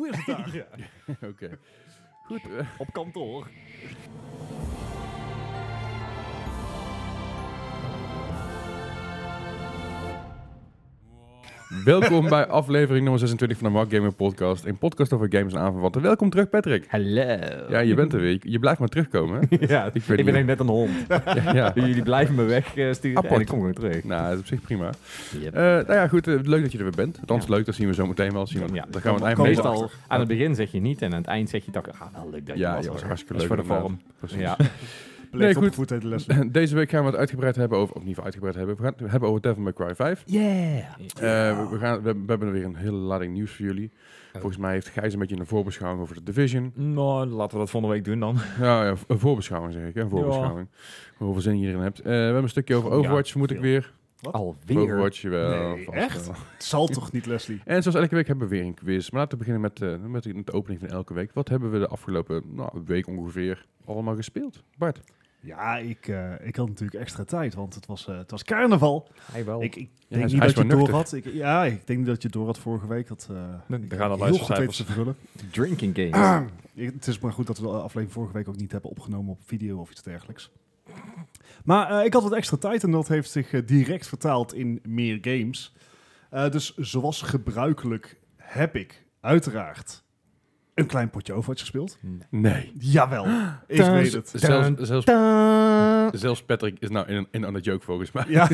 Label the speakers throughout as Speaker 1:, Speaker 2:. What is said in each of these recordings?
Speaker 1: is daar.
Speaker 2: Ja.
Speaker 3: Oké. Goed. eh,
Speaker 2: Op kantoor.
Speaker 3: welkom bij aflevering nummer 26 van de Mark Gamer Podcast. Een podcast over games en aanverwanten. Welkom terug, Patrick.
Speaker 4: Hallo.
Speaker 3: Ja, je bent er weer. Je- Je blijft maar terugkomen. hè?
Speaker 4: ja,
Speaker 3: Ik
Speaker 4: ik,
Speaker 3: weet
Speaker 4: ben
Speaker 3: niet.
Speaker 4: echt net een hond.
Speaker 3: ja. ja.
Speaker 4: Jullie blijven me wegsturen
Speaker 3: Apart.
Speaker 4: en ik kom gewoon terug.
Speaker 3: Nou, dat is op zich prima. Eh, nou ja, goed. eh, leuk dat je er weer bent. Althans, leuk. Dat zien we zo meteen wel. Zien we,
Speaker 4: Ja,
Speaker 3: daar gaan we het eind mee doen.
Speaker 4: Meestal aan het begin zeg je niet en aan het eind zeg je dat ah, wel leuk dat je
Speaker 3: Ja,
Speaker 4: was.
Speaker 3: ja, was
Speaker 4: hoor.
Speaker 3: hartstikke
Speaker 4: Dat is
Speaker 3: leuk
Speaker 4: voor de
Speaker 3: inderdaad.
Speaker 4: vorm.
Speaker 3: Precies.
Speaker 4: Ja.
Speaker 3: Nee,
Speaker 1: Play op
Speaker 3: goed.
Speaker 1: de voet heet de les.
Speaker 3: Deze week gaan we het uitgebreid hebben over, of niet uitgebreid hebben, we gaan het hebben over Devil May Cry 5.
Speaker 4: Yeah.
Speaker 3: Eh, we, we gaan, we, hebben- we hebben weer een hele lading nieuws voor jullie.
Speaker 4: Oh.
Speaker 3: Volgens mij heeft Gijs een beetje een voorbeschouwing over de Division.
Speaker 2: Nou, laten we dat volgende week doen dan.
Speaker 3: Ja, ja, v- een voorbeschouwing zeg ik, hè, een voorbeschouwing. Hoeveel zin je erin hebt. Eh, we hebben een stukje over
Speaker 2: Ja,
Speaker 3: Overwatch, vermoed ik
Speaker 2: veel.
Speaker 3: weer.
Speaker 4: Alweer.
Speaker 3: Overwatch, wel.
Speaker 1: Nee,
Speaker 3: vast
Speaker 1: echt?
Speaker 3: wel.
Speaker 1: Het zal toch niet, Leslie?
Speaker 3: En zoals elke week hebben we weer een quiz. Maar laten we beginnen met, eh, met de opening van elke week. Wat hebben we de afgelopen nou, week ongeveer allemaal gespeeld? Bart?
Speaker 1: Ja, ik, eh, ik had natuurlijk extra tijd, want het was, eh, het was carnaval.
Speaker 4: Hij wel.
Speaker 1: Ik, ik
Speaker 3: Oh. hij
Speaker 1: denk
Speaker 3: is-
Speaker 1: niet
Speaker 3: hij is
Speaker 1: dat je het
Speaker 3: wel
Speaker 1: door
Speaker 3: nuchter.
Speaker 1: had. Ik, ja, ik denk niet dat je het door had vorige week. Dat, eh
Speaker 2: Dan
Speaker 1: ik
Speaker 2: gaan de
Speaker 1: heel goed weet
Speaker 2: luistercijfers.
Speaker 1: te vervullen.
Speaker 4: Drinking games.
Speaker 1: Ik- Het is maar goed dat we de aflevering vorige week ook niet hebben opgenomen op video of iets dergelijks. Maar eh, ik had wat extra tijd en dat heeft zich eh, direct vertaald in meer games. Eh, dus zoals gebruikelijk heb ik uiteraard een klein potje Overwatch gespeeld.
Speaker 3: Nee.
Speaker 1: Jawel, ik weet het.
Speaker 3: Zelfs, zelfs,
Speaker 4: Ta-
Speaker 3: zelfs Patrick is nou in een, in aan de joke volgens mij.
Speaker 1: Ja,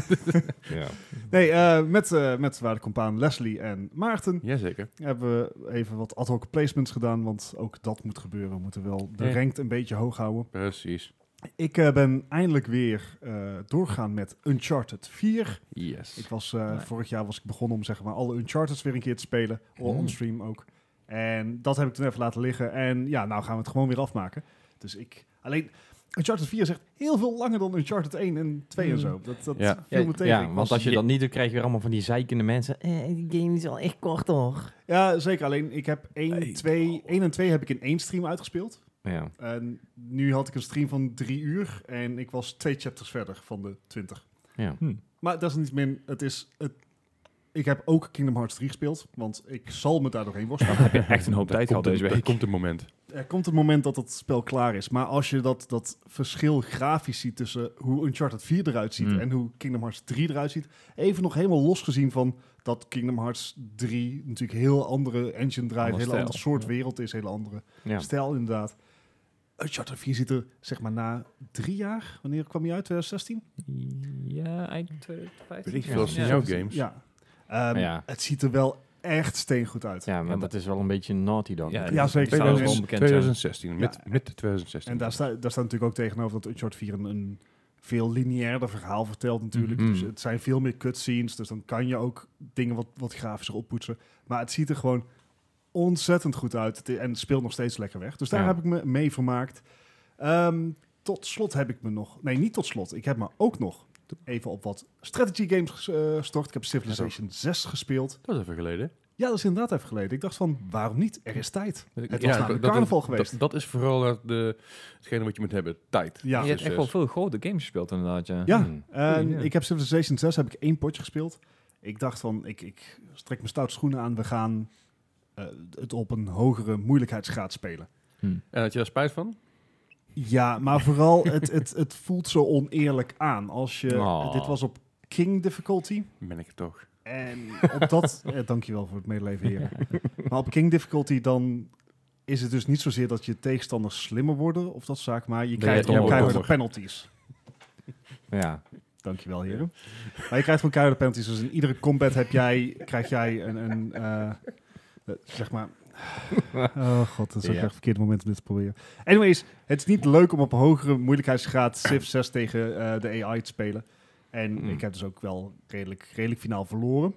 Speaker 2: Ja.
Speaker 1: nee, eh, met, eh met waarde compaan Leslie en Maarten
Speaker 3: Jazeker.
Speaker 1: hebben we even wat ad hoc placements gedaan, want ook dat moet gebeuren. We moeten wel de
Speaker 3: Ja.
Speaker 1: ranked een beetje hoog houden.
Speaker 3: Precies.
Speaker 1: Ik eh, ben eindelijk weer eh, doorgaan met Uncharted 4.
Speaker 3: Yes.
Speaker 1: Ik was, eh,
Speaker 4: Nice.
Speaker 1: Vorig jaar was ik begonnen om zeg maar, alle Uncharteds weer een keer te spelen. on-
Speaker 4: Hmm.
Speaker 1: On-stream ook. En dat heb ik toen even laten liggen. En ja, nou gaan we het gewoon weer afmaken. Dus ik... Alleen, Uncharted 4 is echt heel veel langer dan Uncharted 1 en 2 en
Speaker 4: Hmm.
Speaker 1: zo. Dat, dat
Speaker 3: Ja.
Speaker 1: viel me tegen.
Speaker 4: ja,
Speaker 1: Ik
Speaker 4: want
Speaker 1: was-
Speaker 4: als je dat niet doet, krijg je weer allemaal van die zeikende mensen. Eh, die game is wel echt kort hoor.
Speaker 1: ja, zeker. Alleen, ik heb 1, 2, 1 en 2 heb ik in één stream uitgespeeld.
Speaker 4: Ja.
Speaker 1: En nu had ik een stream van drie uur. En ik was twee chapters verder van de 20.
Speaker 4: ja.
Speaker 1: Maar desalniettemin, het is... Het, ik heb ook Kingdom Hearts 3 gespeeld, want ik zal me daar doorheen worstelen.
Speaker 2: Heb je echt een hoop tijd gehad deze
Speaker 3: Er
Speaker 2: week?
Speaker 3: komt een moment.
Speaker 1: er komt een moment dat het spel klaar is. Maar als je dat, dat verschil grafisch ziet tussen hoe Uncharted 4 eruit ziet
Speaker 4: Mm.
Speaker 1: en hoe Kingdom Hearts 3 eruit ziet, even nog helemaal losgezien van dat Kingdom Hearts 3 natuurlijk heel andere engine draait,
Speaker 4: Ander
Speaker 1: hele
Speaker 4: stijl.
Speaker 1: andere soort
Speaker 4: Ja.
Speaker 1: wereld is, hele andere
Speaker 4: Ja.
Speaker 1: stijl inderdaad. Uncharted 4 ziet er, zeg maar, na drie jaar, wanneer kwam die uit? 2016?
Speaker 5: Ja, eind 2015.
Speaker 3: Weet ik
Speaker 4: Ja.
Speaker 3: veel, zijn
Speaker 5: Ja.
Speaker 3: jouw games.
Speaker 1: Ja. Ehm,
Speaker 4: Ja.
Speaker 1: Het ziet er wel echt steengoed uit.
Speaker 4: Ja, maar
Speaker 5: maar-
Speaker 4: dat is wel een beetje naughty dog.
Speaker 5: Ja,
Speaker 1: Ja, zeker.
Speaker 5: zou wel
Speaker 3: 2000
Speaker 5: onbekend zijn.
Speaker 3: 2016, met,
Speaker 1: Ja.
Speaker 3: met 2016.
Speaker 1: En daar, sta, daar staat natuurlijk ook tegenover dat Uncharted 4 een, een veel lineairder verhaal vertelt natuurlijk.
Speaker 4: Mhm.
Speaker 1: Dus het zijn veel meer cutscenes, dus dan kan je ook dingen wat, wat grafischer oppoetsen. Maar het ziet er gewoon ontzettend goed uit Het i- en het speelt nog steeds lekker weg. Dus daar
Speaker 4: Ja.
Speaker 1: heb ik me mee vermaakt. Ehm, tot slot heb ik me nog... Nee, niet tot slot. Ik heb me ook nog even op wat strategy games ges- eh, gestort. Ik heb Civilization 6 gespeeld.
Speaker 3: Dat is even geleden.
Speaker 1: Ja, dat is inderdaad even geleden. Ik dacht van, waarom niet? Er is tijd. Het was
Speaker 3: Ja,
Speaker 1: namelijk
Speaker 3: dat-
Speaker 1: carnaval
Speaker 3: dat-
Speaker 1: geweest.
Speaker 3: Dat, dat is vooral eh, de, hetgene wat je moet hebben. Tijd.
Speaker 1: Ja.
Speaker 5: je hebt
Speaker 3: Dus,
Speaker 5: echt
Speaker 3: eh,
Speaker 5: wel veel grote games gespeeld inderdaad, ja.
Speaker 1: Ja,
Speaker 4: Hmm.
Speaker 1: en
Speaker 5: Goeie, ja.
Speaker 1: ik heb Civilization 6 heb ik één potje gespeeld. Ik dacht van, ik, ik strek mijn stout schoenen aan. We gaan eh, het op een hogere moeilijkheidsgraad spelen.
Speaker 3: En had je daar spijt van?
Speaker 1: Ja, maar vooral, het, het, het voelt zo oneerlijk aan. Als je,
Speaker 4: Oh.
Speaker 1: Dit was op King difficulty.
Speaker 3: Ben ik het toch.
Speaker 1: En op dat... eh, dankjewel voor het medeleven, heren. Maar op King difficulty dan is het dus niet zozeer dat je tegenstanders slimmer worden of dat zaak. Maar je krijgt
Speaker 4: jij
Speaker 1: gewoon
Speaker 4: dommer
Speaker 1: keiharde penalties.
Speaker 4: Ja.
Speaker 1: Dankjewel, heren. Maar je krijgt gewoon keiharde penalties. Dus in iedere combat heb jij, krijg jij een... een eh, eh, zeg maar... Oh god, dat is ook
Speaker 4: Ja.
Speaker 1: echt het verkeerde moment om dit te proberen. Anyways, het is niet leuk om op een hogere moeilijkheidsgraad Civ 6 tegen eh, de AI te spelen. En
Speaker 3: Hmm.
Speaker 1: ik heb dus ook wel redelijk, redelijk finaal verloren.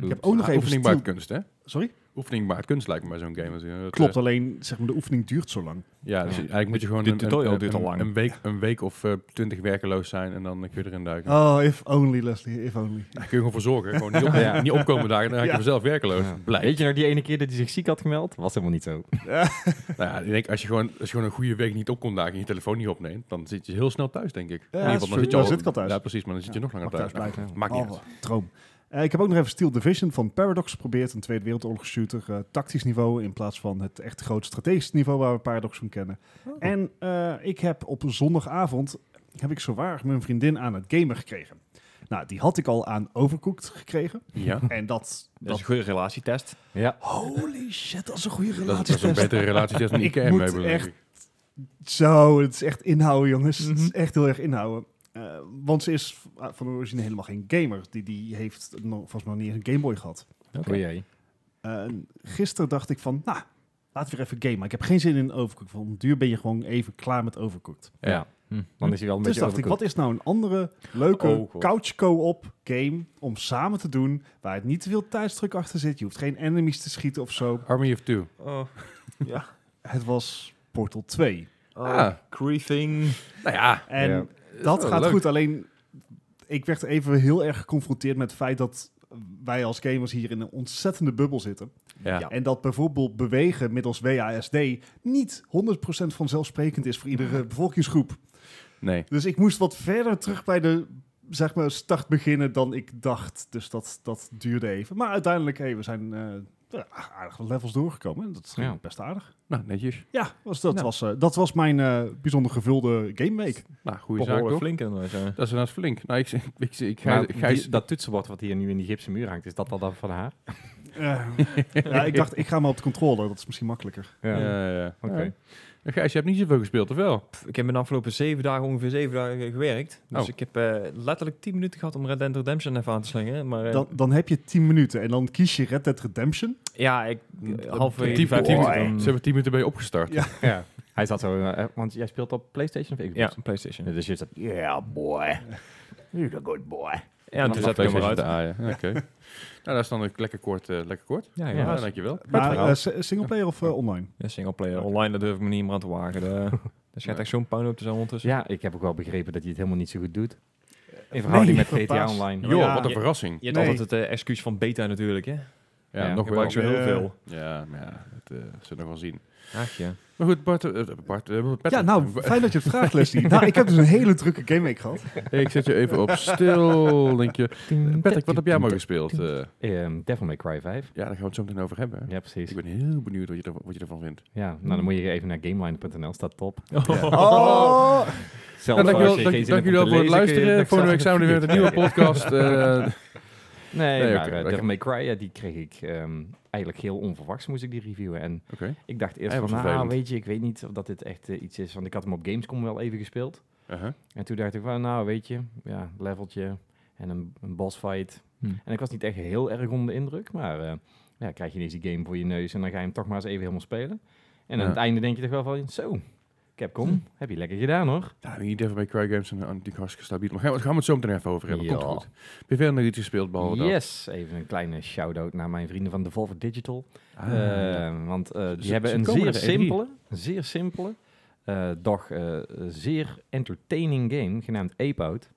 Speaker 3: Ik
Speaker 1: heb ook nog even
Speaker 3: Ah, Oefening
Speaker 1: stil-
Speaker 3: baart kunst, hè?
Speaker 1: Sorry?
Speaker 3: Oefening baart kunst lijkt me bij zo'n game. als je- dat, eh,
Speaker 1: Klopt, alleen zeg maar, de oefening duurt zo lang.
Speaker 3: Ja, dus
Speaker 4: Ja.
Speaker 3: eigenlijk moet je gewoon
Speaker 2: De
Speaker 3: een,
Speaker 2: tutorial
Speaker 3: een,
Speaker 2: duurt al
Speaker 3: een-
Speaker 2: lang.
Speaker 3: Een, week, een week of eh, twintig werkeloos zijn en dan kun je erin duiken.
Speaker 1: Oh, if only, Leslie, if only.
Speaker 3: Daar kun je gewoon voor zorgen. Gewoon niet, op-
Speaker 4: Ja.
Speaker 3: niet opkomen dagen, dan raak je
Speaker 1: Ja.
Speaker 3: vanzelf werkeloos.
Speaker 4: Ja.
Speaker 3: Blij.
Speaker 4: Weet je nog die ene keer dat hij zich ziek had gemeld? Was helemaal niet zo.
Speaker 3: Nou ja, ik denk, als je, gewoon, als je gewoon een goede week niet opkomt dagen en je telefoon niet opneemt, dan zit je heel snel thuis, denk ik. In ieder geval,
Speaker 1: dat
Speaker 3: dan
Speaker 1: is true.
Speaker 3: zit je
Speaker 1: Dan
Speaker 3: al-
Speaker 1: zit ik al thuis.
Speaker 3: Ja, precies, maar dan zit je nog langer
Speaker 1: Mag thuis
Speaker 3: thuis.
Speaker 1: blijven.
Speaker 3: Maakt niet
Speaker 1: Oh,
Speaker 3: uit.
Speaker 1: wat een droom. Eh, ik heb ook nog even Steel Division van Paradox geprobeerd. Een Tweede Wereldoorlog shooter. eh, tactisch niveau in plaats van het echt groot strategisch niveau waar we Paradox van kennen. En eh, ik heb op zondagavond, heb ik zowaar mijn vriendin aan het gamen gekregen. Nou, die had ik al aan Overcooked gekregen.
Speaker 3: Ja.
Speaker 1: En dat...
Speaker 5: Dat is
Speaker 1: Hm. dat
Speaker 5: een goede relatietest.
Speaker 2: Ja.
Speaker 1: holy shit, dat is een goede
Speaker 3: Dat is- dat is een
Speaker 1: relatietest.
Speaker 3: betere relatietest dan
Speaker 1: Ik
Speaker 3: IKM
Speaker 1: moet
Speaker 3: hebben.
Speaker 1: echt- Zo, het is echt inhouden, jongens. Het is echt heel erg inhouden. Eh, want ze is v- van origine helemaal geen gamer. Die, die heeft nog, volgens mij nog niet eens een Game Boy gehad.
Speaker 5: Oké.
Speaker 2: Oh jee.
Speaker 1: Eh, en gisteren dacht ik van, nou, laten we weer even gamen. Ik heb geen zin in Overcooked. Want om duur ben je gewoon even klaar met Overcooked.
Speaker 2: Ja.
Speaker 5: Hm.
Speaker 2: Dan is hij wel een
Speaker 1: dus
Speaker 2: beetje
Speaker 1: dacht ik, wat is nou een andere leuke
Speaker 2: Oh, God.
Speaker 1: couch co-op game om samen te doen, waar het niet te veel tijdsdruk achter zit. Je hoeft geen enemies te schieten of zo.
Speaker 3: Army of Two.
Speaker 1: Het was Portal 2.
Speaker 3: Ah.
Speaker 5: Oh, Creeping.
Speaker 3: Nou ja.
Speaker 1: En
Speaker 2: Ja. Oh,
Speaker 1: dat
Speaker 3: wel
Speaker 1: gaat
Speaker 3: leuk.
Speaker 1: goed, alleen ik werd even heel erg geconfronteerd met het feit dat wij als gamers hier in een ontzettende bubbel zitten.
Speaker 3: Ja.
Speaker 1: En dat bijvoorbeeld bewegen middels WASD niet 100% vanzelfsprekend is voor iedere bevolkingsgroep.
Speaker 3: Nee.
Speaker 1: Dus ik moest wat verder terug bij de zeg maar, start beginnen dan ik dacht. Dus dat, dat duurde even. Maar uiteindelijk, hey, we zijn eh, ja, aardig wat levels doorgekomen. En dat ging
Speaker 2: Ja.
Speaker 1: best aardig.
Speaker 3: Nou, netjes.
Speaker 1: Ja, was, dat,
Speaker 2: Nou.
Speaker 1: was, eh, dat was mijn eh, bijzonder gevulde game week.
Speaker 3: Nou, goede zaak
Speaker 5: Behoorlijk
Speaker 3: toch?
Speaker 5: flink in de zo.
Speaker 3: Dat is inderdaad flink. Nou, ik, ik, ik, ik,
Speaker 2: Maar
Speaker 3: ga, ik ga
Speaker 2: die- dat toetsenbord wat hier nu in die gipsen muur hangt, is dat al dan van haar?
Speaker 1: Eh, ja, ik dacht, ik ga maar op de controller. Dat is misschien makkelijker.
Speaker 3: Ja, ja, ja.
Speaker 2: Oké.
Speaker 3: Ja. En Gijs, je hebt niet zoveel gespeeld, of wel?
Speaker 5: Pff, Ik heb in de afgelopen zeven dagen ongeveer zeven dagen gewerkt. Dus
Speaker 3: Oh.
Speaker 5: ik heb eh, letterlijk 10 minuten gehad om Red Dead Redemption even aan te slingen. Maar eh,
Speaker 1: Dan, dan heb je 10 minuten en dan kies je Red Dead Redemption.
Speaker 5: ja, ik halverwege
Speaker 3: Tien-
Speaker 5: vijf
Speaker 3: tien
Speaker 5: minuten,
Speaker 3: minuten.
Speaker 5: dan-
Speaker 3: Ze hebben tien minuten bij je opgestart.
Speaker 1: Ja.
Speaker 2: Ja. Hij zat zo, eh, want jij speelt op PlayStation of Xbox?
Speaker 5: Ja, PlayStation.
Speaker 2: Ja, Dus je zat, yeah boy, you're a good boy.
Speaker 5: Ja, en toen zet ik hem eruit.
Speaker 3: uit. Oké. Nou, dat is dan ook lekker kort. eh, lekker kort.
Speaker 5: Ja,
Speaker 3: Ja,
Speaker 5: ja.
Speaker 2: dus-
Speaker 3: dankjewel.
Speaker 1: Maar
Speaker 2: verhaal.
Speaker 1: eh, s- singleplayer of eh, online?
Speaker 5: ja, singleplayer. Online, dat durf ik me niet meer aan te wagen. De, er schijnt echt zo'n puinhoop te zijn ondertussen.
Speaker 2: Ja, ik heb ook wel begrepen dat hij het helemaal niet zo goed doet. In verhouding met GTA
Speaker 1: verbaas.
Speaker 2: Online.
Speaker 3: Joh,
Speaker 1: Ja.
Speaker 3: wat een
Speaker 5: Ja.
Speaker 3: verrassing.
Speaker 5: Je hebt
Speaker 1: Nee.
Speaker 5: altijd het eh, excuus van beta natuurlijk, hè?
Speaker 2: Ja.
Speaker 3: Ja, nog wel.
Speaker 5: Gebruik ze heel
Speaker 1: Ja.
Speaker 5: veel.
Speaker 3: Ja, maar ja, dat eh, zullen we nog wel zien.
Speaker 5: Ach ja.
Speaker 3: Maar goed, Bart... eh, Bart eh, Patrick.
Speaker 1: Ja, nou, fijn dat je het vraagt, Leslie. nou, ik heb dus een hele drukke gameweek gehad.
Speaker 3: Hey, ik zet je even op stil, linkje. Patrick, wat heb jij maar gespeeld? Eh,
Speaker 2: Ehm, Devil May Cry 5.
Speaker 3: ja, daar gaan we het zo meteen over hebben. hè?
Speaker 2: Ja, precies.
Speaker 3: Ik ben heel benieuwd wat je, er- wat je ervan vindt.
Speaker 2: Ja, nou dan moet je even naar gameline.nl, staat top.
Speaker 1: Oh!
Speaker 2: Zelfs
Speaker 3: Nou,
Speaker 2: als je
Speaker 3: dankjewel,
Speaker 2: geen
Speaker 3: dank,
Speaker 2: zin
Speaker 3: dank
Speaker 2: hebt om
Speaker 3: jullie wel
Speaker 2: te
Speaker 3: voor het
Speaker 2: lezen, kun je
Speaker 3: luisteren.
Speaker 2: nog
Speaker 3: Volgende week zijn
Speaker 2: zelfs
Speaker 3: we er weer met een nieuwe
Speaker 2: even
Speaker 3: podcast. eh,
Speaker 2: Nee,
Speaker 3: Nee,
Speaker 2: maar
Speaker 3: oké,
Speaker 2: eh,
Speaker 3: lekker.
Speaker 2: Devil May Cry, ja, die kreeg ik ehm, eigenlijk heel onverwachts moest ik die reviewen. En
Speaker 3: Oké.
Speaker 2: ik dacht eerst van,
Speaker 3: Hij was
Speaker 2: nou
Speaker 3: vervelend.
Speaker 2: weet je, ik weet niet of dat dit echt eh, iets is. Want ik had hem op Gamescom wel even gespeeld.
Speaker 3: Uh-huh.
Speaker 2: En toen dacht ik van, nou weet je, ja, leveltje en een, een bossfight.
Speaker 5: Hm.
Speaker 2: En ik was niet echt heel erg onder de indruk, maar eh, ja, krijg je ineens die game voor je neus en dan ga je hem toch maar eens even helemaal spelen. En
Speaker 3: Ja. Hm.
Speaker 2: aan het einde denk je toch wel van, zo, Capcom, heb je lekker gedaan hoor.
Speaker 3: Nou, niet even bij Cry Games en natuurlijk hartstikke stabiel. Maar gaan we, gaan we het zo meteen even over hebben. Komt
Speaker 2: Ja.
Speaker 3: goed. Heb je verder nog iets gespeeld behalve dat?
Speaker 2: Yes, even een kleine shout-out naar mijn vrienden van Devolver Digital.
Speaker 3: Ah,
Speaker 2: Eh, want eh, die
Speaker 3: ze
Speaker 2: hebben een
Speaker 3: komen E naar
Speaker 2: zeer
Speaker 3: de E3.
Speaker 2: simpele, zeer simpele, eh, doch eh, zeer entertaining game genaamd Ape Out.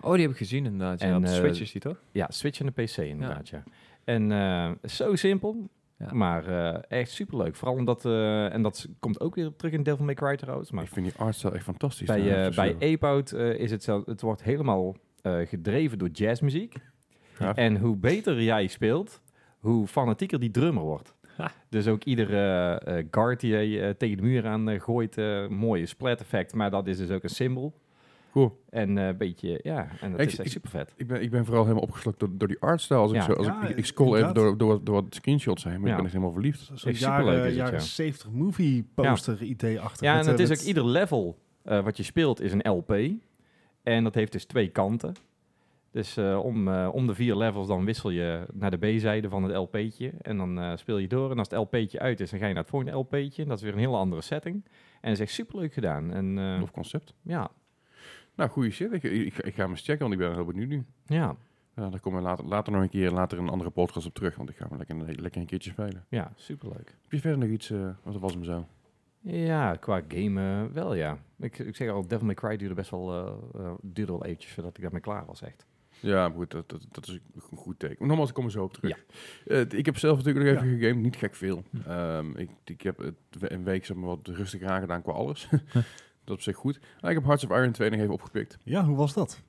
Speaker 5: Oh, die heb ik gezien inderdaad. Ja,
Speaker 2: En,
Speaker 5: op de
Speaker 2: eh,
Speaker 5: Switch is die toch?
Speaker 2: Ja, Switch en de PC inderdaad, ja. En eh, zo simpel,
Speaker 5: Ja.
Speaker 2: maar eh, echt superleuk. Vooral omdat, eh, en dat s- komt ook weer terug in Devil May Cry trouwens, maar
Speaker 3: ik vind die artstyle echt fantastisch.
Speaker 2: bij,
Speaker 3: Nou,
Speaker 2: eh,
Speaker 3: dat is
Speaker 2: bij
Speaker 3: zo
Speaker 2: Ape Out eh, is het zo, het wordt helemaal eh, gedreven door jazzmuziek.
Speaker 3: gaaf.
Speaker 2: En hoe beter jij speelt, hoe fanatieker die drummer wordt.
Speaker 5: Ha.
Speaker 2: Dus ook iedere eh, eh, guard die je eh, tegen de muur aan eh, gooit, eh, mooie splat effect, maar dat is dus ook een symbool.
Speaker 3: Cool.
Speaker 2: En eh, een beetje, ja, en dat
Speaker 3: Ik-
Speaker 2: is echt
Speaker 3: ik-
Speaker 2: super vet.
Speaker 3: Ik ben, ik ben vooral helemaal opgeslokt door, door die artstyle. Als ik,
Speaker 2: Ja.
Speaker 3: zo, als
Speaker 1: Ja,
Speaker 3: ik, ik scroll even
Speaker 1: inderdaad.
Speaker 3: door, door, wat- door wat screenshots heen, maar
Speaker 2: Ja.
Speaker 3: ik ben echt helemaal verliefd.
Speaker 1: Zo'n
Speaker 2: Echt superleuk is
Speaker 1: jaren,
Speaker 2: het,
Speaker 1: jaren
Speaker 2: ja.
Speaker 1: 70 movie poster idee achter.
Speaker 2: Ja,
Speaker 1: Met,
Speaker 2: en het
Speaker 1: eh,
Speaker 2: is ook
Speaker 1: met-
Speaker 2: ieder level eh, wat je speelt is een LP. En dat heeft dus twee kanten. Dus eh, om, eh, om de vier levels dan wissel je naar de B-zijde van het LP'tje. En dan eh, speel je door. En als het LP'tje uit is, dan ga je naar het volgende LP'tje. En dat is weer een hele andere setting. En dat is echt superleuk gedaan. En eh,
Speaker 3: Of concept.
Speaker 2: ja,
Speaker 3: Nou, goede shit. Ik, ik, ik ga hem eens checken, want ik ben heel benieuwd nu.
Speaker 2: ja,
Speaker 3: Ja, daar komen we later, later nog een keer, later een andere podcast op terug, want ik ga hem lekker, lekker een keertje spelen.
Speaker 2: ja, superleuk.
Speaker 3: Heb je verder nog iets, eh wat was hem zo?
Speaker 2: Ja, qua game eh, wel ja. Ik, ik zeg al, Devil May Cry duurde best wel, eh, eh, duurde wel eventjes voordat ik daarmee klaar was echt.
Speaker 3: Ja, maar goed, dat, dat, dat is een goed teken. Maar nogmaals, ik kom er zo op terug. Eh, t- ik heb zelf natuurlijk nog even gegamed, niet gek veel. Ehm, ik, ik heb het we- een week zeg maar, wat rustig Hm. aangedaan qua alles. dat is op zich goed. Ah, ik heb Hearts of Iron 2 nog even opgepikt.
Speaker 1: Ja, hoe was dat?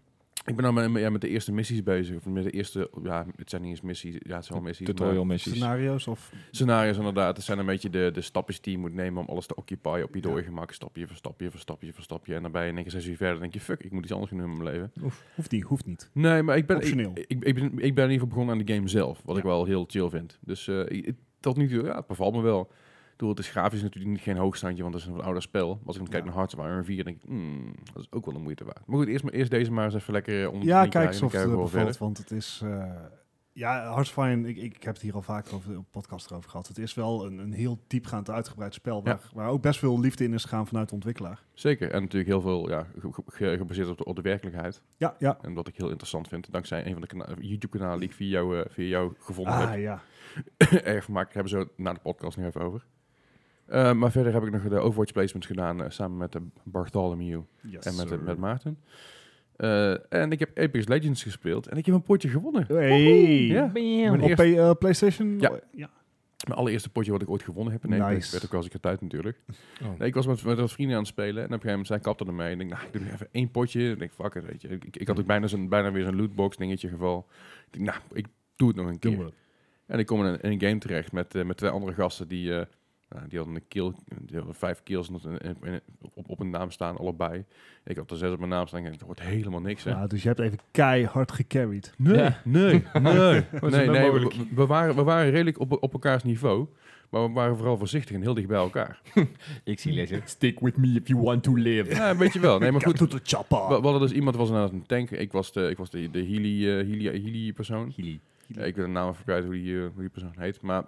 Speaker 3: Ik ben nou met, ja, met de eerste missies bezig. Of met de eerste, ja, het zijn niet eens missies. Ja, het zijn
Speaker 2: eh,
Speaker 3: wel missies. maar-
Speaker 5: Tutorial missies.
Speaker 1: Scenario's of...
Speaker 3: Scenario's inderdaad. Het zijn een beetje de, de stapjes die je moet nemen om alles te occupy op je doorgemak. Stapje voor stapje voor stapje voor stapje. En dan ben je in één keer zes uur verder en denk je, fuck, ik moet iets anders gaan doen in mijn leven.
Speaker 1: Hoeft niet, hoeft niet.
Speaker 3: Nee, maar ik ben, ik,
Speaker 1: Optioneel.
Speaker 3: ik, ik ben, ik ben in ieder geval begonnen aan de game zelf. Wat ik
Speaker 1: Ja.
Speaker 3: wel heel chill vind. Dus eh, ik- ik- tot nu toe, ja, het bevalt me wel. Ik bedoel, het is grafisch natuurlijk niet geen hoogstandje, want dat is een wat ouder spel. Maar Als ik dan kijk
Speaker 1: Ja.
Speaker 3: naar Hearthstone 4, denk ik, hmm, dat is ook wel een moeite waard. Maar goed, eerst, maar eerst deze maar eens even lekker eh, onder
Speaker 1: Ja,
Speaker 3: de knie
Speaker 1: kijk
Speaker 3: krijgen
Speaker 1: eens
Speaker 3: en
Speaker 1: of
Speaker 3: dan
Speaker 1: het
Speaker 3: kijken we
Speaker 1: eh,
Speaker 3: wel
Speaker 1: bevalt,
Speaker 3: verder.
Speaker 1: want het is... eh, ja, Hearthstone, ik, ik heb het hier al vaak over op podcast over gehad. Het is wel een, een heel diepgaand uitgebreid spel, waar, waar ook best veel liefde in is gegaan vanuit de ontwikkelaar.
Speaker 3: Zeker. En natuurlijk heel veel ja, ge- ge- ge- gebaseerd op de, op de werkelijkheid.
Speaker 1: Ja, ja.
Speaker 3: En wat ik heel interessant vind, dankzij een van de kana- YouTube-kanalen die ik via jou, eh, via jou gevonden heb.
Speaker 1: Ah, ja.
Speaker 3: erg vermaakt. Daar hebben ze na de podcast nog even over. Eh, maar verder heb ik nog de Overwatch placements gedaan eh, samen met de Bartholomew
Speaker 1: Yes,
Speaker 3: en met, de-
Speaker 1: sir.
Speaker 3: met Maarten. Eh, en ik heb Apex Legends gespeeld en ik heb een potje gewonnen.
Speaker 1: Hey.
Speaker 3: Ja.
Speaker 4: Bam.
Speaker 1: Op
Speaker 3: Eerst-
Speaker 1: P- eh, PlayStation?
Speaker 3: Ja. Mijn allereerste potje wat ik ooit gewonnen heb. En
Speaker 1: Nice.
Speaker 3: Apex werd ook als ik het uit natuurlijk.
Speaker 2: Oh.
Speaker 3: Nee, ik was met, met wat vrienden aan het spelen en op een gegeven moment zij kapte ermee. En ik denk, nou, ik doe even één potje. En ik denk, fuck it, weet je. Ik, ik- ik had ook bijna, zo'n- bijna weer zo'n lootbox dingetje geval. Ik denk, nou, ik doe het nog een keer. En ik kom in een, in een game terecht met, eh, met twee andere gasten die, eh, nou, die hadden een kill, die hadden vijf kills in- in- in- op, op een naam staan, allebei. Ik had er zes op mijn naam staan en dat wordt helemaal niks. Hè?
Speaker 1: Ah, dus je hebt even keihard gecarried.
Speaker 3: Nee, nee, nee.
Speaker 5: is
Speaker 3: nee,
Speaker 5: er nou mogelijk?
Speaker 3: we, we waren, we waren redelijk op, op elkaars niveau, maar we waren vooral voorzichtig en heel dicht bij elkaar.
Speaker 2: Ik zie lezen.
Speaker 5: Mm. Stick with me if you want to live.
Speaker 3: Ja, weet je wel. Nee, maar goed,
Speaker 1: Doet de chappa.
Speaker 3: we, we hadden dus iemand was inderdaad een tank. Ik was de, ik was de, de healy, eh, healy, healy persoon. Eh, ik wil de naam even kwijt hoe die, eh, hoe die persoon heet, maar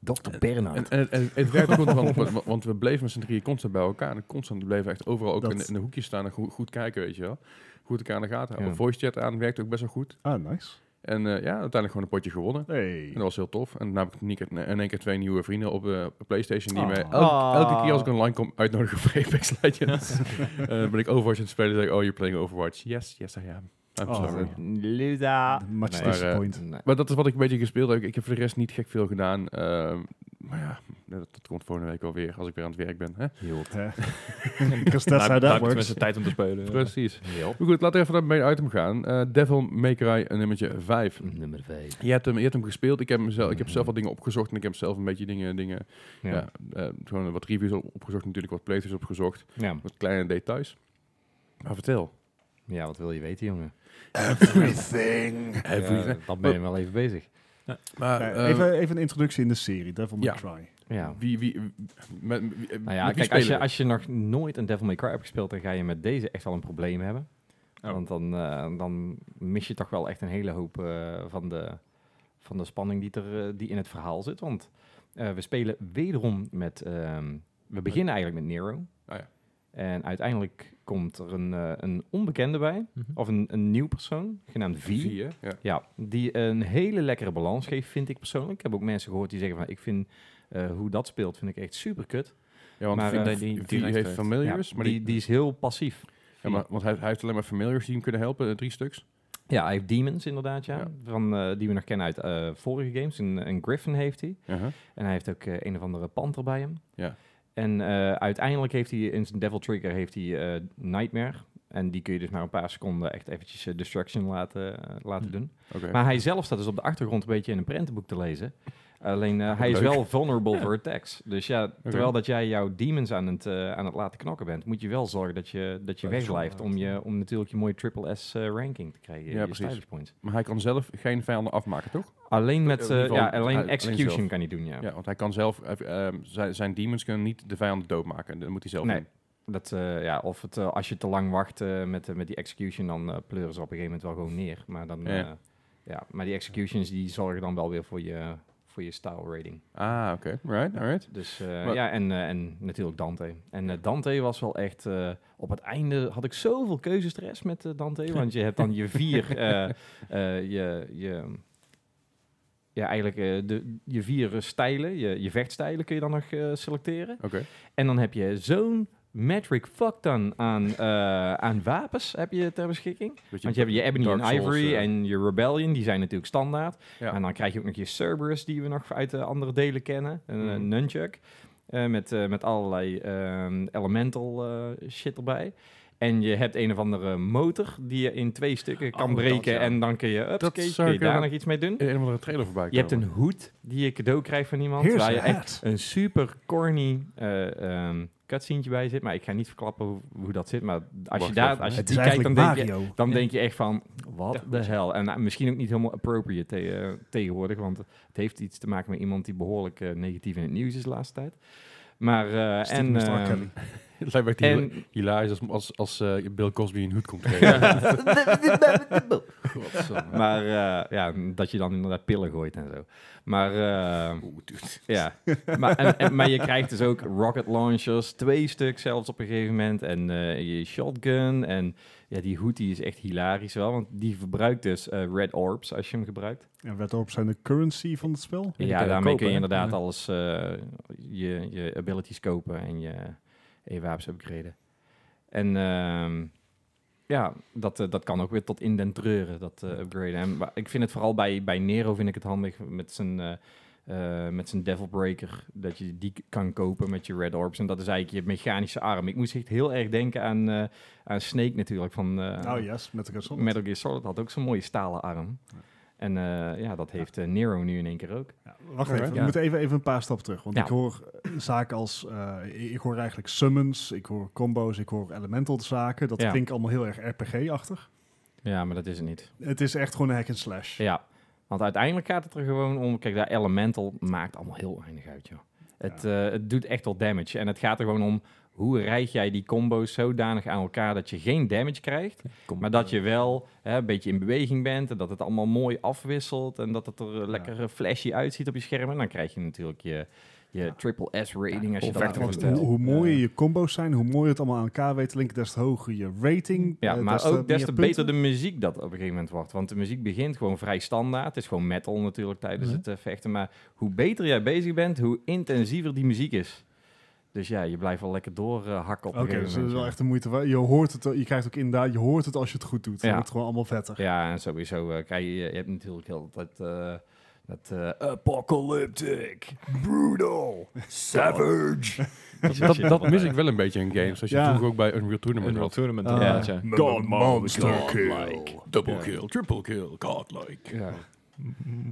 Speaker 2: Dr. Bernhard.
Speaker 3: En, en, het- en het- het werkt goed, want, want- want we bleven met z'n drieën constant bij elkaar. En constant bleven we echt overal ook
Speaker 1: Dat-
Speaker 3: in, de- in de hoekjes staan en goed, goed kijken, weet je wel. Goed elkaar in de gaten houden.
Speaker 2: Ja.
Speaker 3: Voice chat aan, werkt ook best wel goed.
Speaker 1: Ah, nice.
Speaker 3: En eh, ja, uiteindelijk gewoon een potje gewonnen. En dat
Speaker 1: Hey.
Speaker 3: was heel tof. En daarna heb ik in één keer- in één keer twee nieuwe vrienden op eh, op PlayStation. Die
Speaker 1: Ah.
Speaker 3: me elke,
Speaker 2: Ah.
Speaker 3: elke keer als ik online kom uitnodigen voor Apex Legends. Eh, ben ik Overwatch aan het spelen. zeg ik, oh, you're playing Overwatch. Yes, yes I am. I'm
Speaker 1: Oh,
Speaker 3: sorry.
Speaker 1: dat-
Speaker 2: Luda.
Speaker 1: Ah, Much
Speaker 2: Nee,
Speaker 3: maar, eh,
Speaker 1: disappoint.
Speaker 2: Nee.
Speaker 3: Maar dat is wat ik een beetje gespeeld heb. Ik heb voor de rest niet gek veel gedaan. Ehm, maar ja, dat, dat komt volgende week alweer als ik weer aan het werk ben. Hè?
Speaker 2: Heel.
Speaker 1: Because that's how that works.
Speaker 5: tijd om te spelen.
Speaker 3: Precies.
Speaker 2: Heel.
Speaker 3: Maar goed, laten we even naar het main item gaan. Eh, Devil May Cry eh, nummertje 5.
Speaker 2: Nummer 5.
Speaker 3: Je hebt, hem, je hebt hem gespeeld. Ik heb, hem zelf, ik heb zelf wat dingen opgezocht. En ik heb zelf een beetje dingen... dingen ja.
Speaker 2: Ja.
Speaker 3: eh, gewoon wat reviews op- opgezocht. Natuurlijk wat playthroughs opgezocht.
Speaker 2: Ja.
Speaker 3: Wat kleine details. Maar vertel.
Speaker 2: ja, wat wil je weten, jongen?
Speaker 1: Everything.
Speaker 3: Everything.
Speaker 2: Ja, dan ben je wel even bezig.
Speaker 3: Maar
Speaker 1: Eh,
Speaker 3: eh,
Speaker 1: even, even een introductie in de serie, Devil May
Speaker 3: ja.
Speaker 1: Cry.
Speaker 2: Ja.
Speaker 3: wie... wie, wie- met, wie- eh, met
Speaker 2: Nou ja,
Speaker 3: wie
Speaker 2: kijk, als je,
Speaker 3: spelen
Speaker 2: als je nog nooit een Devil May Cry hebt gespeeld, dan ga je met deze echt wel een probleem hebben.
Speaker 3: Oh.
Speaker 2: Want dan, eh, dan mis je toch wel echt een hele hoop eh, van, de, van de spanning die, er, eh, die in het verhaal zit. Want eh, we spelen wederom met... ehm, we beginnen eigenlijk met Nero.
Speaker 3: Ah ja.
Speaker 2: En uiteindelijk komt er een, eh, een onbekende bij, of een, een nieuw persoon, genaamd V.
Speaker 3: we? Wie, hè? Ja.
Speaker 2: Ja, die een hele lekkere balans geeft, vind ik persoonlijk. Ik heb ook mensen gehoord die zeggen van, ik vind eh, hoe dat speelt, vind ik echt super kut.
Speaker 3: ja, want
Speaker 2: Maar, eh,
Speaker 3: maar, die,
Speaker 5: die- die direct
Speaker 3: heeft
Speaker 5: heeft.
Speaker 3: familiars.
Speaker 2: Ja,
Speaker 3: maar die,
Speaker 2: die, die is heel passief.
Speaker 3: ja, maar, want hij, hij heeft alleen maar familiars die hem kunnen helpen. eh, Drie stuks.
Speaker 2: Ja, hij heeft demons inderdaad, ja.
Speaker 3: Ja.
Speaker 2: Van, eh, die we nog kennen uit eh, vorige games. Een, een griffin heeft hij.
Speaker 3: Uh-huh.
Speaker 2: En hij heeft ook eh, een of andere panter bij hem.
Speaker 3: Ja.
Speaker 2: En eh, uiteindelijk heeft hij in zijn Devil Trigger heeft hij, eh, Nightmare. En die kun je dus maar een paar seconden echt eventjes eh, Destruction laten, eh, laten doen.
Speaker 3: Oké.
Speaker 2: Maar hij zelf staat dus op de achtergrond een beetje in een prentenboek te lezen. Alleen eh, hij is
Speaker 3: Leuk.
Speaker 2: wel vulnerable voor attacks. Dus ja, terwijl dat jij jouw demons aan het, eh, aan het laten knokken bent, moet je wel zorgen dat je, dat je
Speaker 5: Dat is
Speaker 2: wegblijft om, je, om natuurlijk je mooie triple S eh, ranking te krijgen.
Speaker 3: Ja,
Speaker 2: je
Speaker 3: precies.
Speaker 2: stylus points.
Speaker 3: Maar hij kan zelf geen vijanden afmaken, toch?
Speaker 2: Alleen
Speaker 3: in
Speaker 2: met
Speaker 3: ieder
Speaker 2: eh,
Speaker 3: geval
Speaker 2: ja,
Speaker 3: hij-
Speaker 2: alleen
Speaker 3: alleen
Speaker 2: execution
Speaker 3: zelf.
Speaker 2: kan hij doen, ja.
Speaker 3: Ja, want hij kan zelf... eh, ehm, zijn, zijn demons kunnen niet de vijanden doodmaken. Dat moet hij zelf
Speaker 2: Nee.
Speaker 3: doen.
Speaker 2: Dat, eh, ja of het, eh, als je te lang wacht eh, met, eh, met die execution, dan eh, pleuren ze op een gegeven moment wel gewoon neer. Maar, dan,
Speaker 3: Ja.
Speaker 2: eh, ja, maar die executions die zorgen dan wel weer voor je, voor je style rating.
Speaker 3: Ah, oké. Right, alright.
Speaker 2: Dus eh,
Speaker 3: Maar-
Speaker 2: ja, en, eh, en natuurlijk Dante. En eh, Dante was wel echt... eh, op het einde had ik zoveel keuzestress met eh, Dante. Want je hebt dan je vier... eh, eh, je, je, ja, eigenlijk eh, de, je vier eh, stijlen, je, je vechtstijlen kun je dan nog eh, selecteren.
Speaker 3: Oké.
Speaker 2: En dan heb je zo'n metric fuckton aan, eh, aan wapens heb je ter beschikking.
Speaker 3: Beetje
Speaker 2: Want je hebt je Ebony
Speaker 3: Dark
Speaker 2: en Ivory
Speaker 3: Souls, eh,
Speaker 2: en je Rebellion, die zijn natuurlijk standaard.
Speaker 3: Ja.
Speaker 2: En dan krijg je ook nog je Cerberus, die we nog uit de andere delen kennen. Een eh,
Speaker 3: Mhm.
Speaker 2: Nunchuck. eh, met, eh, met allerlei ehm, elemental eh, shit erbij. En je hebt een of andere motor die je in twee stukken kan
Speaker 3: Oh, dat,
Speaker 2: breken.
Speaker 3: ja.
Speaker 2: En dan kun je,
Speaker 3: Dat
Speaker 2: upskate,
Speaker 3: zou
Speaker 2: kun je
Speaker 3: ik
Speaker 2: daar
Speaker 3: wel-
Speaker 2: nog iets mee doen.
Speaker 3: een of andere trailer voorbij
Speaker 2: Je hebt een
Speaker 3: komen.
Speaker 2: hoed die je cadeau krijgt van iemand.
Speaker 1: Here's
Speaker 2: waar je
Speaker 1: a
Speaker 2: echt
Speaker 1: hat.
Speaker 2: een super corny eh ehm cutscene bij zit. Maar ik ga niet verklappen hoe, hoe dat zit. Maar als je,
Speaker 3: Wacht
Speaker 2: daar,
Speaker 3: even,
Speaker 2: als je
Speaker 1: Het
Speaker 2: die
Speaker 1: is
Speaker 2: kijkt,
Speaker 1: eigenlijk
Speaker 2: dan denk je,
Speaker 1: Mario.
Speaker 2: dan
Speaker 5: Ja.
Speaker 2: denk je echt van, wat
Speaker 5: Ja,
Speaker 2: de hel. En nou, misschien ook niet helemaal appropriate te- eh, tegenwoordig, want het heeft iets te maken met iemand die behoorlijk eh, negatief in het nieuws is de laatste tijd. Maar, eh,
Speaker 1: Stiekem
Speaker 2: en,
Speaker 1: is het R.
Speaker 2: eh,
Speaker 1: Kelly.
Speaker 3: Het lijkt me echt hila-
Speaker 2: en
Speaker 3: hilarisch als, als, als eh, Bill Cosby een hoed komt geven. Godsamme.
Speaker 2: maar eh, ja, dat je dan inderdaad pillen gooit en zo. Maar, eh,
Speaker 3: Oeh, dude.
Speaker 2: ja. maar, en, en- maar je krijgt dus ook rocket launchers, twee stuk zelfs op een gegeven moment. En eh, je shotgun. En ja, die hoed die is echt hilarisch wel, want die verbruikt dus eh, red orbs als je hem gebruikt.
Speaker 1: En Red Orb zijn de currency van het spel.
Speaker 5: Ja, die
Speaker 2: Ja,
Speaker 5: kan je
Speaker 2: daarmee
Speaker 5: kopen,
Speaker 2: kun je
Speaker 5: hè?
Speaker 2: inderdaad
Speaker 5: Ja.
Speaker 2: alles, eh, je, je abilities kopen en je, en je wapens upgraden. En ehm, ja, dat, eh, dat kan ook weer tot in den treuren, dat eh, upgraden. En, wa- ik vind het vooral bij, bij Nero vind ik het handig met zijn, eh, eh, met zijn Devil Breaker, dat je die k- kan kopen met je Red Orbs. En dat is eigenlijk je mechanische arm. Ik moest echt heel erg denken aan, eh, aan Snake natuurlijk, van eh,
Speaker 1: oh yes, met de gezond.
Speaker 2: Metal Gear Solid had ook zo'n mooie stalen arm. En eh, ja, dat heeft eh, Nero nu in één keer ook.
Speaker 1: Ja, wacht
Speaker 3: Alright.
Speaker 1: even, we
Speaker 5: Ja.
Speaker 1: moeten even, even een paar stappen terug. Want
Speaker 2: Ja.
Speaker 1: ik hoor eh, zaken als, eh, ik- ik hoor eigenlijk summons, ik hoor combo's, ik hoor elemental zaken. Dat
Speaker 2: Ja.
Speaker 1: klinkt allemaal heel erg RPG-achtig.
Speaker 2: Ja, maar dat is het niet.
Speaker 1: Het is echt gewoon een hack and slash.
Speaker 2: Ja, want uiteindelijk gaat het er gewoon om... Kijk, daar Elemental maakt allemaal heel weinig uit, joh. Het, eh, het doet echt wel damage. En het gaat er gewoon om... Hoe rijd jij die combo's zodanig aan elkaar dat je geen damage krijgt, maar dat je wel hè, een beetje in beweging bent en dat het allemaal mooi afwisselt en dat het er eh, lekker eh, flashy uitziet op je scherm. En dan krijg je natuurlijk je, je triple S rating als je dat
Speaker 5: perfect,
Speaker 1: Want
Speaker 2: vertelt.
Speaker 1: hoe, hoe mooier je combo's zijn, hoe mooier het allemaal aan elkaar weet te linken, des te hoger je rating.
Speaker 2: Ja,
Speaker 1: eh,
Speaker 2: maar
Speaker 1: des te
Speaker 2: ook des
Speaker 1: meer
Speaker 2: te
Speaker 1: punten.
Speaker 2: beter de muziek dat op een gegeven moment wordt. Want de muziek begint gewoon vrij standaard. Het is gewoon metal natuurlijk tijdens
Speaker 1: Mhm.
Speaker 2: het eh, vechten. Maar hoe beter jij bezig bent, hoe intensiever die muziek is. Dus ja, je blijft wel lekker doorhakken hakken op
Speaker 1: Oké,
Speaker 2: een gegeven
Speaker 1: dus dat is
Speaker 2: moment.
Speaker 1: wel
Speaker 2: ja.
Speaker 1: echt de moeite. waard. Je hoort het, eh, je krijgt ook inderdaad, je hoort het als je het goed doet. Dan
Speaker 2: Ja.
Speaker 1: wordt het gewoon allemaal vetter.
Speaker 2: Ja, en sowieso eh, krijg je, je hebt natuurlijk heel dat... eh, dat eh, apocalyptic, brutal, savage. Die soort
Speaker 3: Dat,
Speaker 2: shit
Speaker 3: dat
Speaker 2: wat
Speaker 3: mis
Speaker 2: daar-
Speaker 3: ik wel een beetje in games. Als je
Speaker 1: Ja.
Speaker 3: vroeger ook bij Unreal Tournament
Speaker 5: Unreal
Speaker 3: had.
Speaker 5: Tournament
Speaker 1: Ah.
Speaker 5: inderdaad, ja.
Speaker 1: God monster
Speaker 3: kill, double kill, triple kill, godlike.
Speaker 2: Ja,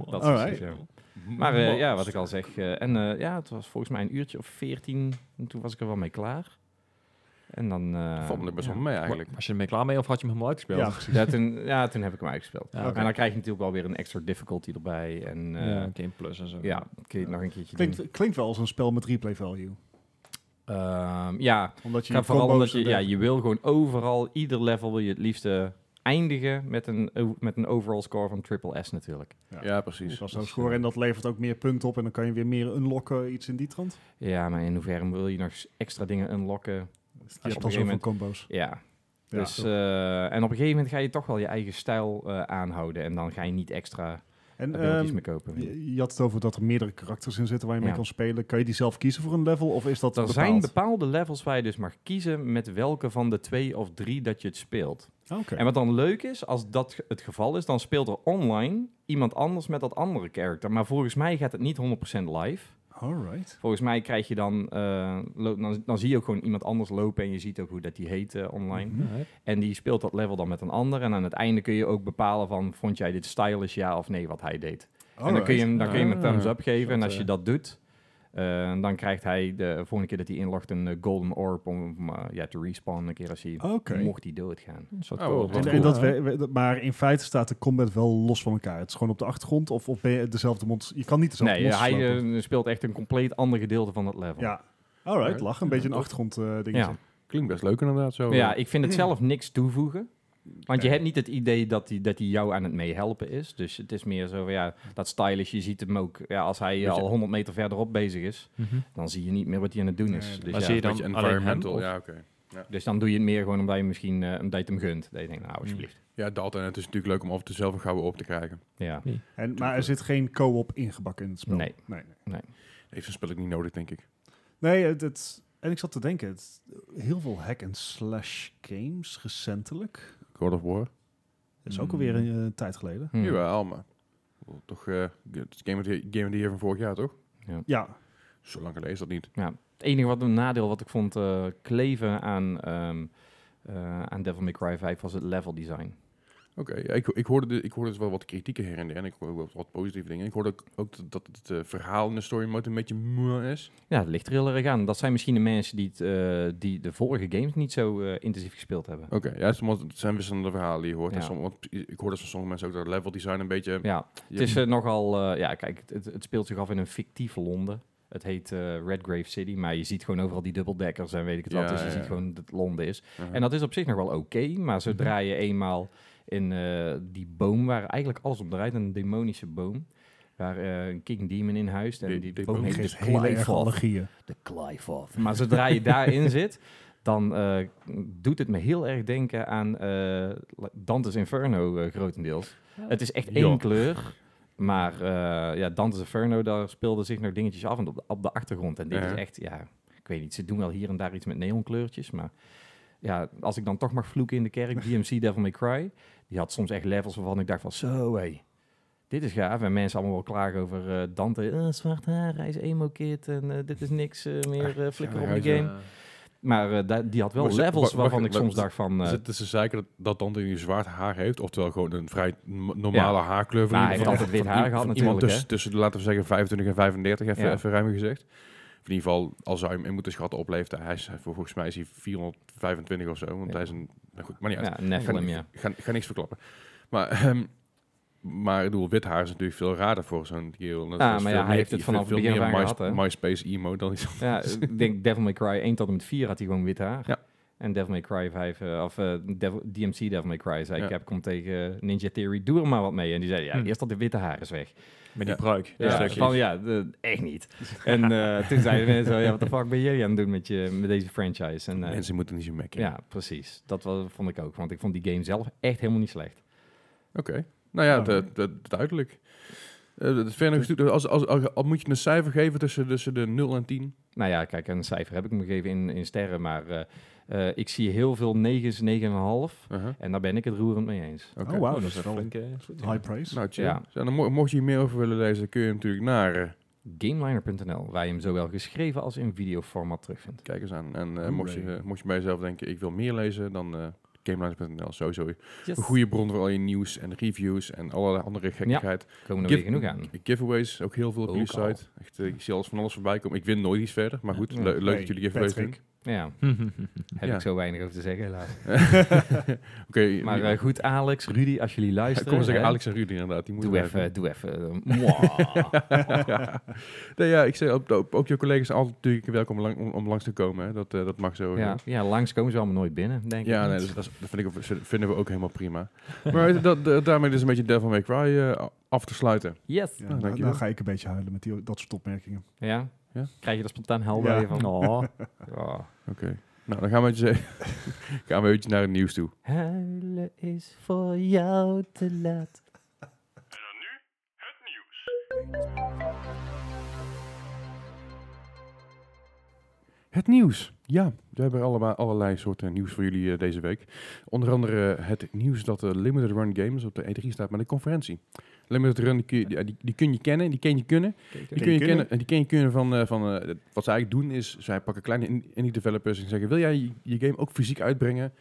Speaker 2: dat is
Speaker 1: Alright.
Speaker 2: precies, ja. Maar eh, ja, wat ik al zeg. eh, en eh, ja, het was volgens mij een uurtje of veertien. En toen was ik er wel mee klaar. En dan... eh,
Speaker 3: vond me best
Speaker 2: ja.
Speaker 3: wel mee eigenlijk.
Speaker 5: Was je ermee klaar mee of had je hem helemaal uitgespeeld?
Speaker 1: Ja,
Speaker 2: Ja, toen, ja, toen heb ik hem uitgespeeld.
Speaker 5: Ja, oké.
Speaker 2: En dan krijg je natuurlijk wel weer een extra difficulty erbij. En eh,
Speaker 5: Ja,
Speaker 2: ja,
Speaker 5: Game Plus en zo.
Speaker 2: kun je het nog een keertje doen.
Speaker 1: Klinkt, klinkt wel als een spel met replay value.
Speaker 2: Ehm, ja,
Speaker 1: Omdat je
Speaker 2: ga
Speaker 1: je
Speaker 2: vooral
Speaker 1: combo's
Speaker 2: omdat je,
Speaker 1: en
Speaker 2: ja,
Speaker 1: dergelijke-
Speaker 2: je wil gewoon overal, ieder level wil je het liefst eh, eindigen met een, o- met een overall score van triple S natuurlijk.
Speaker 3: Ja, precies.
Speaker 1: Dat is zo'n dus score en dat levert ook meer punten op en dan kan je weer meer unlocken, iets in die trant.
Speaker 2: Ja, maar in hoeverre wil je nog s- extra dingen unlocken?
Speaker 1: Je
Speaker 2: op
Speaker 1: hebt
Speaker 2: een
Speaker 1: al
Speaker 2: gegeven
Speaker 1: zoveel
Speaker 2: moment-
Speaker 1: combo's.
Speaker 2: Ja,
Speaker 1: Ja.
Speaker 2: dus, eh, en op een gegeven moment ga je toch wel je eigen stijl eh, aanhouden. En dan ga je niet extra
Speaker 1: en
Speaker 2: abilities
Speaker 1: ehm,
Speaker 2: meer kopen.
Speaker 1: je, je had het over dat er meerdere karakters in zitten waar je mee
Speaker 2: Ja.
Speaker 1: kan spelen. Kan je die zelf kiezen voor een level of is dat
Speaker 2: er
Speaker 1: bepaald?
Speaker 2: zijn bepaalde levels waar je dus mag kiezen met welke van de twee of drie dat je het speelt.
Speaker 1: Oké.
Speaker 2: En wat dan leuk is, als dat ge- het geval is, dan speelt er online iemand anders met dat andere character. Maar volgens mij gaat het niet 100% live.
Speaker 1: Alright.
Speaker 2: Volgens mij krijg je dan, eh, lo- dan, dan zie je ook gewoon iemand anders lopen en je ziet ook hoe dat die heet eh,
Speaker 1: Mhm.
Speaker 2: online. En die speelt dat level dan met een ander. En aan het einde kun je ook bepalen van, vond jij dit stylish ja of nee wat hij deed.
Speaker 1: Oh,
Speaker 2: En dan kun je hem, dan kun je hem een
Speaker 5: Ah,
Speaker 2: thumbs up geven. En
Speaker 5: dat,
Speaker 2: als je
Speaker 5: eh.
Speaker 2: dat doet, eh, dan krijgt hij de volgende keer dat hij inlogt een eh, golden orb om om, eh, ja, te respawnen een keer als hij,
Speaker 1: Oké.
Speaker 2: mocht hij doodgaan.
Speaker 5: Dat is wel
Speaker 3: Oh,
Speaker 5: cool.
Speaker 3: wat
Speaker 1: En,
Speaker 5: Wat
Speaker 1: en
Speaker 5: cool,
Speaker 1: dat
Speaker 5: hè?
Speaker 1: we- we- dat- maar in feite staat de combat wel los van elkaar. Het is gewoon op de achtergrond of, of ben je dezelfde mond. Je kan niet dezelfde
Speaker 2: Nee,
Speaker 1: monsters
Speaker 2: hij eh,
Speaker 1: lopen.
Speaker 2: speelt echt een compleet ander gedeelte van dat level.
Speaker 1: ja. Alright, lach. Een beetje een
Speaker 3: Ja.
Speaker 1: achtergrond eh dingetje.
Speaker 2: Ja.
Speaker 3: Klinkt best leuk inderdaad
Speaker 5: Oh.
Speaker 3: zo.
Speaker 2: ja, ik vind het zelf niks toevoegen. Want je
Speaker 1: Hmm. Nee.
Speaker 2: hebt niet het idee dat hij dat hij jou aan het meehelpen is. Dus het is meer zo van, ja, dat stylish, je ziet hem ook. Ja, als hij eh, al 100 meter verderop bezig is,
Speaker 5: Mhm.
Speaker 2: dan zie je niet meer wat hij aan het doen is.
Speaker 1: Nee, dat-
Speaker 2: dus,
Speaker 5: Maar
Speaker 2: ja.
Speaker 5: zie je
Speaker 3: Een beetje
Speaker 5: dan alleen hem,
Speaker 3: environmental,
Speaker 5: of?
Speaker 3: ja oké.
Speaker 2: dus dan doe je het meer gewoon omdat je, misschien, eh, omdat je het hem gunt. Dat je denkt, nou, alsjeblieft.
Speaker 3: Ja, dat en het is natuurlijk leuk om af en toe zelf een gouden op te krijgen.
Speaker 2: Ja.
Speaker 1: En, maar er zit geen co-op ingebakken in het spel.
Speaker 2: Nee.
Speaker 1: nee.
Speaker 3: Heeft zo'n spel ook niet nodig, denk ik.
Speaker 1: Nee, het, het- en ik zat te denken, het, heel veel hack and slash games recentelijk.
Speaker 3: God of War?
Speaker 1: Dat is ook
Speaker 2: Hmm.
Speaker 1: alweer een eh, tijd geleden.
Speaker 2: Hmm.
Speaker 3: Jawel, maar wel toch eh, het is Game of the- Game of the Year van vorig jaar, toch?
Speaker 1: Ja,
Speaker 3: Zo lang geleden is dat niet.
Speaker 2: Het enige wat een nadeel wat ik vond eh, kleven aan ehm, eh, eh, aan Devil May Cry 5 was het level design.
Speaker 3: Oké, ja, ik, ik, hoorde de- ik hoorde dus wel wat kritieken her en der en ik hoorde wel wat positieve dingen. Ik hoorde ook, ook dat- dat het eh, verhaal in de story mode een beetje moe is.
Speaker 2: Ja, dat ligt er heel erg aan. Dat zijn misschien de mensen die, het, eh, die de vorige games niet zo eh, intensief gespeeld hebben.
Speaker 3: Oké, ja, soms het zijn wisselende verhalen die je hoort. En
Speaker 2: Ja.
Speaker 3: sommige- want ik hoorde van sommige mensen ook dat level design een beetje...
Speaker 2: Ja,
Speaker 3: je-
Speaker 2: het is eh, nogal... eh, ja, kijk, het, het, het speelt zich af in een fictieve Londen. Het heet eh, Redgrave City, maar je ziet gewoon overal die dubbeldekkers en weet ik het
Speaker 3: Ja,
Speaker 2: wat. Dus je
Speaker 3: ja,
Speaker 2: ziet
Speaker 3: ja.
Speaker 2: gewoon dat het Londen is.
Speaker 3: Aha.
Speaker 2: En dat is op zich nog wel oké, maar
Speaker 3: Mhm.
Speaker 2: zodra je eenmaal in eh, die boom waar eigenlijk alles op draait, een demonische boom, waar eh, een King Demon in huist en
Speaker 3: Die-
Speaker 2: die,
Speaker 3: die
Speaker 2: boom
Speaker 3: boom
Speaker 2: heet de
Speaker 1: geeft hele erg
Speaker 2: Clive
Speaker 1: allergieën.
Speaker 2: De Clive Maar zodra je daarin zit, dan eh, doet het me heel erg denken aan eh, Dante's Inferno eh, grotendeels. Het is echt één
Speaker 3: Ja.
Speaker 2: kleur. Maar eh, ja, Dante's Inferno, daar speelden zich nog dingetjes af en op, de, op de achtergrond. En dit
Speaker 3: Ja.
Speaker 2: is echt, ja, ik weet niet. Ze doen wel hier en daar iets met neonkleurtjes. Maar ja, als ik dan toch mag vloeken in de kerk, DMC Devil May Cry. Die had soms echt levels waarvan ik dacht van, zo hé, dit is gaaf. En mensen allemaal wel klagen over eh, Dante. eh, zwart haar, hij is emo-kid en eh, dit is niks eh, meer, eh, flikker
Speaker 3: Ah, ja,
Speaker 2: op de
Speaker 3: ja.
Speaker 2: game. Maar eh, da- die had wel
Speaker 3: Maar ze-
Speaker 2: levels
Speaker 3: wacht-
Speaker 2: waarvan
Speaker 3: wacht,
Speaker 2: ik soms
Speaker 3: wacht,
Speaker 2: dacht van... eh,
Speaker 3: Is het is dus zeker dat, dat Dante nu zwart haar heeft, oftewel gewoon een vrij m- normale haarkleur. van
Speaker 2: Nou, hij
Speaker 3: iemand-
Speaker 2: heeft altijd wit
Speaker 3: van
Speaker 2: haar
Speaker 3: i-
Speaker 2: gehad
Speaker 3: van
Speaker 2: natuurlijk,
Speaker 3: Iemand
Speaker 2: hè?
Speaker 3: tussen, tussen, laten we zeggen, 25 en 35, even,
Speaker 2: Ja.
Speaker 3: even ruim gezegd. Of in ieder geval, al zou je hem in moeten schatten op leeftijd. Hij is, volgens mij is hij 425 of zo, want
Speaker 2: Ja.
Speaker 3: hij is een... Nou goed, maar niet uit.
Speaker 2: ja, Nephilim, ja.
Speaker 3: Ik ga, ik ga niks verklappen. Maar, ehm, maar ik bedoel, wit haar is natuurlijk veel raarder voor zo'n kerel. Dat
Speaker 2: Ja,
Speaker 3: is
Speaker 2: Ah, maar
Speaker 3: veel
Speaker 2: ja, hij
Speaker 3: meer-
Speaker 2: heeft het
Speaker 3: veel-
Speaker 2: vanaf het
Speaker 3: veel
Speaker 2: begin
Speaker 3: meer
Speaker 2: af aan
Speaker 3: My-
Speaker 2: gehad, hè?
Speaker 3: MySpace emo dan iets anders.
Speaker 2: Ja, ik denk Devil May Cry 1 tot en met 4 had hij gewoon wit haar.
Speaker 3: Ja.
Speaker 2: En Devil May Cry 5, eh, of eh, Devil- DMC Devil May Cry, zei
Speaker 3: Ja.
Speaker 2: ik heb kom tegen Ninja Theory, doe er maar wat mee. En die zei, ja,
Speaker 5: Hm.
Speaker 2: eerst dat de witte haar is weg.
Speaker 5: Met
Speaker 3: Ja.
Speaker 5: die pruik.
Speaker 2: Ja,
Speaker 1: Dus
Speaker 5: Ja,
Speaker 2: van, ja de- echt niet. en eh, toen zeiden mensen, ja, wat de fuck ben jij aan het doen met, je, met deze franchise? En, eh,
Speaker 3: Mensen moeten niet zo mekken.
Speaker 2: ja, precies. Dat wa- vond ik ook, want ik vond die game zelf echt helemaal niet slecht.
Speaker 3: Oké. Nou ja,
Speaker 1: Ja.
Speaker 3: dat- dat- duidelijk. Eh, dat- verder is natuurlijk- als, als, als, als moet je een cijfer geven tussen, tussen de 0 en 10.
Speaker 2: Nou ja, kijk, een cijfer heb ik me gegeven in, in sterren, maar eh, eh, ik zie heel veel 9's, 9,5.
Speaker 3: Uh-huh.
Speaker 2: En daar ben ik het roerend mee eens.
Speaker 3: Oké.
Speaker 1: Oh, wauw, dat
Speaker 5: dat
Speaker 1: is
Speaker 5: is
Speaker 1: wel
Speaker 5: flink.
Speaker 1: een
Speaker 5: eh,
Speaker 1: high praise.
Speaker 3: Nou, chill.
Speaker 2: Ja.
Speaker 3: Zo, dan mo- mocht je hier meer over willen lezen, dan kun je natuurlijk naar... eh,
Speaker 2: Gameliner.nl, waar je hem zowel geschreven als in videoformaat terugvindt.
Speaker 3: kijk eens aan. En eh, mocht, je,
Speaker 1: Hooray.
Speaker 3: eh, mocht je bij jezelf denken, ik wil meer lezen, dan... eh GameLines.nl, sowieso
Speaker 2: Yes.
Speaker 3: een goede bron voor al je nieuws en reviews en allerlei andere gekkigheid.
Speaker 2: Komen er
Speaker 3: Give-
Speaker 2: weer genoeg aan.
Speaker 3: Giveaways, ook heel veel op
Speaker 2: Ook
Speaker 3: jullie
Speaker 2: al.
Speaker 3: site. Echt, eh, ik zie alles van alles voorbij komen. Ik win nooit iets verder, maar goed,
Speaker 2: Ja.
Speaker 3: le- leuk
Speaker 1: Hey,
Speaker 3: dat jullie giveaways doen.
Speaker 1: Patrick.
Speaker 2: Ja, heb
Speaker 3: Ja.
Speaker 2: ik zo weinig over te zeggen helaas.
Speaker 3: Oké,
Speaker 2: Maar
Speaker 3: maar
Speaker 2: eh, goed, Alex, Rudy, als jullie
Speaker 3: ik
Speaker 2: luisteren...
Speaker 3: kom maar zeggen,
Speaker 2: hè,
Speaker 3: Alex en Rudy inderdaad, die moeten
Speaker 2: Doe
Speaker 3: blijven.
Speaker 2: even, doe even. eh, Mwah.
Speaker 3: ja. Nee, ja, ik zei, ook, ook, ook je collega's zijn altijd natuurlijk welkom om, lang- om, om langs te komen. Hè. Dat, eh, dat mag zo.
Speaker 2: ja,
Speaker 3: eh.
Speaker 2: ja, langs komen ze allemaal nooit binnen, denk
Speaker 3: Ja,
Speaker 2: ik.
Speaker 3: nee, dus dat, is- dat vind ik, ook- vinden we ook helemaal prima. Maar dat, dat- daarmee dus een beetje Devil May Cry eh, af te sluiten.
Speaker 2: Yes.
Speaker 1: Ja,
Speaker 3: Nou,
Speaker 1: nou,
Speaker 3: dankjewel.
Speaker 1: nou ga ik een beetje huilen met die, dat soort opmerkingen.
Speaker 2: Ja?
Speaker 3: Ja.
Speaker 2: Krijg je er spontaan hel
Speaker 1: Ja.
Speaker 2: bij van? Oh. Oh.
Speaker 3: Nou, dan gaan we, eventjes, gaan we eventjes naar het nieuws toe.
Speaker 4: Huilen is voor jou te laat.
Speaker 3: Het nieuws. Ja, we hebben allemaal allerlei soorten nieuws voor jullie eh, deze week. Onder andere eh, het nieuws dat eh, Limited Run Games op de E3 staat met een conferentie. Limited Run, die kun je, die, die- die kun je kennen, die ken je kunnen. Die kun je kennen, en die kun je kunnen van, eh, van eh, wat ze eigenlijk doen is, zij pakken kleine in- indie developers en zeggen, wil jij je, je game ook fysiek uitbrengen?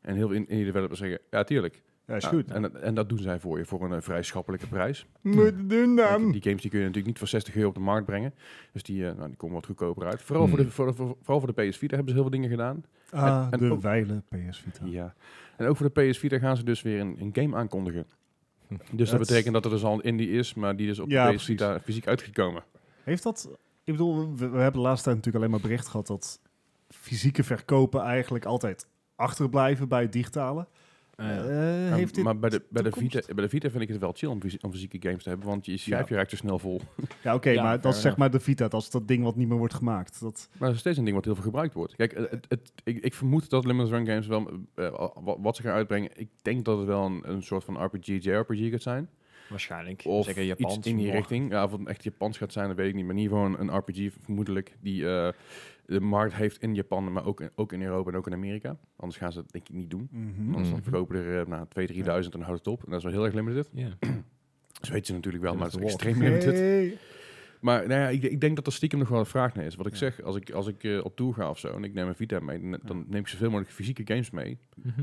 Speaker 3: En heel veel in- indie developers zeggen, ja, tuurlijk.
Speaker 1: Ja, is
Speaker 3: Ja,
Speaker 1: goed.
Speaker 3: En, dat- en dat doen zij voor je, voor een eh, vrij schappelijke prijs.
Speaker 1: Moet doen
Speaker 3: Want Die games die kun je natuurlijk niet voor 60 euro op de markt brengen. Dus die, eh, nou, die komen wat goedkoper uit. Vooral, voor, de,
Speaker 2: Hmm.
Speaker 3: voor, de- voor- vooral voor de PS4 daar hebben ze heel veel dingen gedaan.
Speaker 1: Ah,
Speaker 3: en- en
Speaker 1: de
Speaker 3: ook-
Speaker 1: wijle PS Vita.
Speaker 3: Ja. En ook voor de PS4 daar gaan ze dus weer een, een game aankondigen.
Speaker 2: Hm.
Speaker 3: Dus dat
Speaker 1: Dat's-
Speaker 3: betekent dat er dus al een indie is, maar die is op
Speaker 1: Ja,
Speaker 3: de PS4 daar fysiek uitgekomen.
Speaker 1: Heeft dat... Ik bedoel, we, we hebben de laatste tijd natuurlijk alleen maar bericht gehad dat fysieke verkopen eigenlijk altijd achterblijven bij het digitale. Eh,
Speaker 3: Ah, Ja, Nou,
Speaker 1: heeft dit...
Speaker 3: maar bij de, bij, de
Speaker 1: toekomst?
Speaker 3: Vita, bij de Vita vind ik het wel chill om, fysi- om fysieke games te hebben, want je schrijf je raakt zo snel vol.
Speaker 1: Ja, oké,
Speaker 5: Ja,
Speaker 1: maar
Speaker 5: fair
Speaker 1: dat is zeg
Speaker 5: enough.
Speaker 1: maar de Vita. Dat is dat ding wat niet meer wordt gemaakt. Dat,
Speaker 3: Maar dat is steeds een ding wat heel veel gebruikt wordt. Kijk, het, het- het- ik, ik vermoed dat Limited Run Games wel, eh, wa- wa- wat ze gaan uitbrengen, ik denk dat het wel een, een soort van RPG, JRPG gaat zijn.
Speaker 5: Waarschijnlijk.
Speaker 3: Of
Speaker 5: Zeker Japans.
Speaker 3: iets in die
Speaker 5: maar-
Speaker 3: richting. Ja, of het echt Japans gaat zijn, dat weet ik niet. Maar in ieder geval een, een RPG vermoedelijk die eh, de markt heeft in Japan, maar ook in, ook in Europa en ook in Amerika. Anders gaan ze dat denk ik niet doen. Anders dan
Speaker 2: Mhm.
Speaker 3: verkopen er eh, nou, 2.000, 3.000 en dan houdt het op. En dat is wel heel erg limited.
Speaker 5: Ja.
Speaker 3: Dat weet je natuurlijk wel,
Speaker 5: Dat
Speaker 3: maar
Speaker 5: is
Speaker 3: dat is
Speaker 5: de
Speaker 3: extreem
Speaker 1: Hey.
Speaker 3: limited. Maar nou ja, ik, ik denk dat er stiekem nog wel een vraag naar is. Wat ik zeg, als ik, als ik eh, op tour ga of zo en ik neem een Vita mee, dan, dan neem ik zoveel mogelijk fysieke games mee.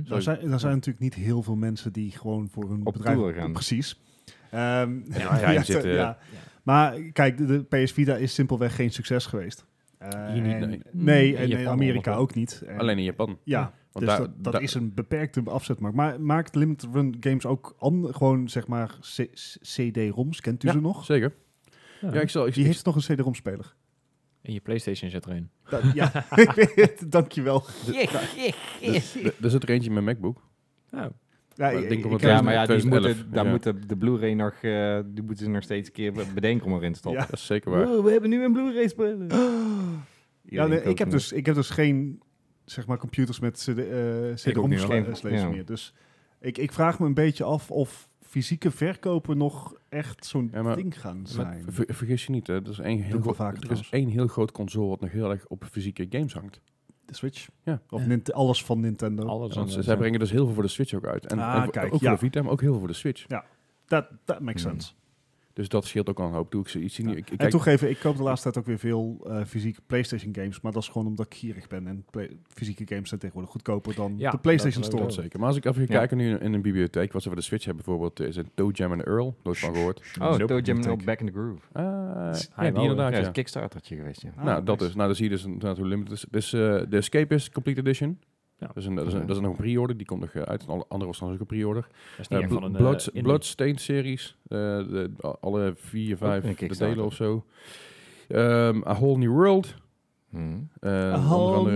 Speaker 1: Er zijn, er zijn natuurlijk niet heel veel mensen die gewoon voor hun
Speaker 2: Op
Speaker 1: bedrijf...
Speaker 2: tour gaan.
Speaker 1: Precies. Ehm,
Speaker 3: Ja, ja, je zit, eh,
Speaker 1: Maar kijk, de, de PS Vita is simpelweg geen succes geweest. Eh,
Speaker 3: Hier niet,
Speaker 1: en-
Speaker 3: nee.
Speaker 1: Nee,
Speaker 5: In
Speaker 1: en in
Speaker 5: Japan
Speaker 1: Amerika
Speaker 5: ongeveer.
Speaker 1: ook niet. En-
Speaker 3: Alleen in Japan.
Speaker 1: Ja,
Speaker 3: Want
Speaker 1: dus
Speaker 3: daar-
Speaker 1: dat, dat
Speaker 3: daar-
Speaker 1: is een beperkte afzetmarkt. Maar maakt limited run games ook an, gewoon, zeg maar, C- CD-ROMs? Kent u
Speaker 3: Ja,
Speaker 1: ze nog?
Speaker 3: Zeker. Ja, ik zal... Ik,
Speaker 1: Die heeft nog een CD-ROM-speler.
Speaker 5: En je PlayStation zit erin.
Speaker 1: Dat- Ja, ik weet het, dankjewel.
Speaker 3: dus, er zit er eentje met MacBook.
Speaker 1: Ja,
Speaker 3: ik denk wel dat-
Speaker 1: heb-
Speaker 2: Ja,
Speaker 3: het
Speaker 2: maar ja, die
Speaker 3: 2011,
Speaker 2: moeten, daar
Speaker 3: ja.
Speaker 2: moeten de Blu-ray nog, eh, die moeten ze nog steeds een keer be- bedenken om erin te stoppen.
Speaker 1: Ja.
Speaker 3: Dat is zeker waar.
Speaker 2: Wow, we hebben nu een Blu-ray speler.
Speaker 1: Ja,
Speaker 2: Iedereen
Speaker 1: nee, ik,
Speaker 2: koopt
Speaker 1: heb
Speaker 2: hem.
Speaker 1: dus, ik heb dus geen zeg maar, computers met CD, eh CD-ROM
Speaker 2: niet,
Speaker 1: sla-
Speaker 2: hoor.
Speaker 1: eh, slash
Speaker 2: Ja.
Speaker 1: meer. Dus ik, ik vraag me een beetje af of fysieke verkopen nog echt zo'n
Speaker 3: Ja, maar-
Speaker 1: ding gaan zijn.
Speaker 3: Ver- ver- vergis je niet, hè. Dat is één heel,
Speaker 1: ik wel
Speaker 3: gro-
Speaker 1: vaker
Speaker 3: er is
Speaker 1: trouwens.
Speaker 3: één heel groot console wat nog heel erg op fysieke games hangt.
Speaker 1: De Switch?
Speaker 3: Ja.
Speaker 1: Of Nint- alles van Nintendo.
Speaker 5: Alles
Speaker 3: Want ze-
Speaker 5: anders.
Speaker 3: zij brengen dus heel veel voor de Switch ook uit. En,
Speaker 1: Ah,
Speaker 3: en voor-
Speaker 1: kijk,
Speaker 3: ook voor
Speaker 1: ja.
Speaker 3: de Vita, maar ook heel veel voor de Switch.
Speaker 1: Dat dat makes
Speaker 2: Hmm.
Speaker 1: sense.
Speaker 3: Dus dat scheelt ook al een hoop. Doe ik ze iets zien.
Speaker 1: Ja.
Speaker 3: Ik, ik
Speaker 1: en
Speaker 3: kijk-
Speaker 1: toegeven, ik koop de laatste tijd ook weer veel eh, fysieke PlayStation games. Maar dat is gewoon omdat ik gierig ben. En play- fysieke games zijn tegenwoordig goedkoper dan
Speaker 5: Ja,
Speaker 1: de PlayStation
Speaker 5: dat- dat-
Speaker 1: Store.
Speaker 3: Dat zeker. Maar als ik even ga
Speaker 2: Ja.
Speaker 3: kijken nu in een bibliotheek, wat ze voor de Switch hebben bijvoorbeeld, is een Toe Jam en Earl. Nooit van gehoord.
Speaker 2: Oh,
Speaker 5: Nope.
Speaker 2: Toe Jam en Earl Back in the Groove.
Speaker 3: Ah,
Speaker 5: wel,
Speaker 3: ja, die inderdaad,
Speaker 2: Ja,
Speaker 3: ja.
Speaker 2: dat is een Kickstartertje geweest, ja.
Speaker 1: Ah,
Speaker 3: nou, dat
Speaker 1: nice.
Speaker 3: is, nou, dan zie je dus inderdaad hoe limited is. Dus eh, de Escape is Complete Edition.
Speaker 5: Ja.
Speaker 3: Dat, is een, dat, is een, dat is nog een pre-order, die komt nog eh, uit. En alle andere was dan ook een pre-order.
Speaker 5: Dat is niet
Speaker 3: Eh,
Speaker 5: echt
Speaker 3: Bl-
Speaker 5: van een... eh,
Speaker 3: Bloods-
Speaker 5: indie. Oh,
Speaker 3: Bloodstained series. eh, de, a- alle vier, vijf
Speaker 2: een
Speaker 3: de
Speaker 2: Kickstarter.
Speaker 3: delen of zo. Ehm, A Whole New World.
Speaker 2: Mhm.
Speaker 3: eh,
Speaker 1: A
Speaker 3: onder
Speaker 1: Whole
Speaker 3: andere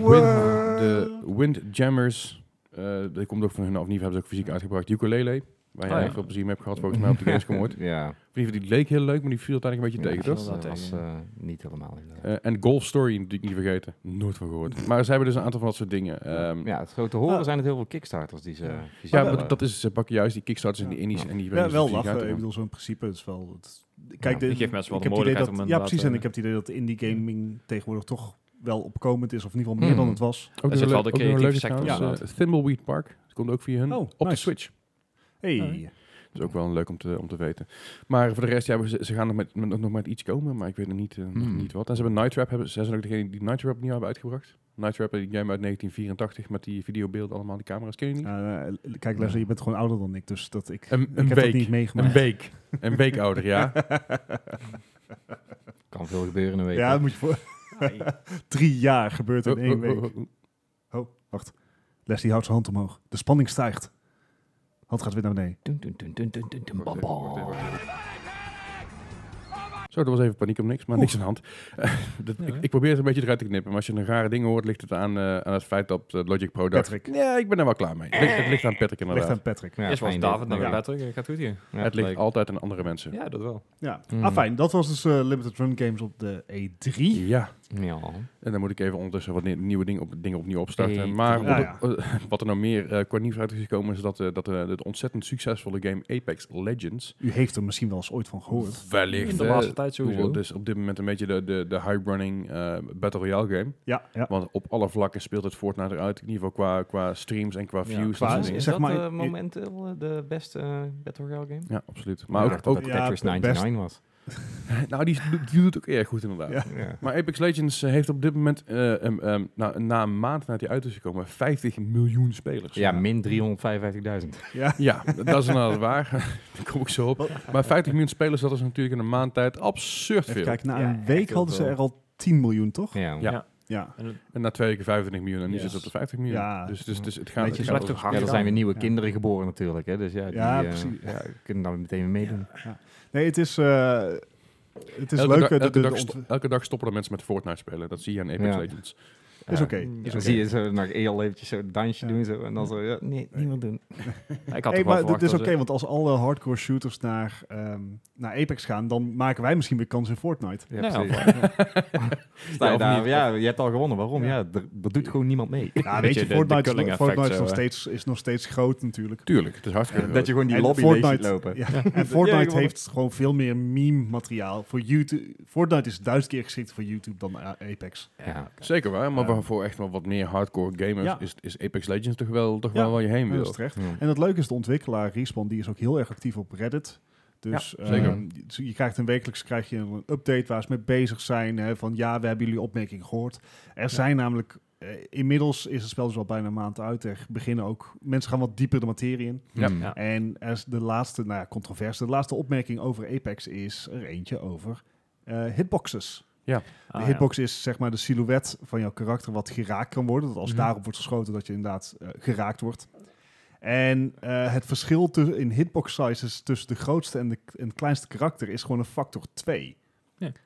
Speaker 3: De
Speaker 1: World.
Speaker 3: Windjammers. eh die komt ook van hun af. Niet hebben ze ook fysiek uitgebracht. Ukulele. Waar je
Speaker 5: Ah, ja.
Speaker 3: heel veel plezier mee hebt gehad, volgens mij op de Gamescom ooit.
Speaker 2: Ja.
Speaker 3: Die- Die leek heel leuk, maar die viel uiteindelijk een beetje tegen, toch?
Speaker 2: dat was,
Speaker 5: Dat was,
Speaker 2: eh, niet helemaal inderdaad.
Speaker 3: Eh, en Golf Story natuurlijk niet vergeten. Nooit van gehoord. Maar ze hebben dus een aantal van dat soort dingen. Ehm, ja,
Speaker 2: ja, het grote horen
Speaker 1: Ah.
Speaker 2: zijn het heel veel Kickstarters die ze... die ze
Speaker 3: maar
Speaker 2: willen.
Speaker 3: dat is, ze pakken juist die kickstarters en die indies
Speaker 2: Ja.
Speaker 3: en die
Speaker 1: Ja,
Speaker 3: weten
Speaker 1: wel
Speaker 3: ze fysiek
Speaker 1: lachen.
Speaker 3: uit
Speaker 1: Ik
Speaker 3: te gaan.
Speaker 1: bedoel, zo'n principe is wel... Het,
Speaker 2: Ja,
Speaker 1: kijk, de,
Speaker 5: ik geef mensen wel
Speaker 1: ik
Speaker 5: de
Speaker 1: heb het idee
Speaker 5: mogelijkheid
Speaker 1: dat-
Speaker 5: om
Speaker 1: Ja,
Speaker 5: inderdaad,
Speaker 1: precies. En
Speaker 5: eh,
Speaker 1: ik heb het idee dat indie gaming tegenwoordig toch wel opkomend is. Of in ieder geval meer
Speaker 2: Hmm.
Speaker 1: dan het was.
Speaker 3: Ook nog
Speaker 5: Er zit wel
Speaker 3: leuk-
Speaker 5: de
Speaker 3: ook nog een leuke
Speaker 5: creatieve sector
Speaker 3: trouwens,
Speaker 5: inderdaad.
Speaker 3: eh, Thimbleweed Park. Dat komt ook via hun
Speaker 1: Oh,
Speaker 3: op de
Speaker 1: nice.
Speaker 3: Switch.
Speaker 1: Hey.
Speaker 5: Ja.
Speaker 3: Dat is ook wel leuk om te, om te weten. Maar voor de rest, ja, ze, ze gaan nog met, met- nog met iets komen, maar ik weet nog niet, eh, nog
Speaker 2: Hmm.
Speaker 3: niet wat. En ze hebben Night Trap, hebben, ze zijn ook degene die Night Trap opnieuw hebben uitgebracht. Night Trap, die game uit 1984 met die videobeelden allemaal, die camera's, ken je niet?
Speaker 1: Eh, kijk, Leslie, je bent gewoon ouder dan ik. Dus dat ik,
Speaker 3: Een-
Speaker 1: ik
Speaker 3: een
Speaker 1: heb dat
Speaker 3: week.
Speaker 1: niet meegemaakt.
Speaker 3: Een week. een week ouder, ja.
Speaker 2: Kan veel gebeuren in een week.
Speaker 1: Ja, dat moet je voor. Drie jaar gebeurt in
Speaker 3: Oh,
Speaker 1: één
Speaker 3: oh,
Speaker 1: week.
Speaker 3: oh, oh.
Speaker 1: Oh, wacht. Leslie houdt zijn hand omhoog. De spanning stijgt. Hand gaat weer naar beneden.
Speaker 2: Dun, dun, dun, dun, dun, dun, dun,
Speaker 3: Wacht
Speaker 2: bam,
Speaker 3: even,
Speaker 2: bam.
Speaker 3: wacht even, wacht even. Zo, dat was even paniek om niks, maar niks aan de hand. dat, ik, ik probeer het een beetje eruit te knippen, maar als je een rare ding hoort, ligt het aan, eh, aan het feit dat eh, Logic Pro dacht,
Speaker 1: Patrick.
Speaker 3: Ja, ik ben er wel klaar mee. Het ligt, het ligt aan Patrick
Speaker 1: Ligt
Speaker 3: inderdaad.
Speaker 1: aan Patrick.
Speaker 2: Ja,
Speaker 5: Eerst was
Speaker 2: fijn
Speaker 5: David,
Speaker 2: dit.
Speaker 5: dan
Speaker 1: ja.
Speaker 5: weer Patrick. Eh, Gaat goed hier.
Speaker 2: Ja,
Speaker 3: het ligt
Speaker 2: leuk.
Speaker 3: altijd aan andere mensen.
Speaker 5: Ja, dat wel.
Speaker 1: Ja.
Speaker 2: Mm.
Speaker 3: Hmm.
Speaker 1: Ah, fijn. Dat was dus eh, Limited Run Games op de E E3.
Speaker 3: Ja.
Speaker 2: Ja.
Speaker 3: En dan moet ik even ondertussen wat ni- nieuwe dingen, op, dingen opnieuw opstarten.
Speaker 5: Hey,
Speaker 3: maar
Speaker 1: ja,
Speaker 3: op- eh, wat er nou meer eh qua nieuws uit is gekomen is dat, eh, dat eh, het ontzettend succesvolle game Apex Legends...
Speaker 1: U heeft er misschien wel eens ooit van gehoord.
Speaker 3: Wellicht.
Speaker 5: In de
Speaker 3: eh,
Speaker 5: laatste tijd sowieso.
Speaker 3: Dus op dit moment een beetje de, de, de high-running eh, Battle Royale game.
Speaker 1: Ja, ja.
Speaker 3: Want op alle vlakken speelt het Fortnite eruit. In ieder geval qua, qua streams en qua
Speaker 5: Ja,
Speaker 3: views.
Speaker 1: qua-
Speaker 3: en
Speaker 2: Is,
Speaker 3: zo.
Speaker 2: is
Speaker 1: zeg
Speaker 2: dat
Speaker 1: maar,
Speaker 2: eh,
Speaker 1: ik-
Speaker 2: momenteel eh, de beste eh, Battle Royale game?
Speaker 3: ja, absoluut. Maar
Speaker 2: Ik
Speaker 3: ook...
Speaker 2: dacht
Speaker 3: ook
Speaker 2: dat
Speaker 1: ja,
Speaker 2: Tetris
Speaker 1: best-
Speaker 2: 99 was.
Speaker 3: nou, die, die doet het ook erg goed inderdaad.
Speaker 1: Ja.
Speaker 2: Ja.
Speaker 3: Maar Apex Legends eh, heeft op dit moment, eh, em, em, nou, na een maand nadat hij uit is gekomen, 50 miljoen spelers.
Speaker 2: Ja, min 355.000.
Speaker 1: ja.
Speaker 3: Ja, dat is inderdaad waar. Daar kom ik zo op. Maar 50 miljoen spelers, dat is natuurlijk in een maand tijd absurd
Speaker 1: Even
Speaker 3: veel.
Speaker 1: kijken. Na
Speaker 5: Ja,
Speaker 1: een
Speaker 5: echt
Speaker 1: week
Speaker 5: heel
Speaker 1: hadden ze
Speaker 5: veel.
Speaker 1: er al 10 miljoen, toch?
Speaker 2: Ja.
Speaker 3: Ja.
Speaker 1: Ja.
Speaker 3: En na twee weken 25 miljoen en nu
Speaker 5: Yes.
Speaker 3: zit het op de 50 miljoen.
Speaker 1: Ja.
Speaker 3: Dus, dus, dus het gaat... het
Speaker 1: Beetje
Speaker 3: gaat
Speaker 5: slecht
Speaker 3: over-
Speaker 5: toch?
Speaker 2: Ja, er zijn weer nieuwe
Speaker 1: Ja.
Speaker 2: kinderen geboren natuurlijk. Hè? Dus ja, die
Speaker 1: Ja,
Speaker 2: eh,
Speaker 1: precies.
Speaker 2: ja, kunnen dan meteen weer meedoen.
Speaker 1: Nee, het is... eh, het is
Speaker 3: elke
Speaker 1: leuk.
Speaker 3: dag-
Speaker 1: eh, de-
Speaker 3: elke,
Speaker 1: de-
Speaker 3: dag
Speaker 1: de
Speaker 3: sto-
Speaker 1: ont-
Speaker 3: elke dag stoppen er mensen met Fortnite spelen. Dat zie je aan Apex
Speaker 2: Ja.
Speaker 3: Legends.
Speaker 1: Is
Speaker 2: Ja.
Speaker 1: oké.
Speaker 2: Dan
Speaker 1: Is oké.
Speaker 2: zie je ze nog heel eventjes zo'n dansje
Speaker 1: Ja.
Speaker 2: doen zo, en dan zo, ja, nee, niet meer doen.
Speaker 5: Ja, Ik had
Speaker 1: Hey,
Speaker 5: toch wel
Speaker 1: maar dit
Speaker 5: verwacht
Speaker 1: is
Speaker 5: dat
Speaker 1: oké,
Speaker 5: ze-
Speaker 1: want als alle hardcore shooters naar, ehm, naar Apex gaan, dan maken wij misschien weer kans in Fortnite.
Speaker 2: Ja,
Speaker 5: Nou,
Speaker 2: precies. Sta
Speaker 3: Ja,
Speaker 2: je
Speaker 3: of
Speaker 2: daar,
Speaker 3: niet.
Speaker 2: ja, je hebt al gewonnen. Waarom?
Speaker 1: Ja.
Speaker 2: Ja, er, er doet gewoon niemand mee.
Speaker 1: Ja, weet
Speaker 5: je,
Speaker 1: je,
Speaker 5: de- de
Speaker 1: Fortnite, is,
Speaker 5: culling
Speaker 1: nog-
Speaker 5: effect
Speaker 1: Fortnite is,
Speaker 5: zo,
Speaker 1: nog
Speaker 5: hè?
Speaker 1: steeds, is nog steeds groot natuurlijk.
Speaker 3: Tuurlijk, het is hartstikke
Speaker 2: dat je gewoon die lobby leeg ziet lopen.
Speaker 1: ja, en Fortnite heeft gewoon veel meer meme-materiaal voor YouTube. Fortnite is duizend keer geschikt voor YouTube dan eh, Apex.
Speaker 2: Ja.
Speaker 3: Zeker waar, maar
Speaker 1: Ja.
Speaker 3: voor echt wel wat meer hardcore gamers
Speaker 1: Ja.
Speaker 3: is, is Apex Legends toch wel, toch
Speaker 1: Ja.
Speaker 3: wel waar je heen
Speaker 1: En dat
Speaker 3: wil.
Speaker 1: is terecht.
Speaker 2: Ja.
Speaker 1: En het leuke is, de ontwikkelaar Respawn, die is ook heel erg actief op Reddit. Dus
Speaker 3: Ja, zeker.
Speaker 1: ehm, je krijgt een wekelijks krijg je een update waar ze mee bezig zijn. Hè, van ja, we hebben jullie opmerking gehoord. Er zijn namelijk, eh, inmiddels is het spel dus al bijna een maand uit. Er beginnen ook, mensen gaan wat dieper de materie in.
Speaker 3: Ja.
Speaker 2: Mm.
Speaker 1: En er is de laatste, nou ja, controverse, de laatste opmerking over Apex is er eentje over eh, hitboxes.
Speaker 2: Ah,
Speaker 1: de
Speaker 2: ja.
Speaker 1: hitbox is zeg maar de silhouet van jouw karakter wat geraakt kan worden. Dat als
Speaker 5: Mhm.
Speaker 1: daarop wordt geschoten, dat je inderdaad eh, geraakt wordt. En eh, het verschil tu- in hitbox sizes tussen de grootste en de k- en het kleinste karakter is gewoon een factor 2.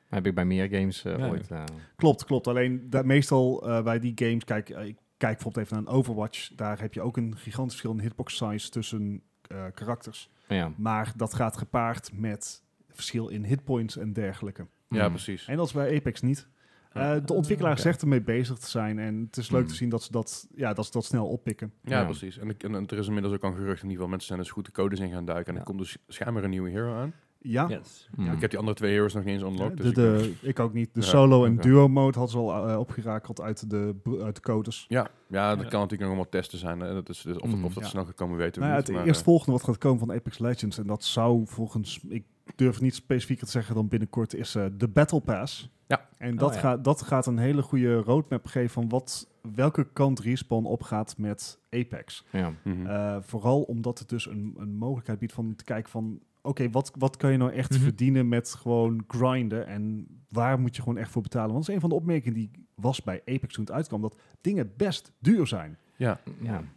Speaker 2: Heb ik bij meer games eh,
Speaker 5: Ja.
Speaker 2: ooit. eh,
Speaker 1: Klopt, klopt. Alleen da- meestal eh, bij die games, kijk, eh, ik kijk bijvoorbeeld even naar een Overwatch. Daar heb je ook een gigantisch verschil in hitbox size tussen eh, karakters.
Speaker 2: ja.
Speaker 1: Maar dat gaat gepaard met verschil in hitpoints en dergelijke.
Speaker 3: Ja,
Speaker 2: Mm.
Speaker 3: precies.
Speaker 1: En dat is bij Apex niet. Eh, de ontwikkelaar zegt ermee bezig te zijn. En het is leuk
Speaker 2: Hmm.
Speaker 1: te zien dat ze dat, ja, dat, ze dat snel oppikken.
Speaker 3: Ja,
Speaker 2: Ja.
Speaker 3: precies. En, ik- en, en er is inmiddels ook al gerucht in ieder geval. Mensen zijn dus goed de codes in gaan duiken. En
Speaker 2: Ja.
Speaker 3: er komt dus schijnbaar een nieuwe hero aan.
Speaker 1: Ja,
Speaker 5: Yes.
Speaker 2: Mm.
Speaker 3: Ik heb die andere twee heroes nog niet eens
Speaker 1: Ja,
Speaker 3: unlocked.
Speaker 1: de,
Speaker 3: dus ik ben-
Speaker 1: de, ik ook niet. De
Speaker 3: Ja,
Speaker 1: solo- en
Speaker 3: oké.
Speaker 1: duo-mode had ze al eh, opgerakeld uit de, br- uit de codes.
Speaker 3: ja, ja, dat
Speaker 5: Ja.
Speaker 3: kan natuurlijk nog allemaal testen zijn. hè. Dat is, dus of,
Speaker 2: Mm,
Speaker 3: of dat
Speaker 1: ja.
Speaker 3: snel gekomen weten we
Speaker 1: Nou ja,
Speaker 3: niet.
Speaker 1: het
Speaker 3: maar, eh,
Speaker 1: eerstvolgende wat gaat komen van Apex Legends... en dat zou volgens... ik durf niet specifieker te zeggen dan binnenkort... is eh, de Battle Pass.
Speaker 3: Ja.
Speaker 1: En dat,
Speaker 5: Oh, ja.
Speaker 1: Gaat, dat gaat een hele goede roadmap geven... van wat, welke kant Respawn opgaat met Apex.
Speaker 2: Ja.
Speaker 3: eh, mhm.
Speaker 1: Eh, vooral omdat het dus een, een mogelijkheid biedt van te kijken van... oké, wat, wat kan je nou echt
Speaker 5: Mhm.
Speaker 1: verdienen met gewoon grinden... en waar moet je gewoon echt voor betalen? Want dat is een van de opmerkingen die was bij Apex toen het uitkwam... dat dingen best duur zijn.
Speaker 2: Ja.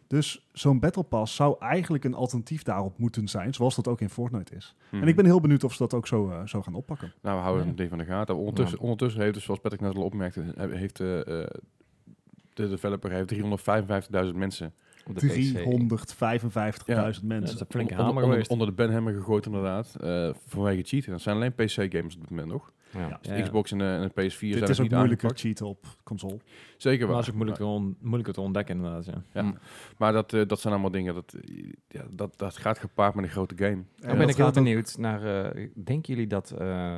Speaker 1: Dus zo'n Battle Pass zou eigenlijk een alternatief daarop moeten zijn, zoals dat ook in Fortnite is.
Speaker 3: Mhm.
Speaker 1: Eh, En ik ben heel benieuwd of ze dat ook zo, eh, zo gaan oppakken.
Speaker 3: Nou, we houden het ding van de gaten. Ondertussen, ondertussen heeft dus, zoals Patrick net al opmerkte, he- heeft eh, eh, de developer heeft 355.000 mensen
Speaker 2: Op de
Speaker 1: 355.000
Speaker 2: PC.
Speaker 5: Dat is
Speaker 1: mensen.
Speaker 5: een flinke
Speaker 3: onder,
Speaker 5: hamer
Speaker 3: onder-
Speaker 5: geweest.
Speaker 3: onder de banhammer gegooid, inderdaad. eh, vanwege cheaten. Dat zijn alleen PC-games op dit moment nog.
Speaker 2: Ja.
Speaker 1: Ja.
Speaker 3: Dus de Xbox en de, en de PS4 zijn
Speaker 1: Dit
Speaker 3: nog
Speaker 1: is ook
Speaker 3: niet
Speaker 1: moeilijker
Speaker 3: aangepakt.
Speaker 1: cheaten op console.
Speaker 3: Zeker
Speaker 5: Maar
Speaker 3: waar.
Speaker 5: het is ook moeilijk te on- moeilijker te ontdekken inderdaad, ja.
Speaker 1: Mm.
Speaker 3: Maar dat, eh, dat zijn allemaal dingen, dat, eh, ja, dat, dat gaat gepaard met een grote game.
Speaker 2: Dan
Speaker 1: Eh,
Speaker 2: ben ik heel benieuwd naar. eh, denken jullie dat eh,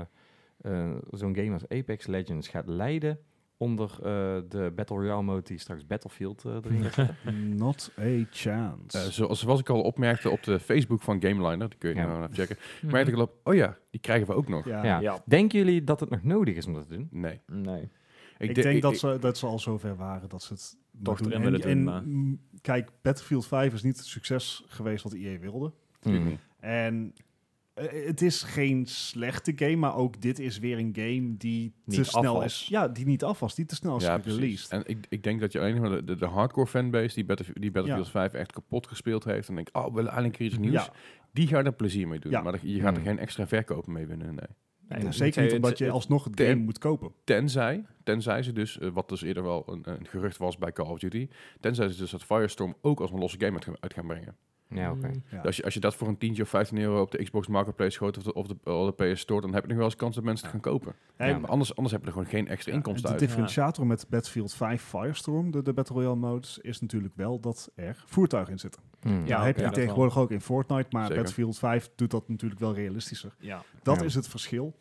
Speaker 2: eh, zo'n game als Apex Legends gaat leiden onder eh, de Battle Royale mode die straks Battlefield eh, erin gaat zetten?
Speaker 1: Not a chance.
Speaker 3: Eh, zoals, zoals ik al opmerkte op de Facebook van GameLiner, die kun je
Speaker 2: Ja.
Speaker 3: nou even checken, merkte ik al op, oh ja, die krijgen we ook nog.
Speaker 1: ja.
Speaker 2: Ja.
Speaker 5: Ja.
Speaker 2: Denken jullie dat het nog nodig is om dat te doen?
Speaker 3: Nee.
Speaker 5: Nee.
Speaker 1: Ik,
Speaker 3: de-
Speaker 1: denk
Speaker 3: ik-
Speaker 1: dat,
Speaker 3: ik-
Speaker 1: ze, dat ze al zover waren dat ze het
Speaker 5: Toch
Speaker 1: doen.
Speaker 5: erin
Speaker 1: En-
Speaker 5: willen doen,
Speaker 1: en,
Speaker 5: maar-
Speaker 1: mm, Kijk, Battlefield 5 is niet het succes geweest wat EA wilde.
Speaker 3: natuurlijk niet.
Speaker 1: En eh, het is geen slechte game, maar ook dit is weer een game die
Speaker 5: Niet
Speaker 1: te
Speaker 5: af
Speaker 1: snel
Speaker 5: was.
Speaker 1: is. Ja, die niet af was, die te snel is
Speaker 3: Ja, precies.
Speaker 1: released.
Speaker 3: En ik, ik denk dat je alleen maar de, de, de hardcore fanbase die, Battlef- die Battlefield 5 echt kapot gespeeld heeft en denkt, oh, we willen eindelijk weer iets nieuws.
Speaker 1: Mhm. Ja,
Speaker 3: Die gaat er plezier mee doen,
Speaker 1: Ja.
Speaker 3: maar je gaat er
Speaker 2: Mm.
Speaker 3: geen extra verkopen mee winnen, nee.
Speaker 1: nou, zeker niet omdat je alsnog het
Speaker 3: het-
Speaker 1: game moet kopen.
Speaker 3: Tenzij, tenzij ze dus, eh, wat dus eerder wel een, een gerucht was bij Call of Duty, tenzij ze dus dat Firestorm ook als een losse game uit gaan- uit gaan brengen.
Speaker 1: Hmm.
Speaker 3: Dus
Speaker 2: Ja, oké.
Speaker 1: Ja.
Speaker 3: Als je, als je dat voor een tientje of 15 euro op de Xbox Marketplace schoot of de, of de, of de PS Store, dan heb je nog wel eens kans dat mensen het gaan kopen.
Speaker 1: Ja,
Speaker 2: Ja,
Speaker 3: Maar anders, anders heb je er gewoon geen extra inkomsten
Speaker 1: de
Speaker 3: uit.
Speaker 1: differentiator met Battlefield 5 Firestorm, de, de Battle Royale modes, is natuurlijk wel dat er voertuigen in zitten.
Speaker 2: Mm.
Speaker 1: Ja,
Speaker 5: Ja,
Speaker 1: heb
Speaker 5: oké,
Speaker 1: je
Speaker 5: dat
Speaker 1: tegenwoordig ook in Fortnite, maar
Speaker 3: Zeker.
Speaker 1: Battlefield 5 doet dat natuurlijk wel realistischer.
Speaker 5: Ja.
Speaker 1: Dat
Speaker 2: Ja.
Speaker 1: is het verschil.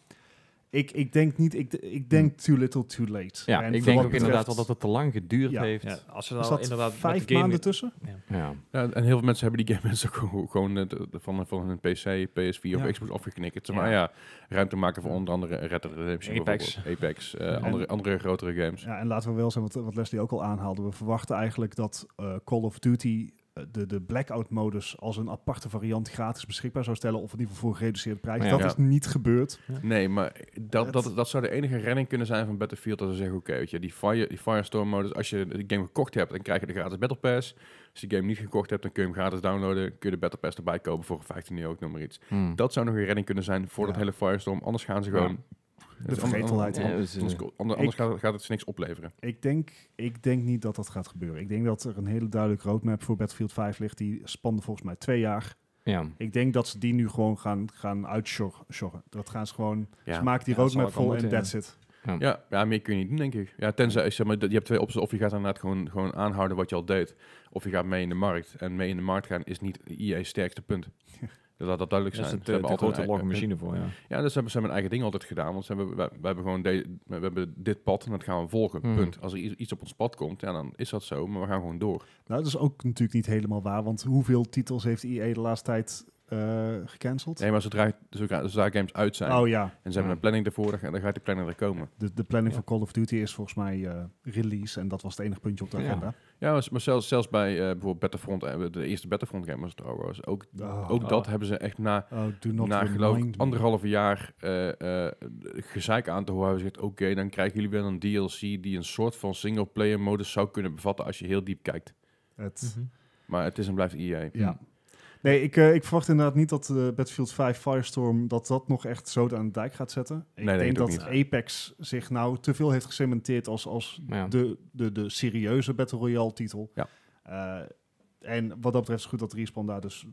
Speaker 1: Ik, ik denk niet, ik, ik denk too little too late.
Speaker 2: Ja,
Speaker 1: En
Speaker 2: ik
Speaker 1: voor
Speaker 2: denk
Speaker 1: wat
Speaker 2: ook
Speaker 1: betreft-
Speaker 2: inderdaad wel dat het te lang geduurd
Speaker 1: Ja.
Speaker 2: heeft.
Speaker 5: ja.
Speaker 2: Ja.
Speaker 5: Als ze dan
Speaker 1: Is dat
Speaker 5: inderdaad
Speaker 1: vijf
Speaker 5: met de game
Speaker 1: maanden tussen?
Speaker 3: Ja, en heel veel mensen hebben die game mensen ook gewoon, gewoon eh, de- de- van, van hun PC, PS4
Speaker 1: Ja.
Speaker 3: of Xbox afgeknikkerd. Zeg maar ah ja, ruimte maken voor onder andere Red Dead Redemption,
Speaker 5: Apex.
Speaker 3: bijvoorbeeld. Apex, eh, andere, andere grotere games.
Speaker 1: Ja, en laten we wel zijn, wat, wat Leslie ook al aanhaalde. We verwachten eigenlijk dat eh, Call of Duty eh, de, de blackout-modus als een aparte variant gratis beschikbaar zou stellen. Of in ieder geval voor een gereduceerde prijs.
Speaker 2: Ja.
Speaker 1: dat
Speaker 3: Ja.
Speaker 1: is niet gebeurd.
Speaker 3: Nee, maar dat,
Speaker 1: Het-
Speaker 3: dat, dat zou de enige redding kunnen zijn van Battlefield. Dat ze zeggen, oké, weet je, die, fire, die Firestorm-modus, als je de game gekocht hebt, dan krijg je de gratis Battle Pass. Als je de game niet gekocht hebt, dan kun je hem gratis downloaden. Kun je de Battle Pass erbij kopen voor 15 euro, ik noem maar iets.
Speaker 2: Mm.
Speaker 3: Dat zou nog een redding kunnen zijn voor
Speaker 1: Ja.
Speaker 3: dat hele Firestorm. Anders gaan ze
Speaker 2: Ja.
Speaker 3: gewoon...
Speaker 1: De vergetelheid.
Speaker 2: Ja, dus, eh,
Speaker 3: Anders, anders,
Speaker 1: Ik-
Speaker 3: gaat, gaat het ze niks opleveren.
Speaker 1: Ik denk, ik denk niet dat dat gaat gebeuren. Ik denk dat er een hele duidelijke roadmap voor Battlefield 5 ligt. Die spande volgens mij twee jaar.
Speaker 2: ja.
Speaker 1: Ik denk dat ze die nu gewoon gaan, gaan uitschorren. Dat gaan ze gewoon... Ze maken die
Speaker 5: Ja, dat zal
Speaker 1: roadmap
Speaker 5: ook wel
Speaker 1: vol en
Speaker 5: moeten,
Speaker 1: that's it.
Speaker 3: Ja, ja, meer kun je niet doen, denk ik. Ja, tenzij, zeg maar, dat- je hebt twee opties. Of je gaat inderdaad gewoon, gewoon aanhouden wat je al deed. Of je gaat mee in de markt. En mee in de markt gaan is niet IA's sterkste punt. Dat laat dat duidelijk
Speaker 5: Dat is
Speaker 3: zijn.
Speaker 5: een
Speaker 3: Ze
Speaker 5: te,
Speaker 3: hebben
Speaker 5: te
Speaker 3: altijd
Speaker 5: grote
Speaker 3: een
Speaker 5: logge
Speaker 3: eigen-
Speaker 5: machine voor, ja.
Speaker 3: Ja, dus ze hebben ze hebben hun eigen ding altijd gedaan. Want ze hebben, we, hebben gewoon de- we hebben dit pad en dat gaan we volgen.
Speaker 2: Hmm.
Speaker 3: Punt. Als er i- iets op ons pad komt, ja, dan is dat zo. Maar we gaan gewoon door.
Speaker 1: Nou, dat is ook natuurlijk niet helemaal waar. Want hoeveel titels heeft EA E de laatste tijd eh, eh, gecanceld.
Speaker 3: Nee, maar zodra, zodra, zodra games uit zijn
Speaker 1: oh ja,
Speaker 3: en ze hebben een planning ervoor, en dan gaat die planning er komen.
Speaker 1: de, de planning voor Call of Duty is volgens mij eh, release. En dat was het enige puntje op de
Speaker 2: Ja.
Speaker 1: agenda.
Speaker 3: Ja, maar- maar zelfs, zelfs bij eh, bijvoorbeeld Battlefront, eh, de eerste Battlefront game was het trouwens. Ook,
Speaker 1: Oh,
Speaker 3: ook
Speaker 2: Oh.
Speaker 3: dat hebben ze echt na,
Speaker 1: oh, do not
Speaker 3: na geloof ik
Speaker 1: remind me.
Speaker 3: anderhalf jaar eh, eh, gezeik aan te horen. Ze zegt, oké, dan krijgen jullie wel een DLC die een soort van single-player modus zou kunnen bevatten als je heel diep kijkt.
Speaker 1: Het,
Speaker 3: Maar het is en blijft EA.
Speaker 1: Ja. Nee, ik, eh, ik verwacht inderdaad niet dat eh, Battlefield 5 Firestorm dat dat nog echt zo aan de dijk gaat zetten.
Speaker 3: Nee,
Speaker 1: Ik
Speaker 3: nee,
Speaker 1: denk
Speaker 3: dat
Speaker 1: dat Apex zich nou te veel heeft gecementeerd als, als
Speaker 2: Ja.
Speaker 1: de, de, de serieuze Battle Royale titel.
Speaker 3: Ja.
Speaker 1: Eh, en wat dat betreft is het goed dat Respawn daar dus...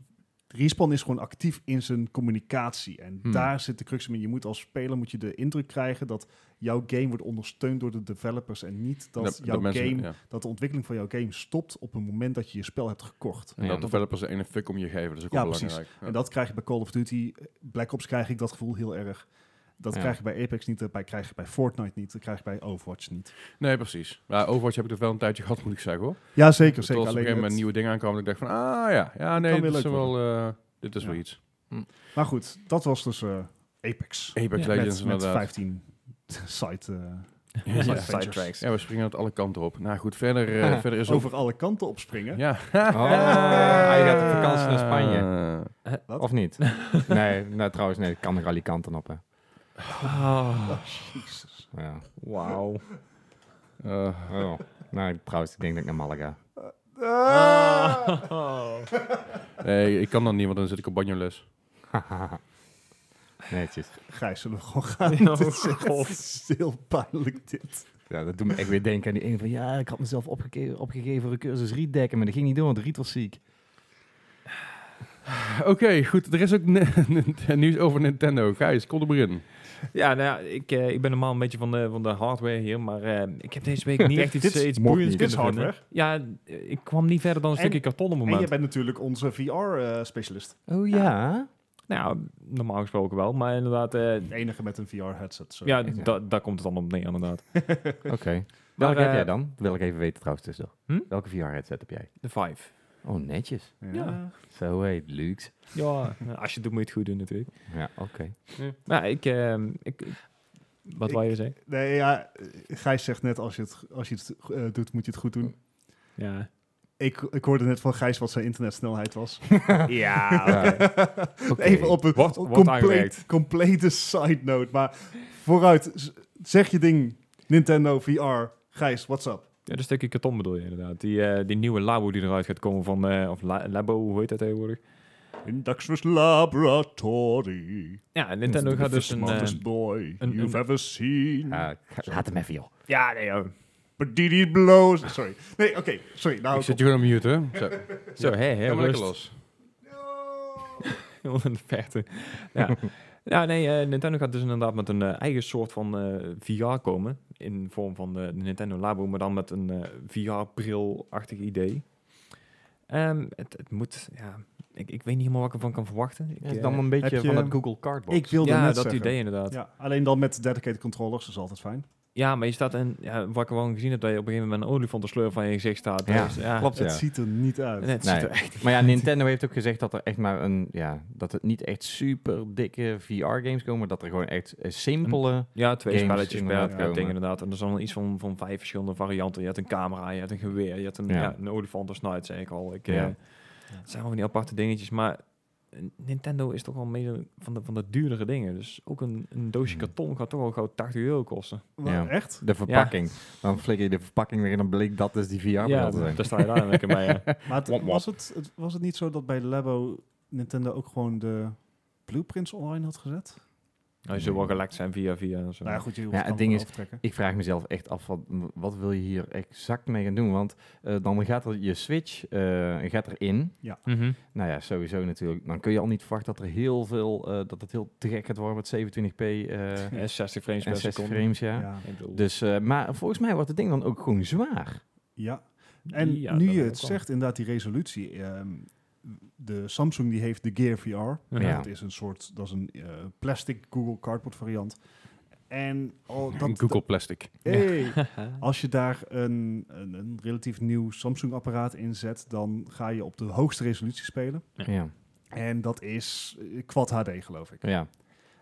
Speaker 1: Respawn is gewoon actief in zijn communicatie. En
Speaker 2: Hmm.
Speaker 1: daar zit de crux in. Je moet als speler moet je de indruk krijgen dat jouw game wordt ondersteund door de developers. En niet dat, jouw
Speaker 3: mensen-
Speaker 1: game,
Speaker 3: ja.
Speaker 1: dat de ontwikkeling van jouw game stopt op het moment dat je je spel hebt gekocht.
Speaker 3: En
Speaker 2: Ja,
Speaker 3: dat
Speaker 2: dat-
Speaker 3: developers er een fuck om je geven, dat is ook
Speaker 1: Ja,
Speaker 3: wel
Speaker 1: precies.
Speaker 3: belangrijk. Ja.
Speaker 1: En dat krijg je bij Call of Duty. Black Ops krijg ik dat gevoel heel erg. Dat
Speaker 2: Ja.
Speaker 1: krijg je bij Apex niet, dat bij- krijg je bij Fortnite niet, dat krijg je bij Overwatch niet.
Speaker 3: Nee, precies. Maar Overwatch heb ik dat wel een tijdje gehad, moet ik zeggen hoor.
Speaker 1: Ja, zeker,
Speaker 3: Tot op
Speaker 1: zeker.
Speaker 3: een gegeven moment nieuwe dingen aankwamen, dat ik dacht van, ah ja, ja nee,
Speaker 1: weer
Speaker 3: dit is
Speaker 1: leuk
Speaker 3: wel, eh, dit is wel
Speaker 1: Ja.
Speaker 3: iets.
Speaker 1: Maar goed, dat was dus eh, Apex.
Speaker 3: Apex
Speaker 5: Ja.
Speaker 3: Legends
Speaker 1: Met, met
Speaker 3: inderdaad.
Speaker 1: 15 site, eh,
Speaker 3: Ja.
Speaker 1: side
Speaker 3: Ja.
Speaker 1: adventures.
Speaker 3: Ja, we springen het alle kanten op. Nou goed, verder, eh, verder
Speaker 5: Dus
Speaker 3: is
Speaker 1: Over alle kanten opspringen.
Speaker 3: Ja.
Speaker 2: hij gaat op vakantie naar Spanje.
Speaker 3: Eh,
Speaker 1: Wat?
Speaker 2: Of niet? nee, nou, trouwens, nee, ik kan nog Alicante op, hè. Ah.
Speaker 1: Oh, Jezus.
Speaker 2: Ja.
Speaker 5: Wauw.
Speaker 3: eh,
Speaker 2: Oh. Nou, trouwens, ik denk dat ik naar Malaga.
Speaker 1: Ah!
Speaker 3: nee, ik kan dat niet, want dan zit ik op banjoles.
Speaker 2: Netjes.
Speaker 1: Gijs, zullen we gewoon gaan?
Speaker 5: Oh,
Speaker 1: Dit is echt heel pijnlijk dit.
Speaker 2: Ja, dat doet me echt weer denken aan die ene van... Ja, ik had mezelf opgeke- opgegeven voor een cursus rietdekken, maar dat ging niet door, want Riet was ziek.
Speaker 3: Oké, goed. Er is ook ni- nieuws over Nintendo. Gijs, kom er maar in.
Speaker 5: Ja, nou ja, ik, eh, ik ben normaal een beetje van de, van de hardware hier, maar eh, ik heb deze week niet echt
Speaker 1: Dit-
Speaker 5: iets,
Speaker 1: dit
Speaker 5: eh, iets
Speaker 2: mocht
Speaker 5: boeiends
Speaker 1: niet. Dit
Speaker 5: kunnen
Speaker 1: is
Speaker 5: vinden.
Speaker 1: hardware.
Speaker 5: Ja, eh, ik kwam niet verder dan een
Speaker 1: En-
Speaker 5: stukje karton op het
Speaker 1: En jij
Speaker 5: moment.
Speaker 1: bent natuurlijk onze eh, VR-specialist.
Speaker 2: Oh ja?
Speaker 5: Nou, ja, normaal gesproken wel, maar inderdaad, eh,
Speaker 1: de enige met een VR-headset. zo.
Speaker 5: ja,
Speaker 2: Ja.
Speaker 5: da- daar komt het dan op neer inderdaad.
Speaker 2: Oké.
Speaker 5: Maar,
Speaker 2: Welke heb
Speaker 5: eh,
Speaker 2: jij dan? Dat wil ik even weten trouwens tussendoor.
Speaker 5: Hm?
Speaker 2: Welke VR-headset heb jij?
Speaker 5: De Vive.
Speaker 2: Oh, netjes.
Speaker 5: Ja.
Speaker 2: Zo heet luxe.
Speaker 5: Ja, als je het doet, moet je het goed doen natuurlijk.
Speaker 2: Ja, oké.
Speaker 5: Nou, ik... ehm, ik ik- wat wou je zeggen?
Speaker 1: Nee, ja, eh, Gijs zegt net, als je het, als je het eh, doet, moet je het goed doen.
Speaker 5: Ja.
Speaker 1: Ik, ik hoorde net van Gijs wat zijn internetsnelheid was.
Speaker 5: ja,
Speaker 2: Oké.
Speaker 1: Even op een
Speaker 5: Wordt-
Speaker 1: op
Speaker 5: wordt
Speaker 1: compleet,
Speaker 5: aangewerkt.
Speaker 1: complete side note. Maar vooruit, z- zeg je ding, Nintendo VR. Gijs, what's up?
Speaker 5: Ja, dat stukje karton bedoel je inderdaad. Die, eh, die nieuwe labo die eruit gaat komen van... eh, of la- labo, hoe heet dat tegenwoordig?
Speaker 1: Induxus Laboratory.
Speaker 5: Ja, Nintendo gaat dus een... eh,
Speaker 1: smartest boy
Speaker 5: een-
Speaker 1: you've ever seen.
Speaker 2: Ja, Ah, ga- laat hem even, joh.
Speaker 5: ja, nee, joh.
Speaker 1: But did it blow? Sorry. Nee, oké. sorry. Nou,
Speaker 3: Ik zet je gewoon op mute, hè? Zo,
Speaker 5: Zo, hé, hé,
Speaker 3: Ga maar lekker
Speaker 5: rust.
Speaker 3: los.
Speaker 5: Helemaal in de verte. Ja. ja, nee, eh, Nintendo gaat dus inderdaad met een eh, eigen soort van eh, VR komen. In vorm van de Nintendo Labo, maar dan met een VR-bril-achtig idee. Ehm, het, het moet, ja... Ik, ik weet niet helemaal wat ik ervan kan verwachten. Ik,
Speaker 2: Het is
Speaker 5: eh,
Speaker 2: dan een beetje
Speaker 1: je-
Speaker 2: van dat Google Cardbox.
Speaker 1: ik wilde
Speaker 5: ja,
Speaker 1: net
Speaker 5: dat
Speaker 1: zeggen.
Speaker 5: idee inderdaad.
Speaker 1: Ja, alleen dan met dedicated controllers, dat is altijd fijn.
Speaker 5: Ja, maar je staat en ja, wat ik wel gezien heb, dat je op een gegeven moment een olifant te sleur van je gezicht staat.
Speaker 2: Ja,
Speaker 5: Dus, ja,
Speaker 2: klopt,
Speaker 1: Het
Speaker 2: ja.
Speaker 1: ziet er niet uit.
Speaker 5: Nee, het
Speaker 2: Nee.
Speaker 5: ziet er echt.
Speaker 2: Maar ja, Nintendo heeft ook gezegd dat er echt maar een, ja, dat het niet echt super dikke VR-games komen, maar dat er gewoon echt eh, simpele.
Speaker 5: Ja, twee
Speaker 2: Games
Speaker 5: spelletjes per
Speaker 2: inderdaad
Speaker 5: per
Speaker 2: komen.
Speaker 5: ding inderdaad. En er zijn al iets van, van vijf verschillende varianten. Je hebt een camera, je hebt een geweer, je hebt een,
Speaker 2: Ja.
Speaker 5: ja. een olifant als snuit, zei ik al. Ik,
Speaker 2: Ja.
Speaker 5: eh,
Speaker 2: Ja.
Speaker 5: het zijn wel van die aparte dingetjes, maar eh, Nintendo is toch wel meer van de, van de duurdere dingen. Dus ook een, een doosje
Speaker 2: Hmm.
Speaker 5: karton gaat toch al gauw 80 euro kosten.
Speaker 1: Wa-
Speaker 2: Ja.
Speaker 1: Echt?
Speaker 2: De verpakking. Dan flikker je de verpakking weer in, dan bleek dat dus die VR-bril te zijn.
Speaker 5: daar sta je daar lekker bij. ja.
Speaker 1: Maar het-
Speaker 2: Womp womp.
Speaker 1: was, het, het- was het niet zo dat bij Labo Nintendo ook gewoon de blueprints online had gezet?
Speaker 5: Nou, je zult wel gelekt zijn via via en zo.
Speaker 1: Nou ja, goed, je hoeft
Speaker 2: Ja,
Speaker 1: het
Speaker 2: het ding is-
Speaker 1: aftrekken.
Speaker 2: Ik vraag mezelf echt af, wat, wat wil je hier exact mee gaan doen? Want eh, dan gaat er je Switch eh, gaat erin.
Speaker 5: Mhm.
Speaker 2: Nou ja, sowieso natuurlijk. Dan kun je al niet verwachten dat er heel veel, eh, dat het heel te gek gaat worden met 27p eh
Speaker 5: En 60 frames per
Speaker 2: en 60
Speaker 5: seconde.
Speaker 2: frames, ja.
Speaker 1: Ja.
Speaker 5: Ik bedoel-
Speaker 2: Dus, eh, maar volgens mij wordt het ding dan ook gewoon zwaar.
Speaker 1: ja. En
Speaker 5: Ja,
Speaker 1: nu
Speaker 5: dat
Speaker 1: je
Speaker 5: ook
Speaker 1: het
Speaker 5: wel.
Speaker 1: zegt, inderdaad die resolutie. ehm, de Samsung die heeft de Gear VR.
Speaker 2: Ja.
Speaker 1: Dat is een soort, dat is een eh, plastic Google Cardboard variant. En al dat,
Speaker 3: Google Plastic.
Speaker 1: Hey, als je daar een, een, een relatief nieuw Samsung apparaat in zet, dan ga je op de hoogste resolutie spelen.
Speaker 2: Ja.
Speaker 1: En dat is eh, Quad HD, geloof ik.
Speaker 2: Ja.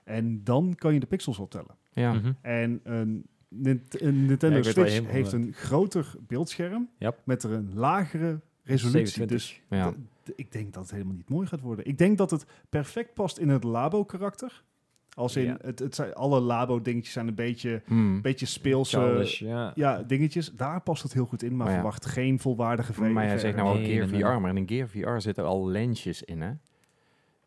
Speaker 1: En dan kan je de pixels optellen.
Speaker 2: Ja.
Speaker 5: Mhm.
Speaker 1: En een, Nint- een Nintendo
Speaker 5: Ja, ik weet waar je
Speaker 1: Switch
Speaker 5: heen wil,
Speaker 1: heeft een groter beeldscherm
Speaker 5: Ja.
Speaker 1: met er een lagere resolutie.
Speaker 5: 27.
Speaker 1: Dus
Speaker 2: ja.
Speaker 1: d- d- ik denk dat het helemaal niet mooi gaat worden. Ik denk dat het perfect past in het labo-karakter. Als in,
Speaker 5: Ja.
Speaker 1: het, het zijn, alle labo-dingetjes zijn een beetje,
Speaker 2: Hmm.
Speaker 1: beetje speelse
Speaker 5: Childish, ja.
Speaker 1: eh, ja, dingetjes. Daar past het heel goed in, maar
Speaker 2: Maar ja.
Speaker 1: verwacht geen volwaardige VR.
Speaker 2: Maar jij zegt nou al
Speaker 5: Nee,
Speaker 2: Gear
Speaker 5: nee, nee.
Speaker 2: VR, maar in een Gear VR zitten al lensjes in, hè?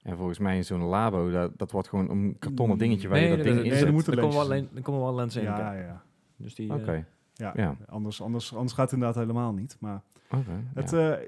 Speaker 2: En volgens mij in zo'n labo, dat, dat wordt gewoon een kartonnen dingetje waar je dat ding
Speaker 1: nee,
Speaker 2: in
Speaker 1: er
Speaker 2: zet.
Speaker 1: moet een
Speaker 5: er komen wel
Speaker 1: lens in.
Speaker 5: len- er komen wel lenzen in.
Speaker 1: ja,
Speaker 5: Ja.
Speaker 1: ja,
Speaker 5: Dus die, eh,
Speaker 2: Oké,
Speaker 1: ja.
Speaker 2: ja.
Speaker 1: Anders, anders, anders gaat het inderdaad helemaal niet. Maar
Speaker 2: oké,
Speaker 1: het,
Speaker 2: ja.
Speaker 1: eh,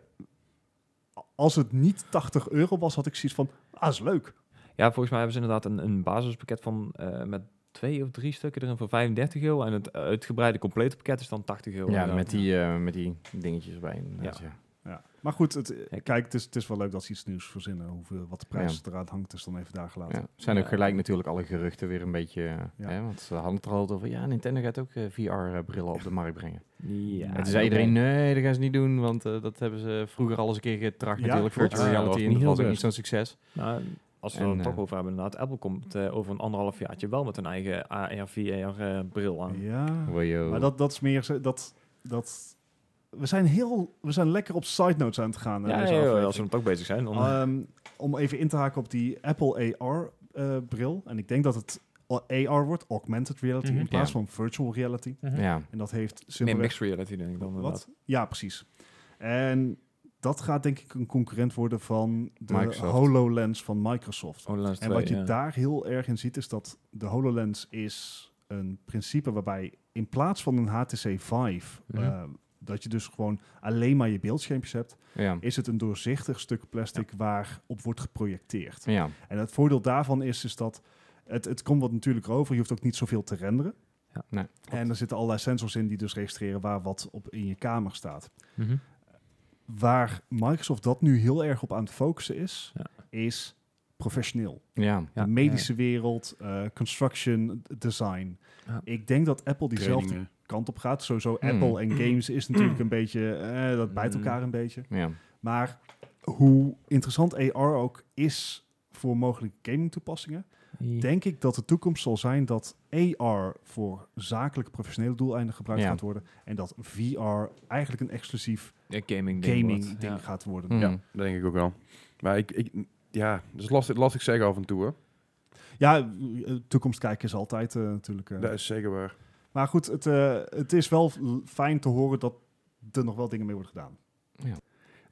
Speaker 1: als het niet 80 euro was, had ik zoiets van, ah, is leuk.
Speaker 5: ja, volgens mij hebben ze inderdaad een, een basispakket van eh, met twee of drie stukken erin voor 35 euro. En het uitgebreide complete pakket is dan 80 euro.
Speaker 2: Ja,
Speaker 5: inderdaad.
Speaker 2: met die, eh, met die dingetjes erbij. inderdaad, Ja.
Speaker 1: Ja. Maar goed, het, eh,
Speaker 5: Ja.
Speaker 1: kijk, het is, het is wel leuk dat ze iets nieuws verzinnen. Hoeveel, wat de prijs eraan hangt, dus dan even daar gelaten.
Speaker 2: Ja. Zijn ook
Speaker 5: Ja.
Speaker 2: gelijk natuurlijk alle geruchten weer een beetje... eh,
Speaker 1: Ja.
Speaker 2: Hè, want ze hadden het er al over, ja, Nintendo gaat ook VR-brillen op de markt brengen.
Speaker 5: Ja,
Speaker 2: en toen
Speaker 5: oké.
Speaker 2: zei iedereen, nee, dat gaan ze niet doen, want eh, dat hebben ze vroeger al eens een keer getracht
Speaker 1: Ja,
Speaker 2: natuurlijk,
Speaker 1: klopt.
Speaker 2: virtual
Speaker 3: Ja, dat
Speaker 2: reality,
Speaker 3: was
Speaker 2: en
Speaker 3: niet
Speaker 2: dat
Speaker 3: heel
Speaker 2: was ook niet
Speaker 3: best.
Speaker 2: zo'n succes.
Speaker 5: Nou, als we
Speaker 2: En,
Speaker 5: het er
Speaker 2: eh,
Speaker 5: toch over hebben, inderdaad. Apple komt eh, over een anderhalf jaartje wel met een eigen AR, VR-bril eh, aan.
Speaker 1: Ja.
Speaker 2: Wajo.
Speaker 1: Maar dat, dat is meer zo- dat, dat we zijn heel we zijn lekker op side notes aan het gaan. eh,
Speaker 5: Ja,
Speaker 1: deze
Speaker 5: ja, ja,
Speaker 1: aflevering.
Speaker 5: als we dan toch bezig zijn.
Speaker 2: eh,
Speaker 5: Dan,
Speaker 1: Ehm, om even in te haken op die Apple AR eh, bril en ik denk dat het AR wordt, augmented reality
Speaker 5: Mhm.
Speaker 1: in plaats
Speaker 2: Ja.
Speaker 1: van virtual reality.
Speaker 2: Ja,
Speaker 1: En dat heeft
Speaker 5: nee,
Speaker 1: simpelweg
Speaker 5: mixed reality denk ik dan inderdaad.
Speaker 1: wat? Ja, precies. En dat gaat denk ik een concurrent worden van de
Speaker 2: Microsoft.
Speaker 1: HoloLens van Microsoft.
Speaker 5: HoloLens
Speaker 1: En
Speaker 5: 2,
Speaker 1: wat je
Speaker 5: ja.
Speaker 1: daar heel erg in ziet, is dat de HoloLens is een principe waarbij in plaats van een HTC Vive,
Speaker 5: Mhm.
Speaker 1: eh, dat je dus gewoon alleen maar je beeldschermpjes hebt,
Speaker 2: ja,
Speaker 1: is het een doorzichtig stuk plastic waarop wordt geprojecteerd.
Speaker 2: ja.
Speaker 1: En het voordeel daarvan is, is dat het, het komt wat natuurlijk over, je hoeft ook niet zoveel te renderen.
Speaker 5: Ja.
Speaker 2: Nee,
Speaker 1: en er zitten allerlei sensors in die dus registreren waar wat op in je kamer staat.
Speaker 5: Mhm.
Speaker 1: Waar Microsoft dat nu heel erg op aan het focussen is,
Speaker 5: Ja.
Speaker 1: is professioneel.
Speaker 2: ja.
Speaker 5: Ja,
Speaker 1: de medische wereld, eh, construction, d- design.
Speaker 5: Ja.
Speaker 1: Ik denk dat Apple diezelfde
Speaker 3: Trainingen.
Speaker 1: kant op gaat. Sowieso
Speaker 2: Hmm.
Speaker 1: Apple en games is natuurlijk
Speaker 5: Hmm.
Speaker 1: een beetje, eh, dat bijt elkaar een beetje.
Speaker 2: ja.
Speaker 1: Maar hoe interessant AR ook is voor mogelijke gaming toepassingen,
Speaker 5: Ja.
Speaker 1: denk ik dat de toekomst zal zijn dat AR voor zakelijke professionele doeleinden gebruikt
Speaker 2: Ja.
Speaker 1: gaat worden en dat VR eigenlijk een exclusief
Speaker 5: Een gaming ding
Speaker 1: gaming
Speaker 5: wordt,
Speaker 1: ding
Speaker 5: ja. Hmm.
Speaker 1: gaat worden.
Speaker 2: Mhm.
Speaker 3: eh. Ja, dat denk ik ook wel. Maar ik, ik ja, dat is lastig, lastig zeggen af en toe hoor.
Speaker 1: Ja, eh, toekomst kijken is altijd eh, natuurlijk. eh,
Speaker 3: Dat is zeker waar.
Speaker 1: Maar goed, het, eh, het is wel l- fijn te horen dat er nog wel dingen mee worden gedaan.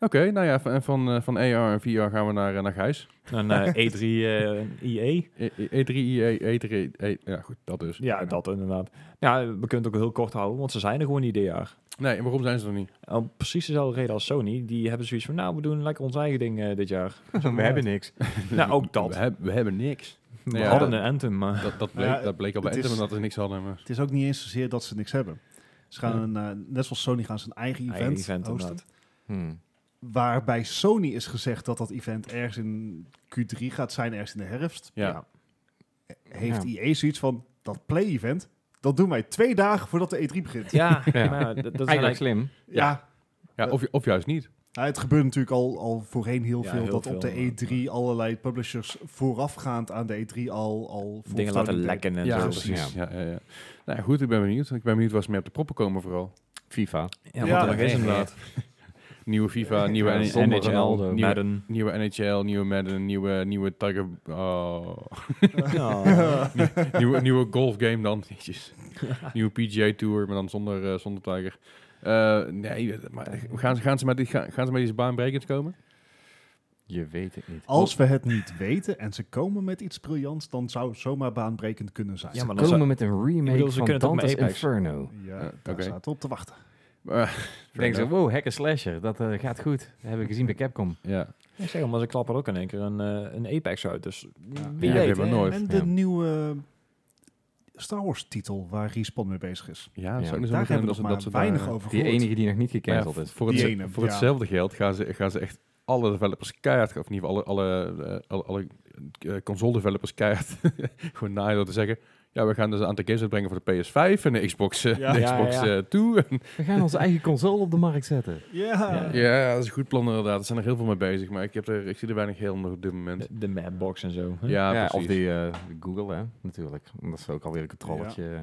Speaker 3: Oké, nou ja, van, van, eh, van AR en VR gaan we naar, eh, naar Gijs.
Speaker 5: Een eh, E3 eh IE.
Speaker 3: E- E- E3, IE, E3, E- ja goed, dat dus.
Speaker 5: Ja, dat inderdaad. Ja, we kunnen het ook heel kort houden, want ze zijn er gewoon niet dit jaar.
Speaker 3: Nee, en waarom zijn ze er niet?
Speaker 5: Om precies dezelfde reden als Sony. Die hebben zoiets van, nou, we doen lekker ons eigen ding eh, dit jaar.
Speaker 2: We hebben niks.
Speaker 5: nou, ook dat.
Speaker 3: We, heb- we hebben niks.
Speaker 5: We
Speaker 3: Ja,
Speaker 5: hadden
Speaker 3: dat-
Speaker 5: een Anthem, maar...
Speaker 3: Dat, dat, bleek,
Speaker 1: Ja,
Speaker 3: dat bleek al bij
Speaker 1: het is-
Speaker 3: Anthem dat ze niks hadden. Maar.
Speaker 1: Het is ook niet eens zozeer dat ze niks hebben. Ze gaan
Speaker 5: Ja.
Speaker 1: een, eh, net zoals Sony gaan ze een eigen event,
Speaker 5: Eigen event,
Speaker 1: hosten.
Speaker 5: inderdaad.
Speaker 2: Hmm.
Speaker 1: Waarbij Sony is gezegd dat dat event ergens in Q3 gaat zijn, ergens in de herfst.
Speaker 3: Ja.
Speaker 1: Heeft IE zoiets van, dat play-event, dat doen wij twee dagen voordat de E3 begint.
Speaker 5: Ja,
Speaker 2: Ja.
Speaker 5: maar dat, dat is
Speaker 2: Eigenlijk
Speaker 5: eigenlijk...
Speaker 2: slim.
Speaker 1: Ja,
Speaker 3: Ja, of, ju- of juist niet.
Speaker 1: nou, het gebeurt natuurlijk al, al voorheen heel
Speaker 5: Ja,
Speaker 1: veel
Speaker 5: heel
Speaker 1: dat
Speaker 5: veel,
Speaker 1: op de E3 allerlei publishers voorafgaand aan de E3 al... al
Speaker 5: Dingen laten
Speaker 1: voorvertoning
Speaker 5: lekken en
Speaker 1: Ja,
Speaker 5: zo.
Speaker 1: precies.
Speaker 2: Ja.
Speaker 3: Ja, ja, ja. Nou ja, goed, ik ben benieuwd. Ik ben benieuwd waar ze mee op de proppen komen vooral.
Speaker 2: FIFA.
Speaker 5: Ja,
Speaker 1: Ja.
Speaker 5: want dat is inderdaad.
Speaker 3: Nieuwe FIFA, nieuwe
Speaker 2: Ja,
Speaker 3: N-
Speaker 2: zonder
Speaker 3: NHL,
Speaker 2: Ronaldo.
Speaker 3: nieuwe,
Speaker 5: Madden.
Speaker 3: nieuwe NHL, nieuwe Madden, nieuwe, nieuwe Tiger... oh.
Speaker 1: Oh.
Speaker 5: Ja.
Speaker 3: nieuwe, nieuwe golfgame dan. Jezus. nieuwe PGA Tour, maar dan zonder, eh, zonder Tiger. Eh, nee, maar gaan, ze- gaan, ze met die, gaan, gaan ze met deze baanbrekers komen?
Speaker 2: Je weet het niet.
Speaker 1: Als we het niet weten en ze komen met iets briljants, dan zou het zomaar baanbrekend kunnen zijn.
Speaker 5: Ja, maar dan
Speaker 2: Komen
Speaker 5: zou-
Speaker 2: met een remake
Speaker 5: Ik bedoel, ze
Speaker 2: van
Speaker 5: kunnen het ook
Speaker 2: Dante's
Speaker 5: met Apex.
Speaker 2: Inferno.
Speaker 1: Ja,
Speaker 3: Ja,
Speaker 1: daar
Speaker 3: oké.
Speaker 1: zaten we op te wachten.
Speaker 3: Maar-
Speaker 2: Denk zo, wow, hack en slasher. Dat eh, gaat goed. Dat heb ik gezien bij Capcom.
Speaker 3: Ja,
Speaker 5: Ik zeg al, maar ze klappen er ook in één keer een, eh, een Apex uit. Dus
Speaker 1: Ja.
Speaker 5: wie
Speaker 3: Ja,
Speaker 5: weet.
Speaker 3: hebben
Speaker 5: hè?
Speaker 3: we nooit.
Speaker 1: En de
Speaker 2: Ja.
Speaker 1: nieuwe Star Wars titel waar Respawn mee bezig is.
Speaker 3: ja,
Speaker 2: Ja.
Speaker 3: zou ik dus
Speaker 1: Daar
Speaker 3: ook
Speaker 1: hebben we
Speaker 3: dat
Speaker 1: nog
Speaker 3: ze-
Speaker 1: maar
Speaker 3: dat ze daar- eh,
Speaker 1: weinig over
Speaker 2: Die
Speaker 1: gehoord.
Speaker 2: enige die nog niet
Speaker 3: Maar ja,
Speaker 2: gecanceld is.
Speaker 3: Voor, het,
Speaker 1: Die ene,
Speaker 3: voor
Speaker 1: ja.
Speaker 3: hetzelfde geld gaan ze, gaan ze echt alle developers keihard, of in ieder geval alle, alle, eh, alle, alle, eh, console developers keihard, gewoon naaien door te zeggen, Ja, we gaan dus een aantal games uitbrengen voor de PS5 en de Xbox, eh,
Speaker 1: Ja.
Speaker 3: de
Speaker 5: Ja,
Speaker 3: Xbox
Speaker 5: ja,
Speaker 3: eh, Two. En-
Speaker 2: We gaan onze eigen console op de markt zetten.
Speaker 1: Ja.
Speaker 5: Ja.
Speaker 3: ja, dat is een goed plan inderdaad. Er zijn er heel veel mee bezig, maar ik, heb er, ik zie er weinig heel nog op dit moment.
Speaker 5: De, de Madbox en zo. hè?
Speaker 3: Ja, precies.
Speaker 2: of die eh, Google, hè, natuurlijk. Dat is ook alweer een controllertje. eh,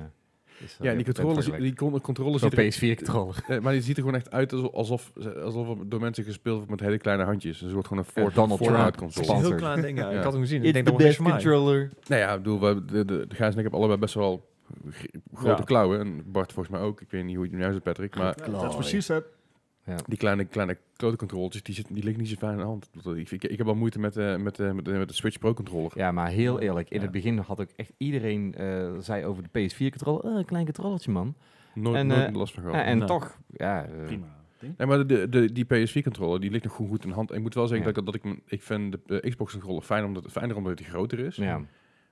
Speaker 3: ja, en die controles, die con- controles ziet er-
Speaker 2: PS4-controller.
Speaker 3: eh, maar die ziet er gewoon echt uit alsof, alsof, alsof er door mensen gespeeld wordt met hele kleine handjes. Dus het wordt gewoon een Fort,
Speaker 2: Donald
Speaker 3: Fortnite
Speaker 2: Trump.
Speaker 5: Het is
Speaker 3: console.
Speaker 5: een heel
Speaker 2: Sponsored.
Speaker 5: klein ding. ja.
Speaker 3: Ja.
Speaker 5: Ik had hem gezien.
Speaker 2: It's
Speaker 5: ik denk
Speaker 2: the
Speaker 5: dat wordt
Speaker 2: best
Speaker 5: niks voor mij.
Speaker 2: controller.
Speaker 3: Nou ja, ik bedoel, we, de, de, de Gijs en ik hebben allebei best wel gr- grote
Speaker 5: Ja.
Speaker 3: klauwen. En Bart volgens mij ook. Ik weet niet hoe het nu zit, Patrick. Maar
Speaker 1: Dat is precies het.
Speaker 3: die kleine, kleine klote controles, die, zitten- die liggen niet zo fijn aan de hand. Ik, ik, ik heb wel moeite met, eh, met, eh, met, de- met de Switch Pro controller.
Speaker 2: Ja, maar heel eerlijk. In
Speaker 5: Ja.
Speaker 2: het begin had ook echt iedereen eh, zei over de PS4-controller. "Eh, een klein controllertje, man.
Speaker 3: Nooit,
Speaker 2: En,
Speaker 3: nooit
Speaker 2: eh,
Speaker 3: last van gehad.
Speaker 2: Ja, en
Speaker 5: Nou.
Speaker 2: toch, ja, eh,
Speaker 1: Prima. ding.
Speaker 3: Nee, maar de, de, die PS4-controller, die ligt nog goed goed in de hand. Ik moet wel zeggen
Speaker 2: Ja.
Speaker 3: dat, ik, dat ik, hem- ik vind de eh, Xbox-controller fijn omdat, fijner omdat die groter is.
Speaker 2: ja.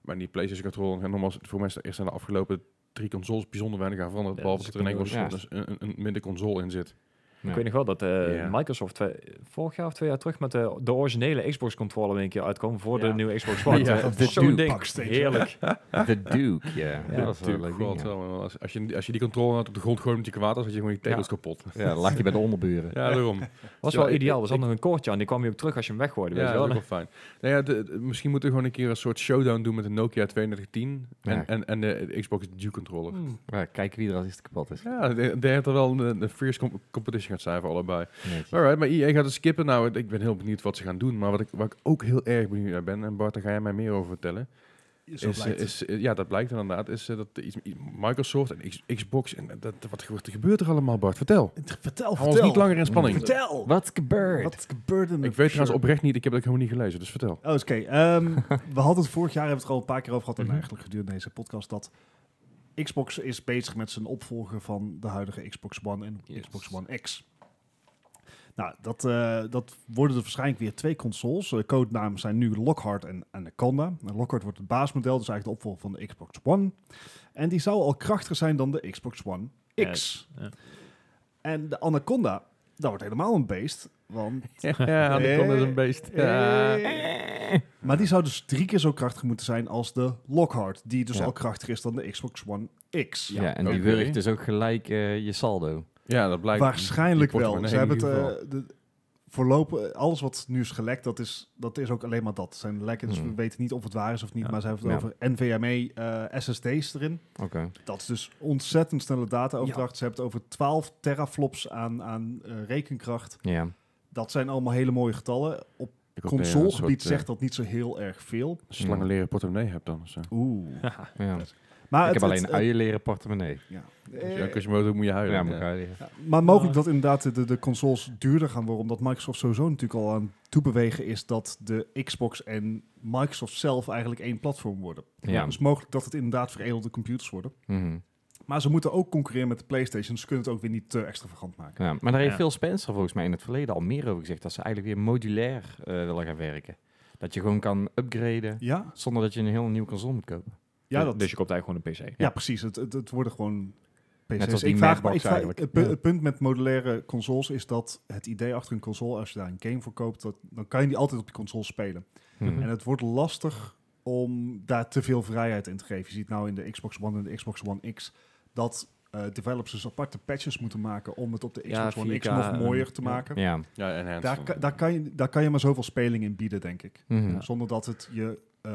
Speaker 3: Maar die PlayStation-controller, en nogmaals, voor mij is er eerst aan de afgelopen drie consoles bijzonder weinig aan veranderd.
Speaker 5: Ja,
Speaker 3: behalve
Speaker 5: dat
Speaker 3: dat
Speaker 5: is
Speaker 3: er in enkel
Speaker 2: ja.
Speaker 3: dus een, een- een minder console in zit.
Speaker 2: Ja.
Speaker 5: Ik weet nog wel dat eh,
Speaker 3: Ja.
Speaker 5: Microsoft twee- vorig jaar of twee jaar terug met de, de originele Xbox controller weer een keer uitkwam voor
Speaker 1: Ja.
Speaker 5: de nieuwe Xbox One.
Speaker 3: Ja,
Speaker 5: Eh,
Speaker 1: dat
Speaker 5: zo'n
Speaker 2: dude
Speaker 5: ding.
Speaker 1: pak steeds,
Speaker 5: Heerlijk.
Speaker 2: The Duke, ja.
Speaker 5: Ja,
Speaker 2: dat was wel een leuk
Speaker 3: Tuurlijk,
Speaker 2: ding,
Speaker 3: God,
Speaker 2: ja.
Speaker 3: wel, als, als, je, als je die controller had op de grond gooit met je kwaad, was had je gewoon je tegels kapot.
Speaker 2: Ja, lag je bij de onderburen.
Speaker 3: Ja, daarom.
Speaker 5: Was
Speaker 3: Ja,
Speaker 5: wel
Speaker 3: ik-
Speaker 5: ideaal. Er zat
Speaker 3: ik-
Speaker 5: nog een koordje aan. Die kwam je ook terug als je hem weggooide. weet
Speaker 3: Ja,
Speaker 5: je
Speaker 3: dat
Speaker 5: wel.
Speaker 3: is ook wel fijn. Nou ja, de- de- misschien moeten we gewoon een keer een soort showdown doen met de Nokia 3210 en,
Speaker 2: Ja.
Speaker 3: en, en de Xbox Duke controller.
Speaker 5: Hmm.
Speaker 2: Ja, kijken wie er als eerste kapot is.
Speaker 3: Ja, ik denk dat er wel een, een fierce com- competition gaat zijn voor allebei.
Speaker 2: Netjes.
Speaker 3: Alright, maar EA gaat het skippen. Nou, ik ben heel benieuwd wat ze gaan doen. Maar wat ik, waar ik ook heel erg benieuwd naar ben, en Bart, daar ga jij mij meer over vertellen.
Speaker 1: Zo
Speaker 3: is,
Speaker 1: blijkt.
Speaker 3: eh, is, eh, ja, dat blijkt inderdaad. Is eh, dat iets, iets- Microsoft en X- Xbox, en dat, wat ge- wat gebeurt er allemaal, Bart? Vertel.
Speaker 1: vertel,
Speaker 3: Hou ons
Speaker 1: Oh, vertel.
Speaker 3: niet langer in spanning.
Speaker 1: Vertel.
Speaker 2: Wat gebeurt?
Speaker 1: Wat gebeurde er?
Speaker 3: Ik weet
Speaker 1: Sure.
Speaker 3: trouwens oprecht niet, ik heb dat helemaal niet gelezen, dus vertel.
Speaker 1: Oh, is oké. Ehm, we hadden het vorig jaar, hebben we het er al een paar keer over gehad,
Speaker 5: Mhm.
Speaker 1: en eigenlijk gedurende deze podcast, dat Xbox is bezig met zijn opvolger van de huidige Xbox One en
Speaker 2: Yes.
Speaker 1: Xbox One X. Nou, dat, eh, dat worden er waarschijnlijk weer twee consoles. De codenamen zijn nu Lockhart en Anaconda. En Lockhart wordt het baasmodel, dus eigenlijk de opvolger van de Xbox One. En die zou al krachtiger zijn dan de Xbox One X.
Speaker 5: Ja, ja.
Speaker 1: En de Anaconda, dat wordt helemaal een beest, want
Speaker 3: Ja,
Speaker 1: Anaconda is een
Speaker 3: beest.
Speaker 1: maar die zou dus drie keer zo krachtig moeten zijn als de Lockhart, die dus
Speaker 2: Ja.
Speaker 1: al krachtiger is dan de Xbox One X.
Speaker 2: ja, en die
Speaker 3: oké.
Speaker 2: wurgt dus ook gelijk eh, je saldo.
Speaker 3: Ja, dat blijkt.
Speaker 1: Waarschijnlijk
Speaker 3: Die
Speaker 1: wel.
Speaker 3: portemonnee
Speaker 1: Ze hebben het
Speaker 3: in ieder
Speaker 1: eh, de, voorlopig, alles wat nu is gelekt, dat is, dat is ook alleen maar dat. Het zijn lekken, dus
Speaker 2: Hmm.
Speaker 1: we weten niet of het waar is of niet,
Speaker 5: Ja.
Speaker 1: maar ze hebben het
Speaker 2: Ja.
Speaker 1: over NVMe eh, SSD's erin.
Speaker 2: Oké.
Speaker 1: Dat is dus ontzettend snelle dataoverdracht. Ze hebben het over 12 teraflops aan, aan eh, rekenkracht.
Speaker 2: Ja.
Speaker 1: Dat zijn allemaal hele mooie getallen. Op
Speaker 3: Ik hoop dat je een
Speaker 1: consolegebied
Speaker 3: soort, eh,
Speaker 1: zegt dat niet zo heel erg veel.
Speaker 3: Slangen leren portemonnee hebt dan. of Zo.
Speaker 1: Oeh.
Speaker 2: ja.
Speaker 1: Maar
Speaker 2: ik
Speaker 1: het-
Speaker 2: heb alleen
Speaker 1: het-
Speaker 2: uien leren portemonnee.
Speaker 1: Ja. Eh,
Speaker 3: Dus ja, Quasimodo moet je
Speaker 2: Ja,
Speaker 3: huilen.
Speaker 2: moet ik uien leren.
Speaker 1: Ja, maar mogelijk dat inderdaad de- de, de consoles duurder gaan worden, omdat Microsoft sowieso natuurlijk al aan het toebewegen is dat de Xbox en Microsoft zelf eigenlijk één platform worden.
Speaker 2: Ja.
Speaker 1: Dus mogelijk dat het inderdaad veredelde computers worden.
Speaker 2: Mhm.
Speaker 1: Maar ze moeten ook concurreren met de PlayStation, dus ze kunnen het ook weer niet te extravagant maken.
Speaker 2: Ja, maar daar heeft
Speaker 5: Ja.
Speaker 2: Phil Spencer volgens mij in het verleden al meer over gezegd. Dat ze eigenlijk weer modulair eh, willen gaan werken. Dat je gewoon kan upgraden
Speaker 1: Ja,
Speaker 2: zonder dat je een heel nieuw console moet kopen.
Speaker 1: ja,
Speaker 5: Dus-
Speaker 1: dat,
Speaker 5: Dus je koopt eigenlijk gewoon een PC.
Speaker 1: ja precies. Het, het, het worden gewoon PC's.
Speaker 2: Net als die
Speaker 1: ik vraag,
Speaker 2: Macbox
Speaker 1: ik vraag-
Speaker 2: eigenlijk.
Speaker 1: Het, pu-
Speaker 2: Ja.
Speaker 1: het punt met modulaire consoles is dat het idee achter een console, als je daar een game voor koopt, dat, dan kan je die altijd op je console spelen.
Speaker 2: Mhm.
Speaker 1: En het wordt lastig om daar te veel vrijheid in te geven. Je ziet nou in de Xbox One en de Xbox One X dat eh, developers dus aparte patches moeten maken om het op de
Speaker 5: Ja,
Speaker 1: Xbox One X
Speaker 5: 4K
Speaker 1: nog mooier
Speaker 5: en-
Speaker 1: te
Speaker 5: ja.
Speaker 1: maken.
Speaker 2: Ja.
Speaker 3: Ja, enhanced.
Speaker 1: Daar, ka- daar, kan je, daar kan je maar zoveel speling in bieden, denk ik.
Speaker 2: Mhm.
Speaker 5: Ja. Oh
Speaker 1: Zonder dat het je eh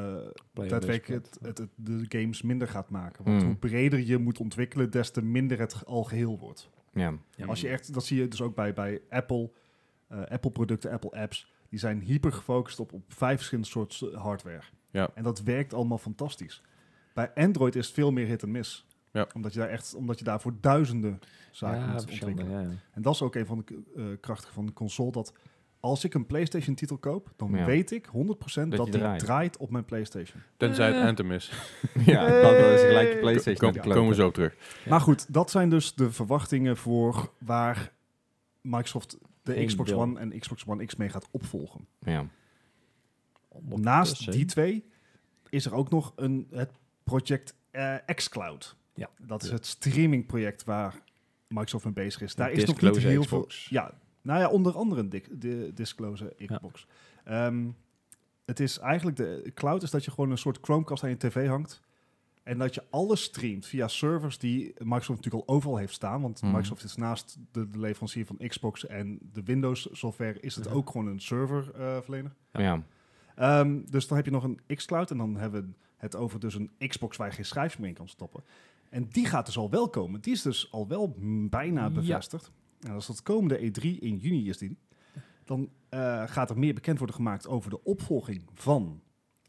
Speaker 5: Player
Speaker 1: daadwerkelijk
Speaker 5: based.
Speaker 1: het, het, het- de games minder gaat maken. Want
Speaker 5: Hmm.
Speaker 2: Mm.
Speaker 1: hoe breder je moet ontwikkelen, des te minder het ge- al geheel wordt.
Speaker 2: ja.
Speaker 5: Ja.
Speaker 1: Als je echt, dat zie je dus ook bij, bij Apple, eh, Apple-producten, Apple-apps. Die zijn hyper gefocust op, op vijf verschillende soorten hardware.
Speaker 3: Ja.
Speaker 1: En dat werkt allemaal fantastisch. Bij Android is het veel meer hit en miss.
Speaker 3: Ja.
Speaker 1: Omdat, je daar echt, omdat je daarvoor duizenden zaken
Speaker 5: Ja,
Speaker 1: moet
Speaker 5: verschillende,
Speaker 1: ontwikkelen.
Speaker 5: ja, ja.
Speaker 1: En dat is ook een van de k- eh, krachten van de console. Dat als ik een PlayStation-titel koop, dan
Speaker 2: Ja.
Speaker 1: weet ik 100% dat,
Speaker 2: die
Speaker 1: die
Speaker 2: draait.
Speaker 1: draait. op mijn PlayStation.
Speaker 3: Tenzij het Anthem is.
Speaker 2: Ja, dan willen ze gelijk de
Speaker 3: Kom-
Speaker 2: PlayStation
Speaker 3: kom-
Speaker 2: kloten.
Speaker 3: komen we zo op terug.
Speaker 1: Maar goed, dat zijn dus de verwachtingen voor waar Microsoft de
Speaker 5: Eén
Speaker 1: Xbox
Speaker 5: deel.
Speaker 1: One en Xbox One X mee gaat opvolgen.
Speaker 2: Ja.
Speaker 1: Naast
Speaker 5: Ondertussen.
Speaker 1: die twee is er ook nog een, het project eh, xCloud.
Speaker 5: Ja.
Speaker 1: Dat is
Speaker 5: Ja.
Speaker 1: het streamingproject waar Microsoft mee bezig is. Daar is nog niet
Speaker 5: Disclose
Speaker 1: heel
Speaker 5: Xbox.
Speaker 1: veel. Ja, nou ja, onder andere een dik- de Disclose Xbox. Ehm, het is eigenlijk de cloud is dat je gewoon een soort Chromecast aan je tv hangt. En dat je alles streamt via servers die Microsoft natuurlijk al overal heeft staan. Want
Speaker 3: Mhm.
Speaker 1: Microsoft is naast de, de leverancier van Xbox en de Windows software... is het
Speaker 5: Ja.
Speaker 1: ook gewoon een eh, serververlener.
Speaker 2: Ja. Ja.
Speaker 1: Ehm, dus dan heb je nog een xCloud en dan hebben we het over dus een Xbox waar je geen schijfjes meer in kan stoppen. En die gaat dus al wel komen. Die is dus al wel m- bijna
Speaker 5: Ja.
Speaker 1: bevestigd. En als dat komende E3 in juni is die, dan eh, gaat er meer bekend worden gemaakt over de opvolging van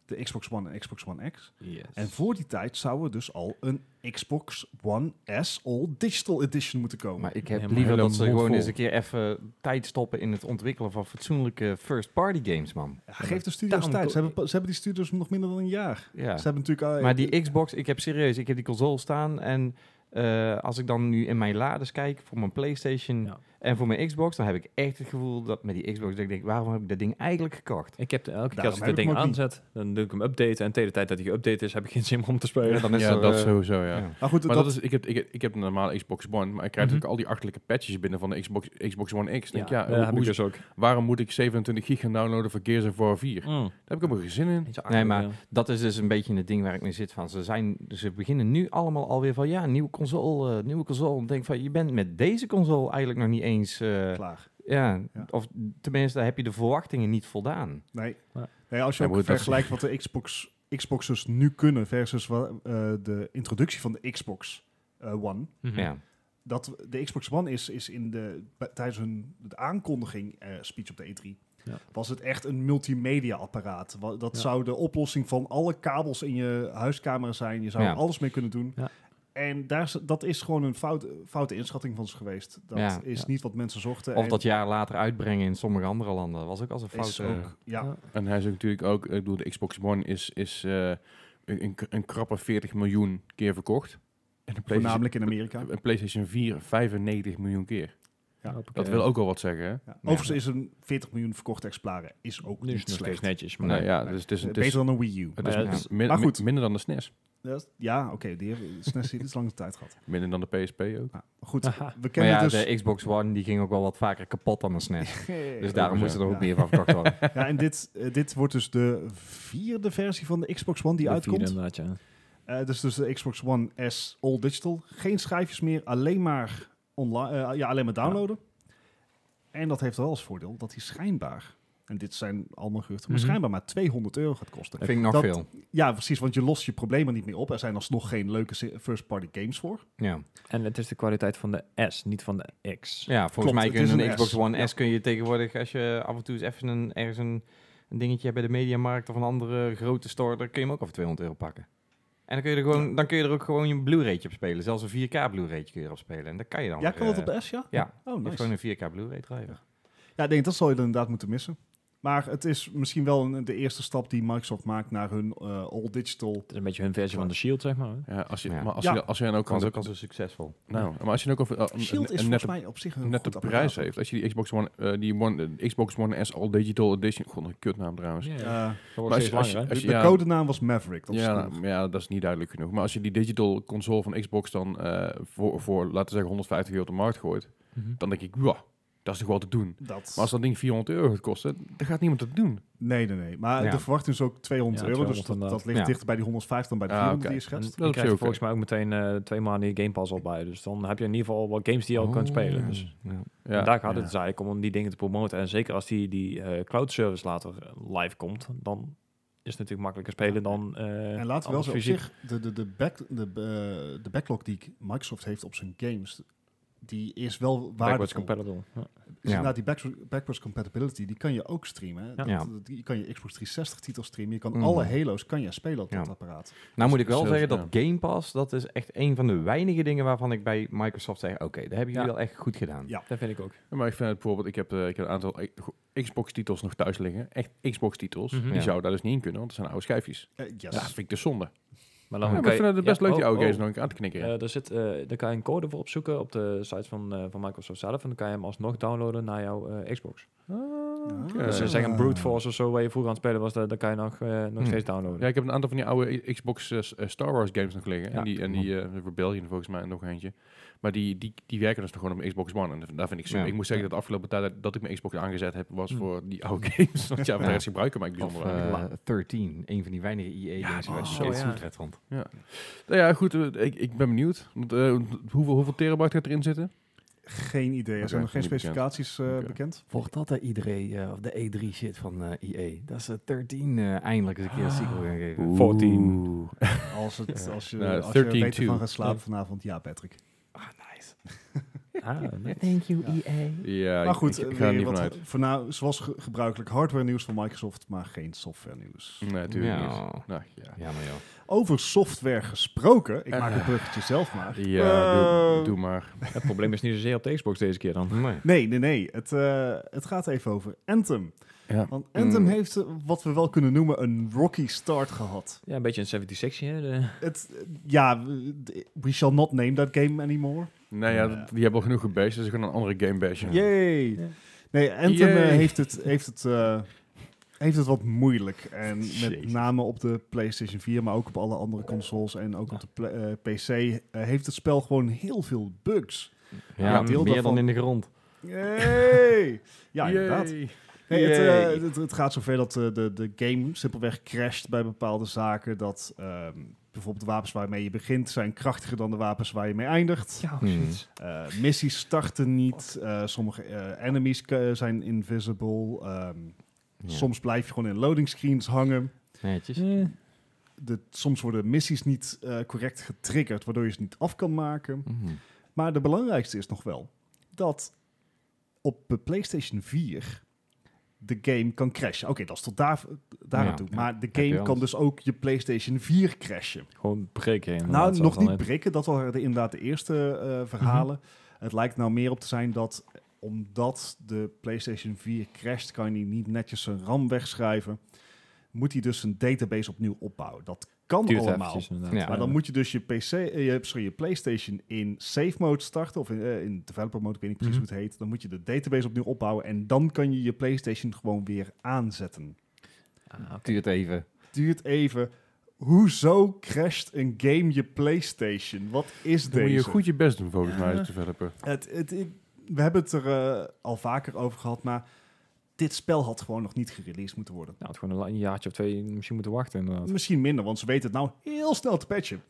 Speaker 1: de Xbox One en Xbox One X. En voor die tijd zou er dus al een Xbox One S All Digital Edition moeten komen.
Speaker 2: Maar ik heb
Speaker 5: Nee, maar
Speaker 2: liever
Speaker 5: hele
Speaker 2: dat ze
Speaker 5: mond
Speaker 2: gewoon
Speaker 5: vol.
Speaker 2: eens een keer even tijd stoppen in het ontwikkelen van fatsoenlijke first-party games, man.
Speaker 1: Ja, geef de studio's
Speaker 5: daarom
Speaker 1: tijd. Ze
Speaker 5: ko-
Speaker 1: hebben, pa- ze hebben die studio's nog minder dan een jaar.
Speaker 2: Ja.
Speaker 1: Ze hebben natuurlijk... eh,
Speaker 2: Maar die Xbox, ik heb serieus, ik heb die console staan en eh, als ik dan nu in mijn lades kijk voor mijn PlayStation
Speaker 5: Ja.
Speaker 2: en voor mijn Xbox, dan heb ik echt het gevoel dat met die Xbox, dat ik denk, waarom heb ik dat ding eigenlijk gekocht?
Speaker 5: Ik heb de- elke keer
Speaker 1: Daarom
Speaker 5: als
Speaker 1: Nou, heb
Speaker 5: ik dat
Speaker 1: ik
Speaker 5: ding
Speaker 1: hem ook niet.
Speaker 5: aanzet, dan doe ik hem updaten. En tegen de tijd dat hij geüpdate is, heb ik geen zin meer om te spelen.
Speaker 2: dan
Speaker 3: Ja,
Speaker 2: het,
Speaker 3: dat
Speaker 2: eh,
Speaker 3: sowieso, ja.
Speaker 2: ja.
Speaker 1: Maar goed,
Speaker 3: Maar
Speaker 1: dat-
Speaker 3: dat is, ik, heb, ik, heb, ik heb een normale Xbox One, maar ik krijg
Speaker 5: Mhm.
Speaker 3: natuurlijk al die achterlijke patches binnen van de Xbox, Xbox One X. Denk, ik, ja,
Speaker 5: ja,
Speaker 3: hoe-
Speaker 5: heb ik
Speaker 3: hoe-
Speaker 5: dus ook.
Speaker 3: waarom moet ik 27 gig gaan downloaden voor Gears of War 4?
Speaker 1: Hmm.
Speaker 3: Daar heb ik helemaal geen zin in.
Speaker 2: Nee, maar dat is dus een beetje het ding waar ik mee zit van. Ze, zijn, ze beginnen nu allemaal alweer van, ja, nieuwe console, eh, nieuwe console. Ik denk van, je bent met deze console eigenlijk nog niet eens... eh,
Speaker 1: klaar.
Speaker 2: ja,
Speaker 1: Ja.
Speaker 2: of tenminste, heb je de verwachtingen niet voldaan.
Speaker 1: Nee.
Speaker 5: Maar-
Speaker 1: nee als je
Speaker 3: Ja, maar
Speaker 1: ook
Speaker 3: goed, dat is-
Speaker 1: vergelijkt wat de Xbox, Xboxers nu kunnen versus wa- eh, de introductie van de Xbox eh, One.
Speaker 5: Mhm.
Speaker 2: Ja.
Speaker 1: Dat de Xbox One is, is in de, bij- tijdens hun de aankondiging eh, speech op de E3.
Speaker 5: Ja.
Speaker 1: Was het echt een multimedia apparaat? Wa- Dat
Speaker 5: Ja.
Speaker 1: zou de oplossing van alle kabels in je huiskamer zijn. Je zou
Speaker 2: Ja.
Speaker 1: er alles mee kunnen doen.
Speaker 5: Ja.
Speaker 1: En daar, is- dat is gewoon een fout, foute inschatting van ze geweest. Dat
Speaker 2: Ja.
Speaker 1: is
Speaker 5: Ja.
Speaker 1: niet wat mensen zochten.
Speaker 2: Of
Speaker 1: en
Speaker 2: dat jaar later uitbrengen in sommige andere landen. was ook als een fout.
Speaker 1: is
Speaker 2: eh,
Speaker 1: ook, ja,
Speaker 3: En hij is ook natuurlijk ook, ik bedoel, de Xbox One is, is eh, een, een- een krappe 40 miljoen keer verkocht. En de PlayStation,
Speaker 1: voornamelijk in Amerika.
Speaker 3: een PlayStation 4 95 miljoen keer.
Speaker 1: Ja.
Speaker 3: Dat wil ook wel wat zeggen, hè?
Speaker 1: Ja. Overigens is een 40 miljoen verkochte exemplaren is ook
Speaker 5: Nu is
Speaker 1: niet
Speaker 5: het nog
Speaker 1: slecht.
Speaker 5: steeds netjes. Maar
Speaker 3: Nou
Speaker 5: nee.
Speaker 3: ja, dus het is,
Speaker 1: Eh,
Speaker 3: het is,
Speaker 1: Beter dan een Wii U.
Speaker 3: het is
Speaker 5: Maar ja,
Speaker 3: min-
Speaker 5: het
Speaker 3: min-
Speaker 1: maar goed.
Speaker 3: min- minder dan de E SNES.
Speaker 1: Dat is- Ja, oké, die hebben SNES heeft iets langer tijd gehad.
Speaker 3: Minder dan de PSP ook.
Speaker 1: Nou, goed,
Speaker 5: Haha.
Speaker 1: we
Speaker 2: Maar
Speaker 1: kennen
Speaker 2: ja,
Speaker 1: dus...
Speaker 2: de Xbox One die ging ook wel wat vaker kapot dan een SNES. Dus
Speaker 1: Ja,
Speaker 2: daarom
Speaker 3: zo.
Speaker 2: moest er ook
Speaker 1: Ja.
Speaker 2: meer van verkocht worden.
Speaker 1: Ja, en dit, eh, dit wordt dus de vierde versie van de Xbox One die
Speaker 5: De vierde
Speaker 1: uitkomt.
Speaker 5: inderdaad, ja.
Speaker 1: Eh, dus, dus de Xbox One S All Digital. Geen schijfjes meer, alleen maar, online, eh, ja, alleen maar downloaden. En dat heeft wel als voordeel dat hij schijnbaar, en dit zijn allemaal geruchten, maar
Speaker 5: Mhm.
Speaker 1: schijnbaar maar 200 euro gaat kosten.
Speaker 2: Vind ik nog
Speaker 1: Dat-
Speaker 2: veel.
Speaker 1: Ja, precies, want je lost je problemen niet meer op. Er zijn alsnog geen leuke si- first-party games voor.
Speaker 2: Ja,
Speaker 5: En het is de kwaliteit van de S, niet van de X.
Speaker 2: ja volgens
Speaker 1: Klopt,
Speaker 2: mij
Speaker 1: het
Speaker 2: kun je
Speaker 1: is
Speaker 2: een,
Speaker 1: een S.
Speaker 2: Xbox One
Speaker 1: Ja.
Speaker 2: S kun je tegenwoordig, als je af en toe eens even een, ergens een, een dingetje hebt bij de Mediamarkt of een andere grote store, dan kun je hem ook over 200 euro pakken. En dan kun je er, gewoon, dan kun je er ook gewoon een Blu-raytje op spelen. Zelfs een 4K Blu-raytje kun je erop spelen. En dat kan je dan
Speaker 1: Ja,
Speaker 2: weer,
Speaker 1: kan dat
Speaker 2: eh,
Speaker 1: op de S, Oh, ja?
Speaker 2: Ja,
Speaker 1: Oh,
Speaker 2: je hebt
Speaker 1: nice.
Speaker 2: gewoon een 4K Blu-ray driver.
Speaker 1: Ja, ik denk dat zal je inderdaad moeten missen. Maar het is misschien wel een- de eerste stap die Microsoft maakt naar hun eh, all digital.
Speaker 5: Het is een beetje hun versie van de Shield, zeg maar.
Speaker 3: Ja, als je,
Speaker 2: Ja.
Speaker 3: Maar als
Speaker 1: Ja.
Speaker 3: je, als je dan ook
Speaker 2: Kan
Speaker 3: al
Speaker 2: het
Speaker 3: de,
Speaker 2: ook al zo succesvol.
Speaker 3: nou, maar als je dan ook al,
Speaker 1: Shield is
Speaker 3: een
Speaker 1: volgens
Speaker 3: nette,
Speaker 1: mij op zich een
Speaker 3: nette
Speaker 1: goed
Speaker 3: prijs
Speaker 1: apparaat.
Speaker 3: heeft. Als je die Xbox One, eh, die One, de Xbox One S All Digital Edition, god, een kutnaam trouwens.
Speaker 1: Eh,
Speaker 3: Maar als je- als je-
Speaker 1: de
Speaker 3: als je- ja.
Speaker 1: codenaam was Maverick. Dat is
Speaker 3: Ja, nou,
Speaker 1: genoeg.
Speaker 3: maar ja, dat is niet duidelijk genoeg. Maar als je die digital console van Xbox dan eh, voor, voor, laten we zeggen, 150 euro op de markt gooit,
Speaker 5: Mhm.
Speaker 3: dan denk ik, wow, dat is toch wel te doen.
Speaker 1: dat...
Speaker 3: Maar als dat ding 400 euro gaat kosten, dan gaat niemand dat doen.
Speaker 1: Nee, nee, nee. Maar
Speaker 2: Ja.
Speaker 1: de verwachting is ook 200
Speaker 5: Ja,
Speaker 1: euro. Dus
Speaker 5: 200
Speaker 1: dat, dat
Speaker 5: inderdaad.
Speaker 1: ligt
Speaker 2: Ja.
Speaker 1: dichter bij die 150 dan bij de
Speaker 3: Ah,
Speaker 1: 400
Speaker 3: oké.
Speaker 1: die je schetst.
Speaker 3: Dat
Speaker 5: Dan
Speaker 3: is
Speaker 5: krijg je
Speaker 3: oké.
Speaker 5: volgens mij ook meteen eh, twee maanden die Game Pass al bij. Dus dan heb je in ieder geval wel games die je al kunt spelen. Dus
Speaker 2: Oh, Ja.
Speaker 3: Oh, Ja,
Speaker 5: daar gaat
Speaker 1: Ja.
Speaker 5: het dus eigenlijk om, om die dingen te promoten. En zeker als die, die eh, cloud service later eh, live komt, dan is het natuurlijk makkelijker spelen dan eh
Speaker 1: En laten we wel
Speaker 5: alles
Speaker 1: zo op
Speaker 5: fysiek.
Speaker 1: zich, de, de, de, back, de, eh, de backlog die Microsoft heeft op zijn games, die is wel
Speaker 5: backwards
Speaker 1: waardevol.
Speaker 5: compatible. Ja.
Speaker 1: Dus
Speaker 2: Ja.
Speaker 1: inderdaad, die back- backwards compatibility, die kan je ook streamen. hè. Dat-
Speaker 2: Ja.
Speaker 1: dat- je kan je Xbox 360 titels streamen. Je kan
Speaker 3: Mm.
Speaker 2: Mhm.
Speaker 1: alle Halo's kan je spelen op dat
Speaker 2: Ja.
Speaker 1: apparaat.
Speaker 2: Nou moet ik wel
Speaker 3: Zelfs-
Speaker 2: zeggen dat Game Pass, dat is echt een van de weinige dingen waarvan ik bij Microsoft zeg, oké, daar hebben jullie
Speaker 5: Ja.
Speaker 2: wel echt goed gedaan.
Speaker 1: Ja.
Speaker 5: Dat vind ik ook.
Speaker 3: Maar ik vind het bijvoorbeeld, ik heb, eh, ik heb een aantal e- Xbox-titels nog thuis liggen. Echt Xbox-titels.
Speaker 5: Mhm.
Speaker 3: Die
Speaker 2: Ja.
Speaker 3: zouden daar dus niet in kunnen, want dat zijn oude schijfjes.
Speaker 1: Eh, yes.
Speaker 3: Ja, dat vind ik dus zonde.
Speaker 5: Maar
Speaker 3: Ja,
Speaker 5: dan
Speaker 3: maar
Speaker 5: kan
Speaker 3: ik
Speaker 5: je-
Speaker 3: vind het best
Speaker 5: ja,
Speaker 3: leuk die
Speaker 5: oh,
Speaker 3: oude games
Speaker 5: oh.
Speaker 3: nog een keer aan te knikken. ja.
Speaker 5: Eh, daar, zit, eh, daar kan je een code voor opzoeken op de site van, eh, van Microsoft zelf. En dan kan je hem alsnog downloaden naar jouw eh, Xbox.
Speaker 3: Ja.
Speaker 5: Dus
Speaker 3: Eh.
Speaker 5: ze zeggen Brute Force of zo, waar je vroeger aan het spelen was, dat, dat kan je nog, eh, nog
Speaker 2: Hm.
Speaker 5: steeds downloaden.
Speaker 3: Ja, ik heb een aantal van die oude I- Xbox eh, s- eh, Star Wars games nog liggen.
Speaker 5: Ja,
Speaker 3: en die, en die eh, Rebellion volgens mij en nog eentje. Maar die, die, die werken dus nog gewoon op mijn Xbox One. En daar vind ik super.
Speaker 2: Ja.
Speaker 3: Ik moet zeggen dat de afgelopen tijd dat- dat ik mijn Xbox aangezet heb, was voor die oude games. Want Hm. ja, voor de
Speaker 2: Ja.
Speaker 3: rest gebruiken maak ik
Speaker 2: Of
Speaker 3: bijzonder weinig.
Speaker 2: eh, 13, een van die weinige EA-games
Speaker 3: die
Speaker 2: waar ik
Speaker 3: was
Speaker 2: nog
Speaker 3: zo,
Speaker 2: steeds
Speaker 5: ja.
Speaker 2: goed vet vond.
Speaker 3: Nou ja, goed. eh, ik, ik ben benieuwd. Want, eh, hoeveel, hoeveel terabyte gaat erin zitten?
Speaker 1: Geen idee. Er
Speaker 3: Oké,
Speaker 1: zijn nog geen
Speaker 3: niet bekend.
Speaker 1: specificaties eh,
Speaker 3: Oké.
Speaker 1: bekend.
Speaker 2: Volgt dat de, iedereen, E, eh, of de E3 shit van EA? Dat is 13 eindelijk eens een keer een sequel gaan geven.
Speaker 5: 14.
Speaker 1: Als, het, als je,
Speaker 3: Nou,
Speaker 1: als je er
Speaker 3: 13
Speaker 1: beter van
Speaker 3: too.
Speaker 1: gaat slapen vanavond, ja, Patrick.
Speaker 2: Ah, nice.
Speaker 5: Ah, nee.
Speaker 4: Thank you, E
Speaker 1: Ja.
Speaker 4: EA.
Speaker 3: Ja,
Speaker 1: Maar
Speaker 3: ik-
Speaker 1: goed,
Speaker 3: ik, ik
Speaker 1: eh,
Speaker 3: ga er
Speaker 1: weer
Speaker 3: niet
Speaker 1: wat
Speaker 3: vanuit.
Speaker 1: voor nou, zoals ge- gebruikelijk hardware nieuws van Microsoft, maar geen software nieuws.
Speaker 3: Nee, natuurlijk
Speaker 2: ja.
Speaker 3: niet. Nou, ja.
Speaker 2: Ja, maar joh.
Speaker 1: Over software gesproken, ik
Speaker 3: Eh.
Speaker 1: maak het bruggetje zelf maar.
Speaker 3: Ja, doe,
Speaker 1: Eh,
Speaker 3: doe maar.
Speaker 5: Het probleem is niet zozeer op de Xbox deze keer dan.
Speaker 2: Nee.
Speaker 1: Nee, nee, nee. Het, eh, het gaat even over Anthem.
Speaker 3: Ja.
Speaker 1: Want Anthem
Speaker 3: Mm.
Speaker 1: heeft eh, wat we wel kunnen noemen een rocky start gehad.
Speaker 5: Ja, een beetje een 76 hè. de-
Speaker 1: Het, eh, ja, we shall not name that game anymore.
Speaker 3: Nou ja, dat- die hebben al genoeg gebashed, dus ik ga een andere game bashen.
Speaker 1: Yay!
Speaker 5: Ja.
Speaker 1: Nee, Anthem eh,
Speaker 3: Yay.
Speaker 1: heeft het, heeft, het, eh, heeft het wat moeilijk. En met
Speaker 3: Jezus.
Speaker 1: name op de PlayStation 4, maar ook op alle andere consoles en ook op de pla- eh, PC eh, heeft het spel gewoon heel veel bugs.
Speaker 2: Ja,
Speaker 1: Ja,
Speaker 2: meer
Speaker 1: deel daarvan.
Speaker 2: dan in de grond.
Speaker 1: Yay! ja, inderdaad.
Speaker 3: Yay.
Speaker 1: Nee, het,
Speaker 2: Yay.
Speaker 1: eh, het, het gaat zover dat eh, de, de game simpelweg crasht bij bepaalde zaken. Dat ehm, bijvoorbeeld de wapens waarmee je begint zijn krachtiger dan de wapens waar je mee eindigt.
Speaker 5: Ja,
Speaker 2: Hmm.
Speaker 5: zoiets.
Speaker 1: Eh, missies starten niet. eh, sommige eh, enemies k- zijn invisible. ehm,
Speaker 2: Ja.
Speaker 1: Soms blijf je gewoon in loading screens hangen.
Speaker 2: Netjes.
Speaker 5: Eh,
Speaker 1: De, soms worden missies niet eh, correct getriggerd, waardoor je ze niet af kan maken.
Speaker 2: Mhm.
Speaker 1: Maar de belangrijkste is nog wel dat op de PlayStation 4 de game kan crashen. Oké, dat is tot daar, daar
Speaker 2: Ja,
Speaker 1: toe.
Speaker 2: ja.
Speaker 1: Maar de
Speaker 2: je
Speaker 1: game
Speaker 2: alles.
Speaker 1: kan dus ook je PlayStation 4 crashen.
Speaker 5: Gewoon breken. inderdaad,
Speaker 1: Nou, nog
Speaker 5: zoals
Speaker 1: niet
Speaker 5: al net.
Speaker 1: prikken. Dat waren de, inderdaad de eerste eh, verhalen. Het lijkt nou meer op te zijn dat eh, omdat de PlayStation 4 crasht, kan hij niet netjes zijn RAM wegschrijven. Moet hij dus zijn database opnieuw opbouwen. Dat kan
Speaker 5: Duurt
Speaker 1: allemaal.
Speaker 5: eventjes, inderdaad.
Speaker 2: Ja.
Speaker 1: Maar dan moet je dus je PC, eh, je, sorry, je PlayStation in safe mode starten of in, eh, in developer mode, ik weet niet precies
Speaker 2: Mhm.
Speaker 1: hoe het heet. Dan moet je de database opnieuw opbouwen en dan kan je je PlayStation gewoon weer aanzetten.
Speaker 5: Ah, oké.
Speaker 2: Duurt even.
Speaker 1: Duurt even. Hoezo crasht een game je PlayStation? Wat is
Speaker 3: Dan moet
Speaker 1: deze?
Speaker 3: je goed je best doen volgens mij als developer.
Speaker 1: Het, het, ik- we hebben het er eh, al vaker over gehad, maar dit spel had gewoon nog niet gereleased moeten worden.
Speaker 5: Nou, het gewoon een la- een jaartje of twee misschien moeten wachten inderdaad.
Speaker 1: Misschien minder, want ze weten het nou heel snel te patchen.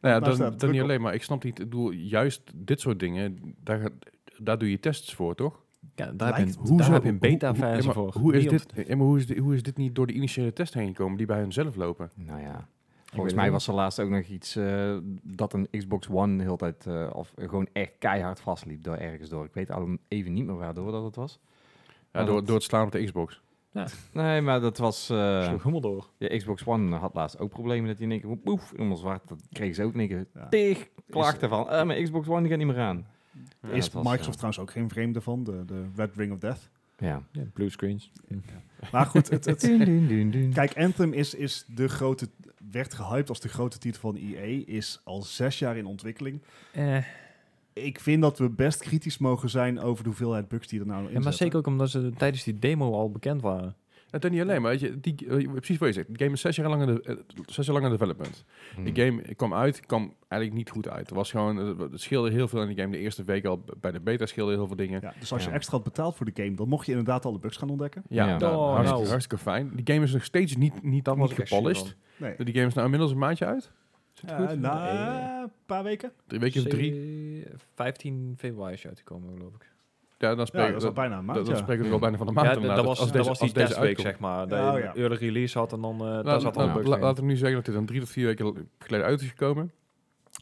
Speaker 3: Nou ja,
Speaker 1: Daar
Speaker 3: dat,
Speaker 1: staat
Speaker 3: dat
Speaker 1: druk
Speaker 3: niet
Speaker 1: op.
Speaker 3: alleen, maar ik snap niet, ik bedoel, juist dit soort dingen, daar, gaat- daar doe je tests voor, toch?
Speaker 5: Ja, daar heb
Speaker 1: Lijkt-
Speaker 5: je, een- daar heb je een
Speaker 3: Hoe- hoe- ja,
Speaker 5: beta-fase
Speaker 3: maar
Speaker 5: voor.
Speaker 3: Hoe is,
Speaker 5: Nee,
Speaker 3: dit, ja, maar hoe, is dit, hoe is dit niet door de initiële test heen gekomen die bij hun zelf lopen?
Speaker 2: Nou ja.
Speaker 5: weet
Speaker 2: Volgens
Speaker 5: het
Speaker 2: mij
Speaker 5: niet.
Speaker 2: was er laatst ook nog iets eh, dat een Xbox One de hele tijd, eh, of gewoon echt keihard vastliep door ergens door. Ik weet al even niet meer waardoor dat het was.
Speaker 3: Ja,
Speaker 2: Oh,
Speaker 3: door,
Speaker 2: dat-
Speaker 3: door het slaan op de Xbox.
Speaker 2: Nee, maar dat was...
Speaker 5: om-
Speaker 2: eh,
Speaker 5: sloeg helemaal door.
Speaker 2: de Xbox One had laatst ook problemen dat die in één keer... woep, Poef, helemaal zwart. Dat kregen ze ook in één keer
Speaker 1: Ja.
Speaker 2: tig klachten van. eh, mijn Xbox One die gaat niet meer aan. Ja,
Speaker 1: is
Speaker 2: dat was,
Speaker 1: Microsoft
Speaker 2: eh,
Speaker 1: trouwens ook geen vreemde van, de, de Red Ring of Death.
Speaker 2: Ja.
Speaker 5: Ja, blue screens.
Speaker 1: Maar goed, het, het,
Speaker 2: Dun, dun, dun, dun.
Speaker 1: Kijk, Anthem is, is de grote, werd gehyped als de grote titel van EA. Is al zes jaar in ontwikkeling.
Speaker 5: Eh,
Speaker 1: Ik vind dat we best kritisch mogen zijn over de hoeveelheid bugs die er nou in
Speaker 5: ja,
Speaker 1: zitten.
Speaker 5: maar zeker ook omdat ze tijdens die demo al bekend waren.
Speaker 3: En dat niet alleen, maar weet je, die, eh, precies wat je zegt. De game is zes jaar lang in, de, eh, zes jaar lang in development.
Speaker 2: Hmm.
Speaker 3: De game kwam uit, kwam eigenlijk niet goed uit. Er was gewoon, eh, het scheelde heel veel in die game. De eerste week al bij de beta scheelde heel veel dingen.
Speaker 1: Ja, dus als je
Speaker 2: Ja.
Speaker 1: extra had betaald voor de game, dan mocht je inderdaad alle bugs gaan ontdekken.
Speaker 3: Ja,
Speaker 2: Ja.
Speaker 3: dat-
Speaker 5: Oh,
Speaker 3: hartstikke,
Speaker 5: nou.
Speaker 3: hartstikke fijn. Die game is nog steeds niet, niet,
Speaker 5: Dat
Speaker 3: niet
Speaker 5: was ik echt zuur
Speaker 3: gepolished.
Speaker 1: Nee.
Speaker 3: Die game is nou inmiddels een maandje uit. Zit het
Speaker 1: Eh,
Speaker 3: goed?
Speaker 1: na
Speaker 5: Nee.
Speaker 1: een paar weken.
Speaker 3: Drie weken of drie.
Speaker 5: C- 15 februari is je uitgekomen, geloof ik.
Speaker 3: Ja, dan
Speaker 1: Ja,
Speaker 3: spreken
Speaker 1: dat is al bijna een maand.
Speaker 3: dat, dat
Speaker 1: ja.
Speaker 3: spreken we ook al bijna van de maand.
Speaker 5: Ja, d-
Speaker 3: inderdaad.
Speaker 5: dat was,
Speaker 3: Als
Speaker 5: dat
Speaker 3: deze-
Speaker 5: was die
Speaker 3: als deze
Speaker 5: testweek,
Speaker 3: uitkomt. Nou,
Speaker 5: zeg maar.
Speaker 1: Ja,
Speaker 5: Dat je
Speaker 1: ja.
Speaker 5: een early release had en dan... eh daar
Speaker 3: Laat-
Speaker 5: zat
Speaker 3: laat-
Speaker 5: al
Speaker 3: la- Laten we nu zeggen dat dit dan drie tot vier weken l- geleden uit is gekomen.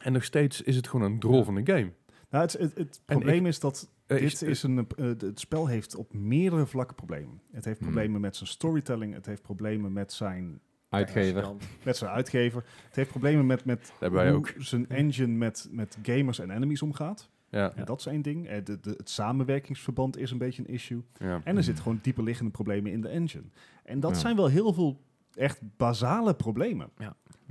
Speaker 3: En nog steeds is het gewoon een drol van een game.
Speaker 1: Nou, het, het, het probleem is dat
Speaker 3: Eh,
Speaker 1: dit is een, eh, d- het spel heeft op meerdere vlakken problemen. Het heeft
Speaker 2: Hmm.
Speaker 1: problemen met zijn storytelling. Het heeft problemen met zijn,
Speaker 2: Uitgever.
Speaker 1: met zijn uitgever. Het heeft problemen met, met
Speaker 3: Hebben wij
Speaker 1: hoe
Speaker 3: ook.
Speaker 1: zijn engine met, met gamers en enemies omgaat.
Speaker 3: Ja,
Speaker 1: Dat is één ding. Eh, De, de, het samenwerkingsverband is een beetje een issue.
Speaker 3: ja.
Speaker 1: En er zitten gewoon dieperliggende problemen in de engine. En dat
Speaker 2: Ja.
Speaker 1: zijn wel heel veel echt basale problemen.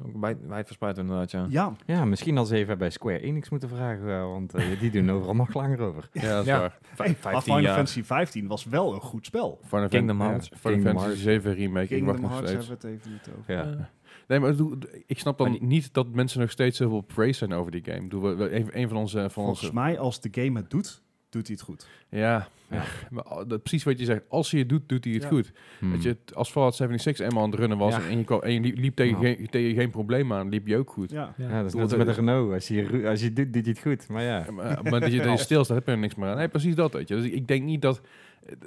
Speaker 5: Ook bij, wijdverspreid inderdaad, ja.
Speaker 1: Ja,
Speaker 2: Ja, misschien als ze even bij Square Enix moeten vragen, eh, want eh, die doen overal nog langer over.
Speaker 3: Ja, dat is
Speaker 5: Ja.
Speaker 3: waar.
Speaker 1: hey, maar Final Fantasy 15 was wel een goed spel.
Speaker 3: Final
Speaker 5: Kingdom
Speaker 3: Fan-
Speaker 5: Hearts.
Speaker 3: ja, Final
Speaker 2: Kingdom
Speaker 3: Fantasy 7 remake. ik wacht nog steeds.
Speaker 1: we het even niet over.
Speaker 2: Ja.
Speaker 3: Nee, maar ik bedoel, ik snap dan
Speaker 5: Maar
Speaker 3: niet dat mensen nog steeds zoveel praise zijn over die game. Doe we- we even een van onze van
Speaker 1: Volgens
Speaker 3: onze
Speaker 1: mij, als de game het doet, doet hij het goed.
Speaker 3: ja,
Speaker 2: Ja.
Speaker 3: maar al- dat, precies wat je zegt. Als hij het doet, doet hij het
Speaker 1: Ja.
Speaker 3: goed.
Speaker 2: Hmm.
Speaker 3: Weet je, het- als Fallout 76 eenmaal aan het runnen was
Speaker 2: Ja.
Speaker 3: en je, kwam, en je liep, liep tegen,
Speaker 2: Ja.
Speaker 3: geen, tegen geen probleem aan, liep je ook goed.
Speaker 1: Ja.
Speaker 2: Ja, dat is net
Speaker 3: Doe
Speaker 2: als
Speaker 3: het-
Speaker 2: met een Renault. Als je, ru- als je doet, doet je het goed. Maar ja,
Speaker 3: Maar, maar dat je, dat je stilstaat, heb je er niks meer aan. Nee, precies dat, weet je. Dus ik denk niet dat,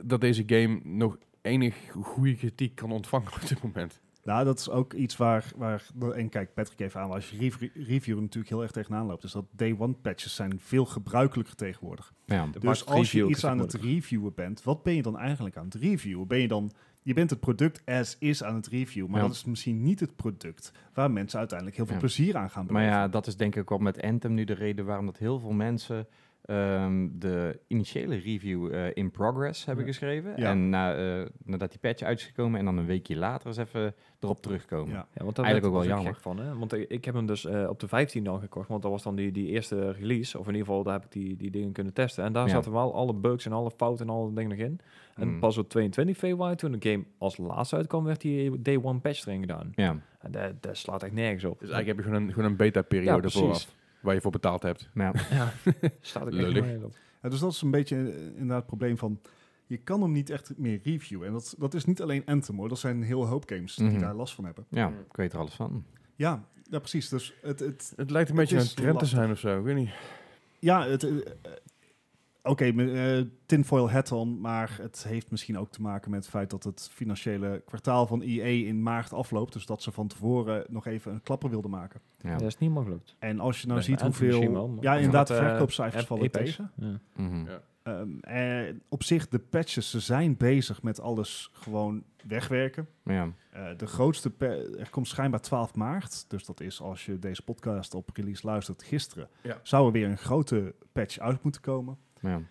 Speaker 3: dat deze game nog enig goede kritiek kan ontvangen op dit moment.
Speaker 1: Nou, dat is ook iets waar, waar... En kijk, Patrick even aan. maar Als je rev- review natuurlijk heel erg tegenaan loopt... is dat day one patches zijn veel gebruikelijker tegenwoordig.
Speaker 2: ja.
Speaker 1: Dus als je iets aan het reviewen bent... wat ben je dan eigenlijk aan het reviewen? Ben je dan... Je bent het product as is aan het reviewen... maar
Speaker 2: Ja.
Speaker 1: dat is misschien niet het product... waar mensen uiteindelijk heel veel
Speaker 2: Ja.
Speaker 1: plezier aan gaan
Speaker 2: Maar
Speaker 1: beleven.
Speaker 2: ja, dat is denk ik wel met Anthem nu de reden waarom dat heel veel mensen ehm, de initiële review eh, in progress hebben
Speaker 1: Ja.
Speaker 2: geschreven.
Speaker 1: Ja.
Speaker 2: En na, eh, nadat die patch uit is gekomen en dan een weekje later eens even erop terugkomen.
Speaker 1: Ja.
Speaker 5: Ja, want
Speaker 2: Eigenlijk
Speaker 5: daar werd ik
Speaker 2: ook wel
Speaker 5: ook wel
Speaker 2: jammer.
Speaker 5: gek van, hè? Want ik, ik heb hem dus eh, op de 15 al gekocht, want dat was dan die, die eerste release. Of in ieder geval, daar heb ik die, die dingen kunnen testen. En daar
Speaker 2: Ja.
Speaker 5: zaten wel alle bugs en alle fouten en alle dingen nog in. En
Speaker 2: Mm.
Speaker 5: pas op 22 februari, toen de game als laatste uitkwam, werd die day one patch erin gedaan.
Speaker 2: Ja,
Speaker 5: En dat, dat slaat echt nergens op.
Speaker 3: Dus eigenlijk heb je gewoon een, gewoon een beta-periode vooraf, waar je voor betaald hebt.
Speaker 2: maar ja.
Speaker 5: Ja, slaat ook echt
Speaker 3: Lullig.
Speaker 5: nergens op.
Speaker 1: Ja, dus dat is een beetje eh, inderdaad het probleem van... je kan hem niet echt meer reviewen. En dat, dat is niet alleen Anthem hoor. Dat zijn een heel hoop games die
Speaker 2: Mhm.
Speaker 1: daar last van hebben.
Speaker 2: ja, ik weet er alles van.
Speaker 1: Ja, ja precies. Dus het, het,
Speaker 3: Het lijkt een beetje
Speaker 1: is
Speaker 3: een trend te
Speaker 1: lastig.
Speaker 3: zijn of zo, ik weet niet.
Speaker 1: ja, het... eh, eh, Oké, me- eh, tinfoil hat on, maar het heeft misschien ook te maken met het feit dat het financiële kwartaal van EA in maart afloopt. Dus dat ze van tevoren nog even een klapper wilden maken.
Speaker 2: Ja.
Speaker 5: Dat is niet mogelijk.
Speaker 1: En als je nou
Speaker 3: Nee,
Speaker 1: ziet
Speaker 5: Anthem
Speaker 1: hoeveel...
Speaker 5: misschien wel, maar-
Speaker 1: ja, inderdaad, de
Speaker 5: Want, eh,
Speaker 1: verkoopcijfers
Speaker 5: App-
Speaker 1: vallen
Speaker 5: Apex.
Speaker 1: tegen.
Speaker 5: Ja.
Speaker 2: Mhm.
Speaker 3: Ja.
Speaker 1: Ehm, en op zich, de patches, ze zijn bezig met alles gewoon wegwerken.
Speaker 2: Ja.
Speaker 1: Eh, de grootste, pa- er komt schijnbaar 12 maart, dus dat is als je deze podcast op release luistert gisteren,
Speaker 3: Ja.
Speaker 1: zou er weer een grote patch uit moeten komen.
Speaker 2: Ja.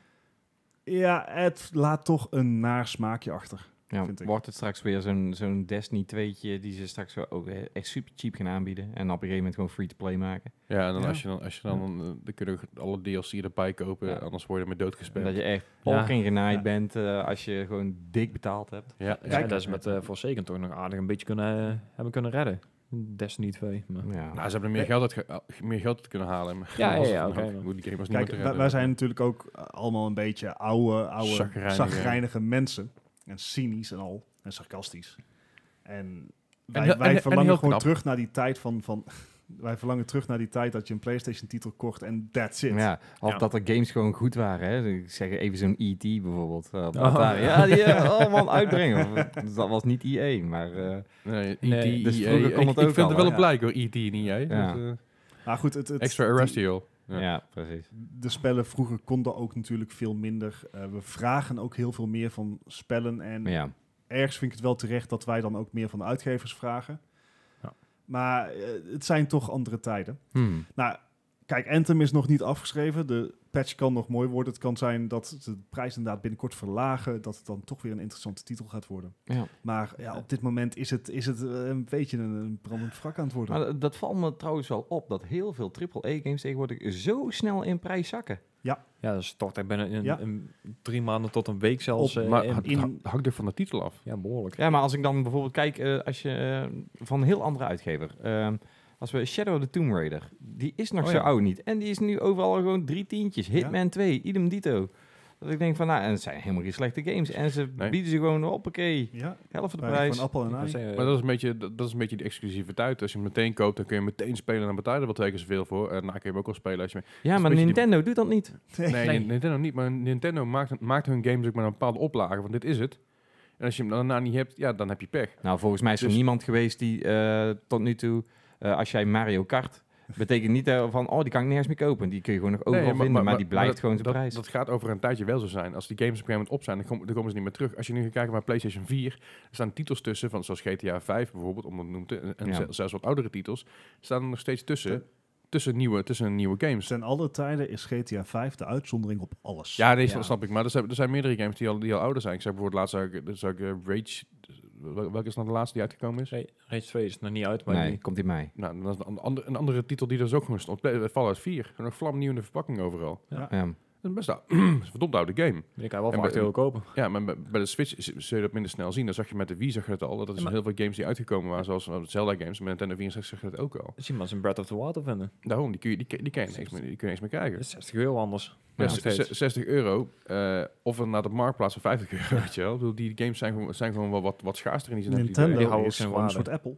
Speaker 1: Ja, het laat toch een naar smaakje achter.
Speaker 2: Ja.
Speaker 1: Vind ik.
Speaker 2: Wordt het straks weer zo'n zo'n Destiny 2'tje die ze straks wel ook eh, echt super cheap gaan aanbieden en op een gegeven moment gewoon free-to-play maken.
Speaker 3: Ja, en dan
Speaker 1: Ja.
Speaker 3: als je dan, als je dan, eh, dan kun je ook alle DLC erbij kopen,
Speaker 2: Ja.
Speaker 3: anders word je ermee doodgespeeld.
Speaker 2: Dat je echt
Speaker 5: Ja.
Speaker 2: fucking genaaid
Speaker 1: Ja.
Speaker 2: bent eh, als je gewoon dik betaald hebt.
Speaker 3: Ja,
Speaker 5: Ja,
Speaker 1: Kijk.
Speaker 5: dat is met uh, Forsaken toch nog aardig een beetje kunnen, eh, hebben kunnen redden. Destiny 2. Maar.
Speaker 2: Ja.
Speaker 3: Nou, ze hebben er meer geld, uit ge- ah, meer geld uit kunnen halen. maar
Speaker 5: Ja, ja,
Speaker 3: was
Speaker 5: ja,
Speaker 3: het
Speaker 5: oké,
Speaker 3: ook.
Speaker 5: maar-
Speaker 3: Goed, die game was niet
Speaker 1: Kijk,
Speaker 3: meer te
Speaker 1: wij,
Speaker 3: redden.
Speaker 1: wij zijn natuurlijk ook eh, allemaal een beetje oude, oude
Speaker 3: Chagrijnige.
Speaker 1: zagrijnige mensen. En cynisch en al. En sarcastisch. En wij,
Speaker 3: heel-
Speaker 1: wij
Speaker 3: en- en
Speaker 1: verlangen
Speaker 3: heel
Speaker 1: gewoon
Speaker 3: knap.
Speaker 1: terug naar die tijd van... van wij verlangen terug naar die tijd dat je een PlayStation-titel kocht en that's it.
Speaker 2: Ja, of
Speaker 5: Ja.
Speaker 2: dat er games gewoon goed waren. Hè? Ik zeg even zo'n E.T. bijvoorbeeld. eh, op
Speaker 5: Oh.
Speaker 2: Atari. Ja, die eh, allemaal uitbrengen. Dus dat was niet EA, maar... eh,
Speaker 3: Nee, E
Speaker 5: Nee,
Speaker 3: E.T.,
Speaker 2: dus
Speaker 3: EA,
Speaker 2: vroeger kon
Speaker 3: ik,
Speaker 2: het
Speaker 3: ik
Speaker 2: ook
Speaker 3: vind
Speaker 2: al,
Speaker 3: het wel
Speaker 1: hè?
Speaker 3: een blijk hoor, E E.T. en EA.
Speaker 2: Ja.
Speaker 3: Dat, eh,
Speaker 1: Maar goed, het, het,
Speaker 3: extra
Speaker 1: die-
Speaker 3: Arrestial.
Speaker 2: ja.
Speaker 3: Ja.
Speaker 2: precies.
Speaker 1: de spellen vroeger konden ook natuurlijk veel minder. Eh, we vragen ook heel veel meer van spellen. En
Speaker 2: Maar ja,
Speaker 1: ergens vind ik het wel terecht dat wij dan ook meer van de uitgevers vragen.
Speaker 5: Ja.
Speaker 1: Maar eh, het zijn toch andere tijden.
Speaker 2: Hmm.
Speaker 1: Nou, kijk, Anthem is nog niet afgeschreven. De patch kan nog mooi worden. Het kan zijn dat ze de prijs inderdaad binnenkort verlagen. Dat het dan toch weer een interessante titel gaat worden.
Speaker 2: Ja.
Speaker 1: Maar ja, op dit moment is het, is het eh, een beetje een, een brandend wrak aan het worden.
Speaker 2: Maar dat- dat valt me trouwens wel op, dat heel veel AAA-games tegenwoordig zo snel in prijs zakken.
Speaker 5: Ja, dat stort echt binnen in,
Speaker 1: Ja.
Speaker 5: in drie maanden tot een week zelfs. eh,
Speaker 3: Maar
Speaker 2: ah,
Speaker 5: in-
Speaker 3: het
Speaker 1: in-
Speaker 3: hak- hakt er van de titel af.
Speaker 5: ja, behoorlijk.
Speaker 2: Ja, maar als ik dan bijvoorbeeld kijk, eh, als je, eh, van een heel andere uitgever. Ehm, als we Shadow of the Tomb Raider, die is nog
Speaker 5: Oh
Speaker 2: zo
Speaker 5: ja.
Speaker 2: oud niet. En die is nu overal gewoon drie tientjes. Hitman 2, idem dito. Dat ik denk van, nou, en het zijn helemaal geen slechte games. En ze
Speaker 3: Nee.
Speaker 2: bieden ze gewoon, hoppakee,
Speaker 1: ja,
Speaker 2: helft van de
Speaker 1: bij
Speaker 2: prijs.
Speaker 1: van appel
Speaker 5: Ik
Speaker 1: en
Speaker 5: wou
Speaker 1: ei.
Speaker 5: zeggen,
Speaker 3: Maar dat is een beetje, dat, dat is een beetje die exclusiviteit. Als je hem meteen koopt, dan kun je hem meteen spelen en dan betaal je er wel twee keer zoveel voor. En dan kun je hem ook wel spelen als je...
Speaker 2: Ja,
Speaker 3: is
Speaker 2: maar
Speaker 3: een beetje
Speaker 2: Nintendo doet dat niet.
Speaker 1: Nee.
Speaker 3: Nee, Nintendo niet. Maar Nintendo maakt, maakt hun games ook met een bepaalde oplage. Want dit is het. En als je hem daarna niet hebt, ja, dan heb je pech.
Speaker 2: Nou, volgens mij is er
Speaker 3: Dus-
Speaker 2: niemand geweest die eh, tot nu toe, eh, als jij Mario Kart, betekent niet eh, van, oh, die kan ik nergens meer kopen. Die kun je gewoon nog overal
Speaker 3: Nee,
Speaker 2: vinden, maar, die blijft
Speaker 3: dat-
Speaker 2: gewoon zijn
Speaker 3: dat,
Speaker 2: prijs.
Speaker 3: Dat gaat over een tijdje wel zo zijn. Als die games op een gegeven moment op zijn, dan, kom- dan komen ze niet meer terug. Als je nu gaat kijken naar PlayStation 4, er staan titels tussen, van, zoals GTA 5 bijvoorbeeld, om het noemt, en en
Speaker 2: Ja.
Speaker 3: ze- zelfs wat oudere titels, staan er nog steeds tussen, tussen, nieuwe, tussen nieuwe games.
Speaker 1: Ten alle tijden is GTA 5 de uitzondering op alles.
Speaker 3: Ja, nee,
Speaker 5: Ja.
Speaker 3: dat snap ik. Maar er zijn, er zijn meerdere games die al, die al ouder zijn. Ik zeg bijvoorbeeld laatst zou ik, zou ik eh, Rage, wel- welke is nou de laatste die uitgekomen is?
Speaker 5: Ra- Rage 2 is nog niet uit, maar
Speaker 2: Nee,
Speaker 5: die-
Speaker 2: komt in mei.
Speaker 3: Nou, dan is een, ander- een andere titel die er dus ook gewoon stond. Play- Fallout 4. Gewoon Nog vlamnieuw in de verpakking overal.
Speaker 2: Ja.
Speaker 3: Dat is best wel- dat is een verdomd oude game.
Speaker 5: die kan je wel
Speaker 3: En
Speaker 5: voor 8
Speaker 3: bij-
Speaker 5: euro kopen.
Speaker 3: Ja, maar bij- bij de Switch z- zul je dat minder snel zien. Dan zag je met de Wii zag je het al. Dat is
Speaker 5: Ja, maar-
Speaker 3: heel veel games die uitgekomen waren, zoals eh, Zelda games. Met Nintendo 64 zag je dat ook al.
Speaker 5: Zie maar eens een Breath of the Wild vinden.
Speaker 3: Daarom, die kun je, die, kun- die kun je niks meer, die kun je niks meer
Speaker 5: Dat
Speaker 3: krijgen.
Speaker 5: is 60 euro anders.
Speaker 3: Ja,
Speaker 5: Ja,
Speaker 3: z-
Speaker 5: steeds.
Speaker 3: z- 60 euro. eh, of naar de marktplaats van 50 euro. Weet je wel. Ik bedoel, die games zijn gewoon, zijn gewoon wel wat, wat schaarster in die zin.
Speaker 1: Nintendo
Speaker 5: die houden
Speaker 1: is
Speaker 5: zijn
Speaker 1: gewoon een
Speaker 5: waarde.
Speaker 1: soort Apple.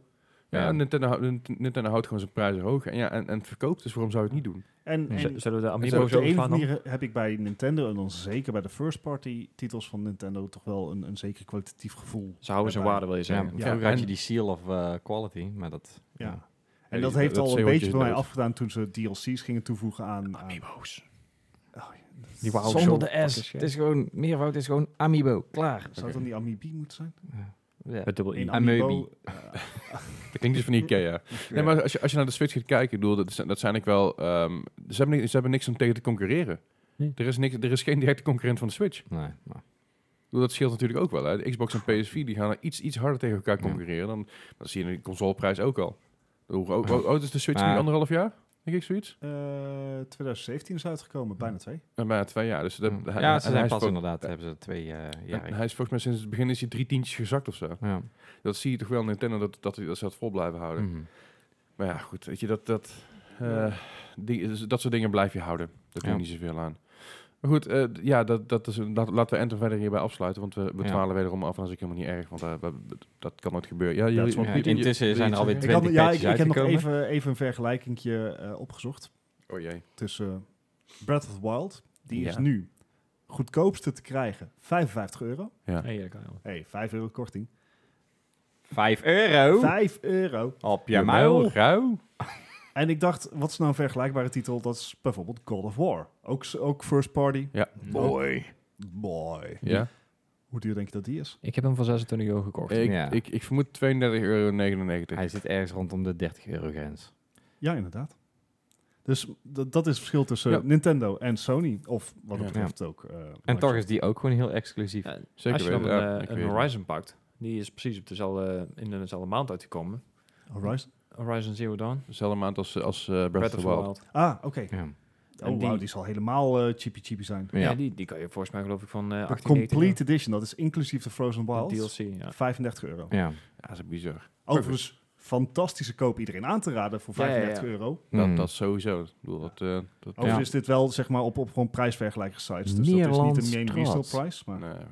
Speaker 3: Ja,
Speaker 2: Ja.
Speaker 3: Nintendo, hou- Nint- Nintendo houdt gewoon zijn prijzen hoog. En, ja, en, en het verkoopt, dus waarom zou je het niet doen?
Speaker 1: En,
Speaker 2: Ja.
Speaker 1: en
Speaker 5: Z- Zullen we de
Speaker 1: En op
Speaker 5: Amiibo's
Speaker 1: de ene
Speaker 5: overslaan dan?
Speaker 1: manier heb ik bij Nintendo, en dan zeker bij de first-party titels van Nintendo, toch wel een, een zeker kwalitatief gevoel.
Speaker 5: Ze houden zijn
Speaker 1: erbij.
Speaker 5: waarde, wil je
Speaker 2: Ja,
Speaker 5: zeggen.
Speaker 2: vroeger
Speaker 3: en-
Speaker 2: had je die Seal of eh, Quality, maar dat...
Speaker 1: Ja.
Speaker 2: ja.
Speaker 1: En
Speaker 3: Ja,
Speaker 1: dat
Speaker 3: die-
Speaker 1: heeft
Speaker 3: dat
Speaker 1: al een
Speaker 3: zeehondje
Speaker 1: beetje
Speaker 3: is
Speaker 1: bij mij
Speaker 3: dood.
Speaker 1: afgedaan toen ze DLC's gingen toevoegen aan... aan
Speaker 3: Amiibo's.
Speaker 1: oh, ja, dat
Speaker 5: Die wou ook
Speaker 2: Zonder
Speaker 5: zo
Speaker 2: de
Speaker 5: fucking
Speaker 2: S.
Speaker 5: shit.
Speaker 2: Het is gewoon, meervoud is gewoon Amiibo. Klaar.
Speaker 1: zou het dan die Amiibi moeten zijn?
Speaker 2: Ja.
Speaker 5: Met dubbel I.
Speaker 1: Een
Speaker 2: Amiibi.
Speaker 1: eh,
Speaker 3: Dat klinkt dus van Ikea. Nee, maar als je, als je naar de Switch gaat kijken, ik bedoel, dat, zijn- dat zijn ik wel... ehm, ze, hebben, ni- ze hebben niks om tegen te concurreren.
Speaker 5: Nee.
Speaker 3: Er, is niks, er is geen directe concurrent van de Switch.
Speaker 2: Nee, maar-
Speaker 3: Ik bedoel, dat scheelt natuurlijk ook wel. Hè? De Xbox en PS4 die gaan er iets, iets harder tegen elkaar
Speaker 2: Ja.
Speaker 3: concurreren. Dan, dan zie je de consoleprijs ook al. Hoe oud
Speaker 2: Ja.
Speaker 3: hoe oud is de Switch nu?
Speaker 2: Maar-
Speaker 3: Anderhalf jaar? Denk ik zoiets?
Speaker 1: eh, 2017 is uitgekomen, bijna twee.
Speaker 3: En bijna twee jaar. Dus dat, hij-
Speaker 2: ja,
Speaker 3: en
Speaker 2: ze
Speaker 3: hij
Speaker 2: zijn
Speaker 3: is
Speaker 2: pas
Speaker 3: vol-
Speaker 2: inderdaad, hebben ze twee eh
Speaker 3: en
Speaker 2: jaar.
Speaker 3: Hij is volgens mij sinds het begin is hij drie tientjes gezakt of zo.
Speaker 2: Ja.
Speaker 3: Dat zie je toch wel Nintendo dat, dat, dat ze dat vol blijven houden.
Speaker 2: Mhm.
Speaker 3: Maar ja, goed, weet je, dat, dat, eh, die- dus dat soort dingen blijf je houden. Daar doe je
Speaker 2: Ja.
Speaker 3: niet zoveel aan. Maar goed, eh, d- ja, dat, dat is, een- laat- laten we Enter verder hierbij afsluiten, want we
Speaker 2: Ja.
Speaker 3: betwalen wederom af en dat is ook helemaal niet erg, want eh, we- we- dat kan nooit gebeuren. Ja,
Speaker 1: is
Speaker 3: jullie,
Speaker 1: wat
Speaker 2: Ja,
Speaker 1: Piet,
Speaker 3: jullie-
Speaker 2: intussen
Speaker 3: jullie
Speaker 2: zijn er
Speaker 3: iets
Speaker 2: alweer
Speaker 1: Ik,
Speaker 2: twintig
Speaker 1: had, ja, ik,
Speaker 2: patches
Speaker 1: ik heb nog
Speaker 2: uitgekomen.
Speaker 1: even, even een vergelijkingje eh, opgezocht
Speaker 3: zeggen? Oh jee.
Speaker 1: tussen eh, Breath of the Wild. Die is
Speaker 3: Ja.
Speaker 1: nu goedkoopste te krijgen, 55 euro.
Speaker 5: Nee, ja, dat kan wel.
Speaker 1: hey, 5 euro korting.
Speaker 2: Vijf euro
Speaker 1: 5 euro.
Speaker 2: op je muil.
Speaker 3: Rauw.
Speaker 1: En ik dacht, wat is nou een vergelijkbare titel? Dat is bijvoorbeeld God of War. Ook, s- ook first party.
Speaker 3: Ja.
Speaker 1: Boy. Boy.
Speaker 3: Ja.
Speaker 1: Hoe duur denk je dat die is?
Speaker 5: Ik heb hem voor 26 euro gekocht.
Speaker 3: Ik,
Speaker 2: Ja.
Speaker 3: Ik, ik vermoed 32,99 euro.
Speaker 2: Hij zit ergens rondom de 30 euro grens.
Speaker 1: Ja, inderdaad. Dus d- dat is het verschil tussen
Speaker 3: Ja.
Speaker 1: Nintendo en Sony. Of wat
Speaker 3: Ja.
Speaker 1: dat betreft ook. eh,
Speaker 2: En
Speaker 1: Microsoft.
Speaker 2: toch is die ook gewoon heel exclusief.
Speaker 5: Ja,
Speaker 3: Zeker
Speaker 5: Als je dan
Speaker 3: weten,
Speaker 5: een,
Speaker 3: ja,
Speaker 5: eh,
Speaker 3: ik
Speaker 5: een
Speaker 3: weet het.
Speaker 5: Horizon pakt, die is precies op dezelfde, in dezelfde maand uitgekomen.
Speaker 1: Horizon?
Speaker 5: Horizon Zero Dawn,
Speaker 3: Dezelfde maand als, als eh, Breath, of the Wild.
Speaker 1: Ah, oké.
Speaker 2: Ja.
Speaker 1: Oh,
Speaker 5: En
Speaker 1: die... Wow,
Speaker 5: die-
Speaker 1: die zal helemaal eh, cheapy cheapy zijn.
Speaker 5: Ja,
Speaker 2: Ja.
Speaker 5: die, die kan je volgens mij geloof ik van eh
Speaker 1: De
Speaker 5: 18
Speaker 1: Complete Edition, dat is inclusief de Frozen Wild.
Speaker 5: DLC, ja.
Speaker 1: 35 euro.
Speaker 2: Ja.
Speaker 3: Ja, dat is bizar.
Speaker 1: Overigens, fantastische koop iedereen aan te raden voor
Speaker 5: Ja, ja, ja.
Speaker 1: 35 euro.
Speaker 2: Mm.
Speaker 3: Dat, dat sowieso. Ik bedoel, dat, eh, dat,
Speaker 1: Overigens
Speaker 2: Ja.
Speaker 1: is dit wel zeg maar op, op gewoon prijsvergelijkersites. Dus dat
Speaker 2: Nederlands
Speaker 1: is niet een main
Speaker 2: trots.
Speaker 1: resale price. Maar...
Speaker 3: Nee.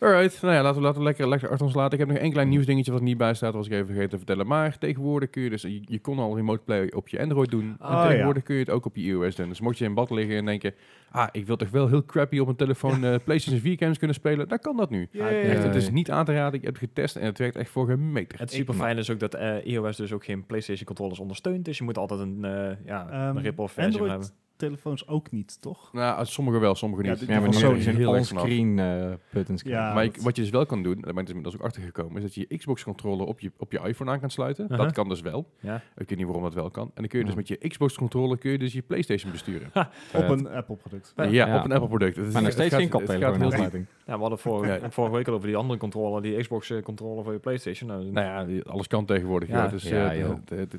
Speaker 3: Alright, nou ja, laten we, laten we lekker, lekker achter ons laten. Ik heb nog één
Speaker 1: Mm.
Speaker 3: klein nieuwsdingetje wat er niet bij staat, was ik even vergeten te vertellen. Maar tegenwoordig kun je dus, je, je kon al remote play op je Android doen. En
Speaker 1: Oh,
Speaker 3: tegenwoordig
Speaker 1: ja.
Speaker 3: kun je het ook op je iOS doen. Dus mocht je in bad liggen en denken, ah, ik wil toch wel heel crappy op mijn telefoon eh, PlayStation 4 games kunnen spelen, dan kan dat nu.
Speaker 1: Yay.
Speaker 3: Echt,
Speaker 5: Ja.
Speaker 3: het is niet aan te raden. Ik heb het getest en het werkt echt voor gemeten.
Speaker 5: Het super fijn is ook dat eh, iOS dus ook geen PlayStation controllers ondersteunt. Dus je moet altijd een, eh ja,
Speaker 1: Ehm,
Speaker 5: een rip-off versie van
Speaker 1: Android-
Speaker 5: hebben.
Speaker 1: Telefoons ook niet, toch?
Speaker 3: Nou, sommige wel, sommige
Speaker 1: Ja,
Speaker 3: niet.
Speaker 1: dit-
Speaker 2: Ja, maar
Speaker 1: van
Speaker 2: nu
Speaker 1: Sony
Speaker 2: hebben ze
Speaker 3: zijn
Speaker 2: een
Speaker 3: heel erg vanaf.
Speaker 2: on-screen eh, buttons.
Speaker 1: Ja.
Speaker 2: krijgen.
Speaker 3: Maar
Speaker 1: dat-
Speaker 3: ik- wat je dus wel kan doen, daar ben ik inmiddels ook achtergekomen, is dat je je Xbox-controller op je, op je iPhone aan kan sluiten.
Speaker 5: Aha.
Speaker 3: Dat kan dus wel.
Speaker 5: Ja.
Speaker 3: Ik weet niet waarom dat wel kan. En dan kun je dus
Speaker 2: Uh-huh. Ja.
Speaker 3: met je Xbox-controller kun je dus je PlayStation besturen. Eh,
Speaker 1: Op een Apple-product.
Speaker 3: ja,
Speaker 2: Ja.
Speaker 3: op een Apple-product. Het is-
Speaker 2: Maar Eh, nog
Speaker 3: het
Speaker 2: steeds geen
Speaker 3: gaat- het gaat
Speaker 2: koptelefoon
Speaker 3: heel diep.
Speaker 2: aansluiting.
Speaker 5: Ja, we hadden vorige,
Speaker 3: Ja.
Speaker 5: vorige week al over die andere controller, die Xbox-controller voor je PlayStation. Nou,
Speaker 3: Nou ja, die- alles kan tegenwoordig.
Speaker 5: Ja.
Speaker 3: Ja. Dus,
Speaker 2: Ja,
Speaker 3: eh,
Speaker 2: joh.
Speaker 3: d- d- d-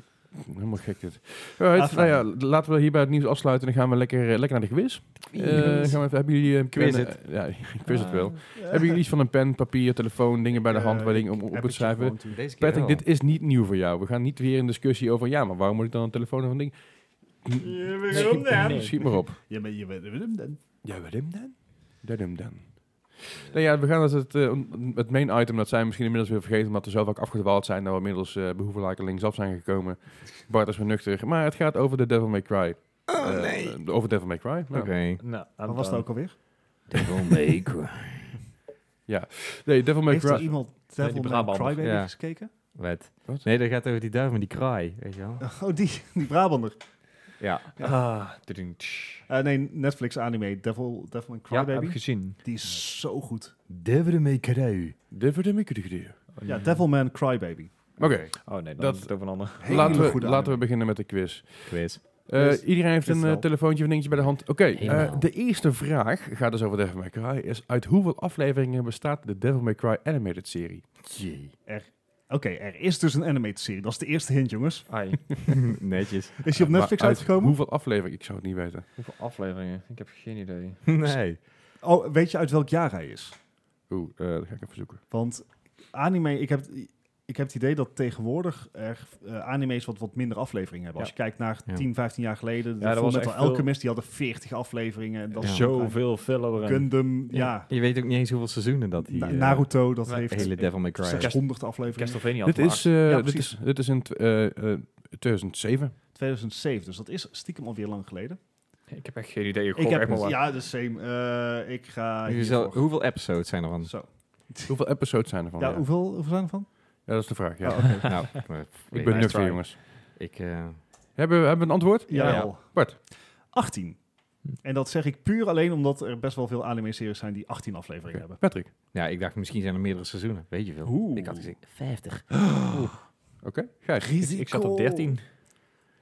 Speaker 3: helemaal gek dit. Alright,
Speaker 1: Ah,
Speaker 3: nou ja, l- laten we hierbij het nieuws afsluiten. Dan gaan we lekker, eh, lekker naar de quiz. Eh, gaan we even, hebben jullie een
Speaker 2: Quiz Ah.
Speaker 3: pen-
Speaker 2: it.
Speaker 3: eh, ja, ik quiz het wel. Hebben jullie iets van een pen, papier, telefoon, dingen bij de
Speaker 1: Eh,
Speaker 2: Eh,
Speaker 3: hand, waar dingen om op te schrijven?
Speaker 2: Deze keer
Speaker 3: Patrick,
Speaker 2: wel.
Speaker 3: dit is niet nieuw voor jou. We gaan niet weer in discussie over, ja, maar waarom moet ik dan een telefoon of een ding?
Speaker 5: waarom dan? Nee.
Speaker 3: Schiet maar op.
Speaker 1: Ja, maar je bent hem dan.
Speaker 3: Ja, wat hem dan? Dat hem dan. Nou ja, we gaan dus het, eh, het main item, dat zijn we misschien inmiddels weer vergeten, omdat we zo vaak afgedwaald zijn, dat we inmiddels eh behoeven lekker linksaf zijn gekomen. Bart is weer nuchter. Maar het gaat over de Devil May Cry. Eh, eh, over Devil May Cry. Nou,
Speaker 2: Oké.
Speaker 5: nou,
Speaker 1: Wat was dat ook alweer?
Speaker 2: Devil May Cry.
Speaker 3: Nee, Devil May
Speaker 1: Heeft er
Speaker 3: Cry.
Speaker 1: iemand
Speaker 5: Nee, die
Speaker 1: Devil May
Speaker 5: Brabander.
Speaker 1: Crybaby
Speaker 2: Ja.
Speaker 1: gekeken?
Speaker 2: Wet.
Speaker 3: Wat?
Speaker 2: Nee, dat gaat over die duif met die kraai, weet je wel.
Speaker 1: Oh, die, die Brabander.
Speaker 2: Ja.
Speaker 5: Ah, tudum, tsch.
Speaker 1: Eh, nee, Netflix anime Devil, Devil May
Speaker 5: ja, heb ik
Speaker 1: Crybaby.
Speaker 5: gezien.
Speaker 1: die is zo goed.
Speaker 2: Devil May Cry.
Speaker 3: Devil May Cry.
Speaker 5: Oh,
Speaker 1: Ja,
Speaker 5: nee.
Speaker 1: Devil Man Crybaby.
Speaker 3: Oké,
Speaker 5: Oh nee, dat
Speaker 3: Dat-
Speaker 5: is het over een ander.
Speaker 1: Hele
Speaker 3: laten we-
Speaker 1: goede
Speaker 3: laten we
Speaker 1: anime.
Speaker 3: beginnen met de quiz.
Speaker 2: Quiz.
Speaker 3: Eh, Eh,
Speaker 5: Dus-
Speaker 3: iedereen heeft
Speaker 5: dus
Speaker 3: een eh,
Speaker 5: wel.
Speaker 3: telefoontje of een dingetje bij de hand. Oké, eh,
Speaker 4: Helemaal.
Speaker 3: de eerste vraag gaat dus over Devil May Cry. Is uit hoeveel afleveringen bestaat de Devil May Cry animated serie?
Speaker 1: Oké, er is dus een animated serie. Dat is de eerste hint, jongens.
Speaker 5: Ai,
Speaker 2: Netjes.
Speaker 1: Is die
Speaker 3: Eh,
Speaker 1: op
Speaker 3: Maar
Speaker 1: Netflix
Speaker 3: uit
Speaker 1: uitgekomen?
Speaker 3: Hoeveel afleveringen? Ik zou het niet weten.
Speaker 5: hoeveel afleveringen? Ik heb geen idee.
Speaker 2: Nee.
Speaker 1: Oh, weet je uit welk jaar hij is?
Speaker 3: Oeh, eh, dat ga ik even zoeken.
Speaker 1: Want anime, ik heb, ik heb het idee dat tegenwoordig er, eh, anime's wat, wat minder afleveringen hebben. Als je kijkt naar
Speaker 2: Ja.
Speaker 1: 10, 15 jaar geleden, de
Speaker 5: dat
Speaker 1: Full
Speaker 5: was
Speaker 1: Metal
Speaker 5: echt veel-
Speaker 1: Alchemist, die hadden 40 afleveringen. En dat
Speaker 2: Ja.
Speaker 1: soort
Speaker 5: Zoveel filler
Speaker 1: dingen.
Speaker 5: erin.
Speaker 1: Gundam, ja.
Speaker 2: Je weet ook niet eens hoeveel seizoenen dat die...
Speaker 1: Na-
Speaker 2: eh,
Speaker 1: Naruto, dat
Speaker 5: maar
Speaker 1: heeft
Speaker 2: hele Devil May Cry. is.
Speaker 1: 600 afleveringen.
Speaker 5: Castlevania had
Speaker 3: Dit is, eh,
Speaker 1: Ja,
Speaker 3: dit,
Speaker 1: precies.
Speaker 3: is, dit is in tw- eh, eh, 2007.
Speaker 1: 2007, dus dat is stiekem alweer lang geleden.
Speaker 5: Ik heb echt geen idee. Ik,
Speaker 1: ik heb,
Speaker 5: heb maar waar.
Speaker 1: ja, de same. Eh, ik ga
Speaker 2: Nu is wel- Oh,
Speaker 1: hiervoor.
Speaker 2: Hoeveel episodes zijn er van?
Speaker 1: Zo.
Speaker 3: Hoeveel episodes zijn er van?
Speaker 1: Ja,
Speaker 3: Ja,
Speaker 1: hoeveel, hoeveel zijn er van?
Speaker 3: Ja, dat is de vraag. Ja.
Speaker 1: Oh, oké.
Speaker 2: nou, ik ben
Speaker 3: ik ben nuchter,
Speaker 2: try.
Speaker 3: jongens.
Speaker 2: Ik, eh,
Speaker 3: Hebben, we- hebben we een antwoord?
Speaker 1: Ja,
Speaker 2: Ja.
Speaker 1: wel.
Speaker 3: Bart.
Speaker 1: 18. En dat zeg ik puur alleen omdat er best wel veel anime-series zijn die 18 afleveringen hebben.
Speaker 3: Patrick.
Speaker 2: ja, ik dacht misschien zijn er meerdere seizoenen. Weet je veel.
Speaker 1: Oeh.
Speaker 2: Ik had gezegd,
Speaker 4: 50.
Speaker 3: Oké, Gijs.
Speaker 5: Ik, ik zat op 13.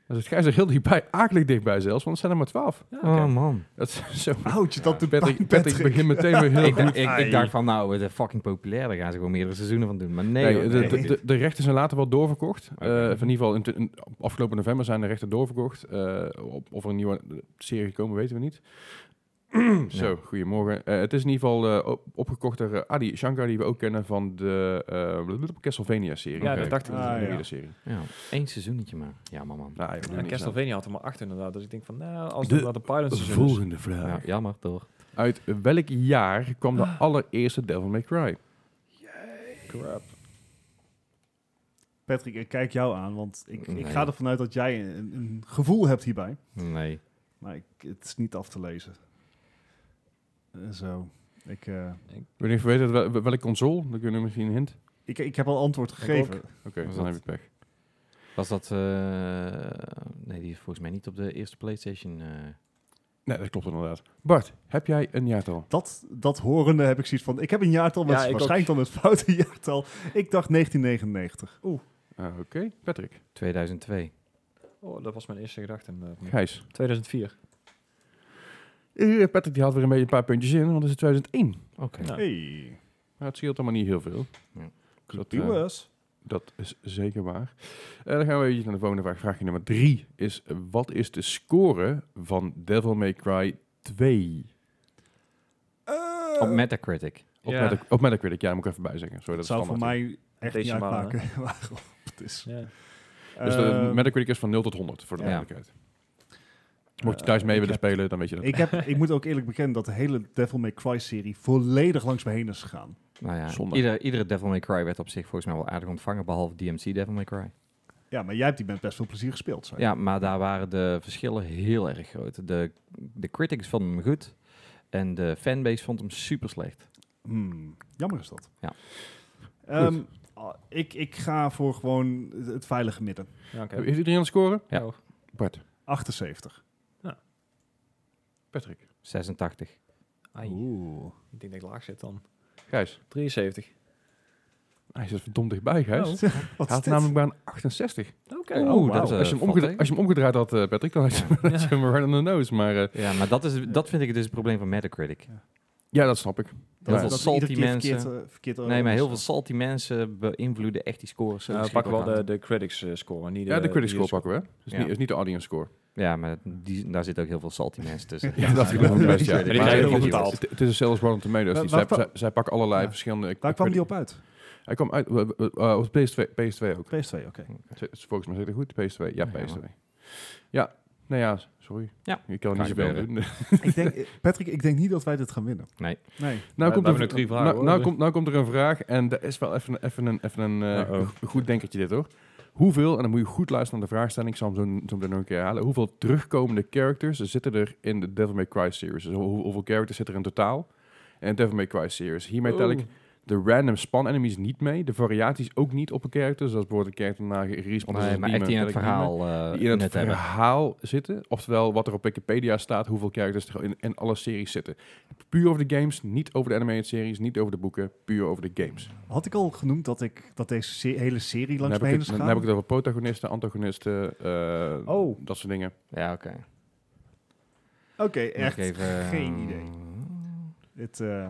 Speaker 3: Dat is Gijs er heel dichtbij, akelig dichtbij zelfs, want het zijn er maar 12.
Speaker 5: Ja,
Speaker 2: oh
Speaker 5: oké.
Speaker 2: man.
Speaker 3: Dat is zo.
Speaker 1: Oudje, dat doet
Speaker 3: Patrick,
Speaker 1: pijn,
Speaker 3: Patrick, begint meteen weer heel
Speaker 2: ik,
Speaker 3: goed.
Speaker 2: dacht- ik,
Speaker 1: Ai.
Speaker 2: ik dacht van, nou, het is fucking populair. Daar gaan ze gewoon meerdere seizoenen van doen. Maar nee,
Speaker 3: Nee,
Speaker 2: hoor,
Speaker 3: de,
Speaker 2: nee.
Speaker 3: de, de, de rechten zijn later wel doorverkocht.
Speaker 2: Oké.
Speaker 3: Eh, of in ieder geval, in, te- in- afgelopen november zijn de rechten doorverkocht. Eh, op, of er een nieuwe eh, serie komen, weten we niet. Zo, goedemorgen. Eh, het is in ieder geval eh, op- opgekocht door eh, Adi Shankar, die we ook kennen van de eh, Castlevania-serie.
Speaker 5: Ja,
Speaker 3: Oké.
Speaker 5: dat dacht ik.
Speaker 1: Ah,
Speaker 3: De
Speaker 1: ja.
Speaker 3: nieuwe serie.
Speaker 2: Ja, één seizoentje maar. Ja, maar man.
Speaker 3: Nou, ja,
Speaker 5: Ja,
Speaker 3: niks aan.
Speaker 5: Castlevania had er maar 8 inderdaad. Dus ik denk van, nou, als
Speaker 3: De
Speaker 5: dat de pilot seizoen is. dus-
Speaker 3: Volgende
Speaker 2: Ja,
Speaker 3: vraag.
Speaker 2: jammer, toch?
Speaker 3: Uit welk jaar kwam de
Speaker 5: Ah.
Speaker 3: allereerste Devil May Cry?
Speaker 1: Patrick, ik kijk jou aan, want ik,
Speaker 2: Nee.
Speaker 1: ik ga ervan uit dat jij een, een gevoel hebt hierbij.
Speaker 2: Nee.
Speaker 1: Maar ik, het is niet af te lezen. Eh, zo. Ik, eh,
Speaker 3: Wil je even weten wel- welke console? Dan kunnen we misschien een hint.
Speaker 1: ik, ik heb al antwoord gegeven.
Speaker 3: Oké,
Speaker 2: Was
Speaker 3: dan
Speaker 2: dat-
Speaker 3: heb ik pech.
Speaker 2: Was dat... eh, nee, die is volgens mij niet op de eerste PlayStation. eh.
Speaker 3: Nee, dat klopt inderdaad. Bart, heb jij een jaartal?
Speaker 1: Dat, dat horende heb ik zoiets van, ik heb een jaartal, maar
Speaker 5: Ja,
Speaker 1: het is
Speaker 5: ik
Speaker 1: waarschijnlijk dan het foute jaartal. Ik dacht 1999.
Speaker 3: Ah, Oké, Patrick.
Speaker 2: 2002.
Speaker 5: Oh, dat was mijn eerste gedachte. eh, inderdaad.
Speaker 3: Gijs.
Speaker 5: 2004.
Speaker 3: Eh, Patrick die haalt weer een beetje een paar puntjes in, want het is 2001.
Speaker 2: Oké.
Speaker 5: Ja.
Speaker 1: Hey,
Speaker 3: Maar het scheelt allemaal niet heel veel.
Speaker 2: Ja.
Speaker 3: Dus Dat, eh,
Speaker 1: US.
Speaker 3: dat is zeker waar. Eh, dan gaan we eventjes naar de volgende vraag. Vraagje nummer drie is, eh, wat is de score van Devil May Cry 2?
Speaker 5: Eh,
Speaker 2: Op Metacritic.
Speaker 3: Op,
Speaker 5: Ja.
Speaker 3: Metac- op Metacritic, ja, daar moet ik even bij zeggen. Sorry, dat
Speaker 1: Dat
Speaker 3: is
Speaker 1: zou voor
Speaker 3: standaard.
Speaker 1: mij echt niet
Speaker 5: Decimalen,
Speaker 1: uitmaken waarom het is.
Speaker 5: Ja.
Speaker 3: Dus de
Speaker 2: Eh,
Speaker 1: Ehm,
Speaker 3: Metacritic is van 0 tot 100, voor de
Speaker 2: Ja.
Speaker 3: duidelijkheid. Mocht je thuis mee
Speaker 1: Eh, ik
Speaker 3: willen
Speaker 1: heb-
Speaker 3: spelen, dan weet je dat.
Speaker 1: ik, heb, ik moet ook eerlijk bekennen dat de hele Devil May Cry-serie volledig langs me heen is gegaan.
Speaker 2: Nou ja,
Speaker 3: Zonde.
Speaker 2: ieder, iedere Devil May Cry werd op zich volgens mij wel aardig ontvangen, behalve DMC Devil May Cry.
Speaker 1: Ja, maar jij hebt die met best veel plezier gespeeld, zei je.
Speaker 2: Ja, maar daar waren de verschillen heel erg groot. De, de critics vonden hem goed en de fanbase vond hem super slecht.
Speaker 1: Hmm, jammer is dat.
Speaker 2: Ja.
Speaker 1: Ehm, ah, ik, ik ga voor gewoon het- het veilige midden.
Speaker 5: Ja, oké.
Speaker 3: Heeft iedereen een score?
Speaker 2: Ja.
Speaker 5: Oh.
Speaker 3: Bart,
Speaker 1: 78.
Speaker 3: Patrick,
Speaker 2: 86.
Speaker 5: Ai,
Speaker 1: Oeh.
Speaker 5: ik denk dat ik laag zit dan.
Speaker 3: Gijs.
Speaker 5: 73.
Speaker 3: Hij zit verdomd dichtbij, Gijs.
Speaker 1: Oh, Wat
Speaker 3: Hij
Speaker 1: is dit?
Speaker 3: had
Speaker 5: nou
Speaker 3: namelijk maar een 68.
Speaker 5: Oké.
Speaker 1: Oh, wauw.
Speaker 2: eh,
Speaker 3: als, je hem
Speaker 2: valt
Speaker 3: omgeda-
Speaker 2: tegen.
Speaker 3: als je hem omgedraaid had, eh, Patrick, dan had je hem had je hem right on the nose. Maar eh,
Speaker 2: Ja, maar dat, is, dat vind ik dus het probleem van Metacritic.
Speaker 3: ja, dat snap ik.
Speaker 1: Dat-
Speaker 2: heel veel
Speaker 1: dat we iedere
Speaker 2: salty
Speaker 1: keer verkeerd,
Speaker 2: mensen.
Speaker 1: eh, verkeerd
Speaker 2: Nee, maar heel veel
Speaker 1: overstaan.
Speaker 2: salty mensen beïnvloeden echt die scores. zo
Speaker 5: Nou, we pakken
Speaker 2: verschrikkelijk
Speaker 5: wel de,
Speaker 2: hard.
Speaker 5: de critics eh, score, niet de...
Speaker 3: Ja, de critic
Speaker 5: die
Speaker 3: score pakken we. hè. Dus
Speaker 2: Ja.
Speaker 3: niet, is niet de audience score.
Speaker 2: Ja, maar die, daar zitten ook heel veel salty mensen tussen.
Speaker 3: Ja, dat
Speaker 1: ja, ja.
Speaker 3: juist,
Speaker 1: En die
Speaker 3: Maar het
Speaker 5: krijgen ook
Speaker 3: is-
Speaker 5: betaald.
Speaker 3: Het het is zelfs Rotten Tomatoes.
Speaker 1: Waar-
Speaker 3: Die-
Speaker 1: waar
Speaker 3: Dus Zij,
Speaker 1: kwam-
Speaker 3: zij, zij pakken allerlei
Speaker 1: Ja.
Speaker 3: verschillende...
Speaker 1: Waar kwam die
Speaker 3: critic-
Speaker 1: op uit?
Speaker 3: Hij kwam uit eh, eh, eh, op PS2, PS2 ook.
Speaker 1: PS2, oké.
Speaker 3: Z- is Volgens mij zit ik goed. PS2. Ja,
Speaker 2: Ja, ja,
Speaker 3: PS2. Ja, nou ja, sorry.
Speaker 2: Ja.
Speaker 3: Ik kan
Speaker 2: Kan
Speaker 3: er niet zoveel
Speaker 2: gebeuren.
Speaker 3: doen.
Speaker 1: ik denk, eh, Patrick, ik denk niet dat wij dit gaan winnen.
Speaker 2: Nee.
Speaker 3: Nou,
Speaker 1: Nee.
Speaker 5: Ja,
Speaker 3: komt
Speaker 5: we
Speaker 3: er,
Speaker 5: hebben nog drie vragen,
Speaker 3: nou,
Speaker 5: hoor.
Speaker 3: nou, komt, nou komt er een vraag en dat is wel even, even een, even een eh,
Speaker 5: Uh-oh.
Speaker 3: go- goed denkertje dit hoor. Hoeveel, en dan moet je goed luisteren naar de vraagstelling, ik zal hem zo, zo meteen nog een keer halen. Hoeveel terugkomende characters zitten er in de Devil May Cry series? Dus hoe- hoeveel characters zitten er in totaal in de Devil May Cry series? Hiermee tel ik de random spawn enemies niet mee. De variaties ook niet op een character. Zoals bijvoorbeeld een character na gerespond is. als
Speaker 2: Nee,
Speaker 3: een
Speaker 2: maar
Speaker 3: demon,
Speaker 2: echt die in het
Speaker 3: character niet mee.
Speaker 2: verhaal eh,
Speaker 3: Die in het
Speaker 2: net hebben.
Speaker 3: verhaal zitten. Oftewel wat er op Wikipedia staat. Hoeveel characters er in, in alle series zitten. Puur over de games. Niet over de animated series. Niet over de boeken. Puur over de games.
Speaker 1: Had ik al genoemd dat, ik, dat deze se- hele serie
Speaker 3: Dan
Speaker 1: langs
Speaker 3: heb,
Speaker 1: me
Speaker 3: ik
Speaker 1: heen
Speaker 3: het,
Speaker 1: is
Speaker 3: dan heb ik
Speaker 1: gegaan?
Speaker 3: het over protagonisten, antagonisten. eh,
Speaker 1: Oh.
Speaker 3: Dat soort dingen.
Speaker 2: Ja, oké.
Speaker 1: Oké, echt
Speaker 2: Nog even,
Speaker 1: geen
Speaker 2: eh,
Speaker 1: idee. Het, eh,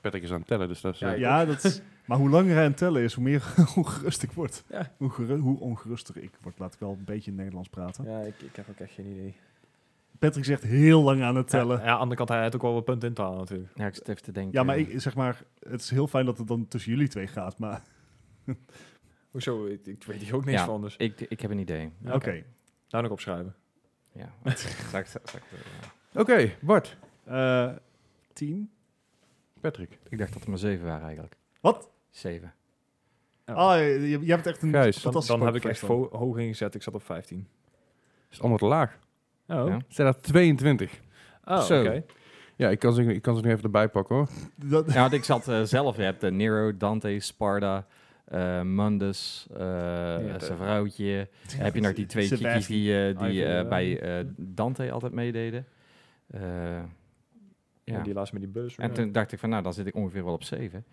Speaker 3: Patrick is aan het tellen. Dus dat is, eh,
Speaker 1: ja, dat is- maar hoe langer hij aan het tellen is, hoe meer ongerust ik word.
Speaker 5: Ja.
Speaker 1: Hoe, geru- hoe ongeruster ik word. Laat ik wel een beetje in het Nederlands praten.
Speaker 5: Ja, ik, ik heb ook echt geen idee.
Speaker 1: Patrick zegt heel lang aan het
Speaker 5: Ja,
Speaker 1: tellen.
Speaker 5: ja, aan de andere kant, hij had ook wel wat punten in te halen natuurlijk.
Speaker 2: Ja, ik zit even te denken.
Speaker 1: Ja, maar ik, zeg maar, het is heel fijn dat het dan tussen jullie twee gaat. Maar
Speaker 5: Hoezo? Ik, ik weet hier ook niks
Speaker 2: Ja.
Speaker 5: van, dus
Speaker 2: Ik, ik heb een idee.
Speaker 1: oké,
Speaker 5: daar nog opschrijven.
Speaker 2: Ja. Zal ik- zal ik- zal ik- ja.
Speaker 3: Oké, Bart.
Speaker 1: Eh, tien.
Speaker 3: Patrick.
Speaker 2: Ik dacht dat er maar zeven waren eigenlijk.
Speaker 1: Wat?
Speaker 2: Zeven.
Speaker 5: Ja.
Speaker 1: Ah, je, je hebt echt een
Speaker 3: Gijs,
Speaker 5: dan
Speaker 1: fantastische
Speaker 5: dan heb ik echt
Speaker 1: spookvlees
Speaker 5: vo- hoog ingezet, ik zat op 15.
Speaker 3: Is allemaal te laag.
Speaker 5: Oh,
Speaker 2: Ja.
Speaker 3: Zijn dat 22?
Speaker 5: oh oké.
Speaker 2: Zo.
Speaker 3: Ja, ik kan ze, ik kan ze nu even erbij pakken hoor.
Speaker 1: dan. Dat-
Speaker 2: Ja, want ik zat eh, zelf, je hebt eh, Nero, Dante, Sparta, eh Mundus, eh
Speaker 5: dat-
Speaker 2: zijn vrouwtje. heb je nog die twee
Speaker 1: Sebastian.
Speaker 2: chickies die, eh, die
Speaker 5: Ivy,
Speaker 2: eh,
Speaker 5: eh,
Speaker 2: bij eh, Dante altijd meededen. Eh,
Speaker 5: Ja.
Speaker 2: ja.
Speaker 5: Die laatst met die bus.
Speaker 2: En toen dacht ik van, nou, dan zit ik ongeveer wel op zeven.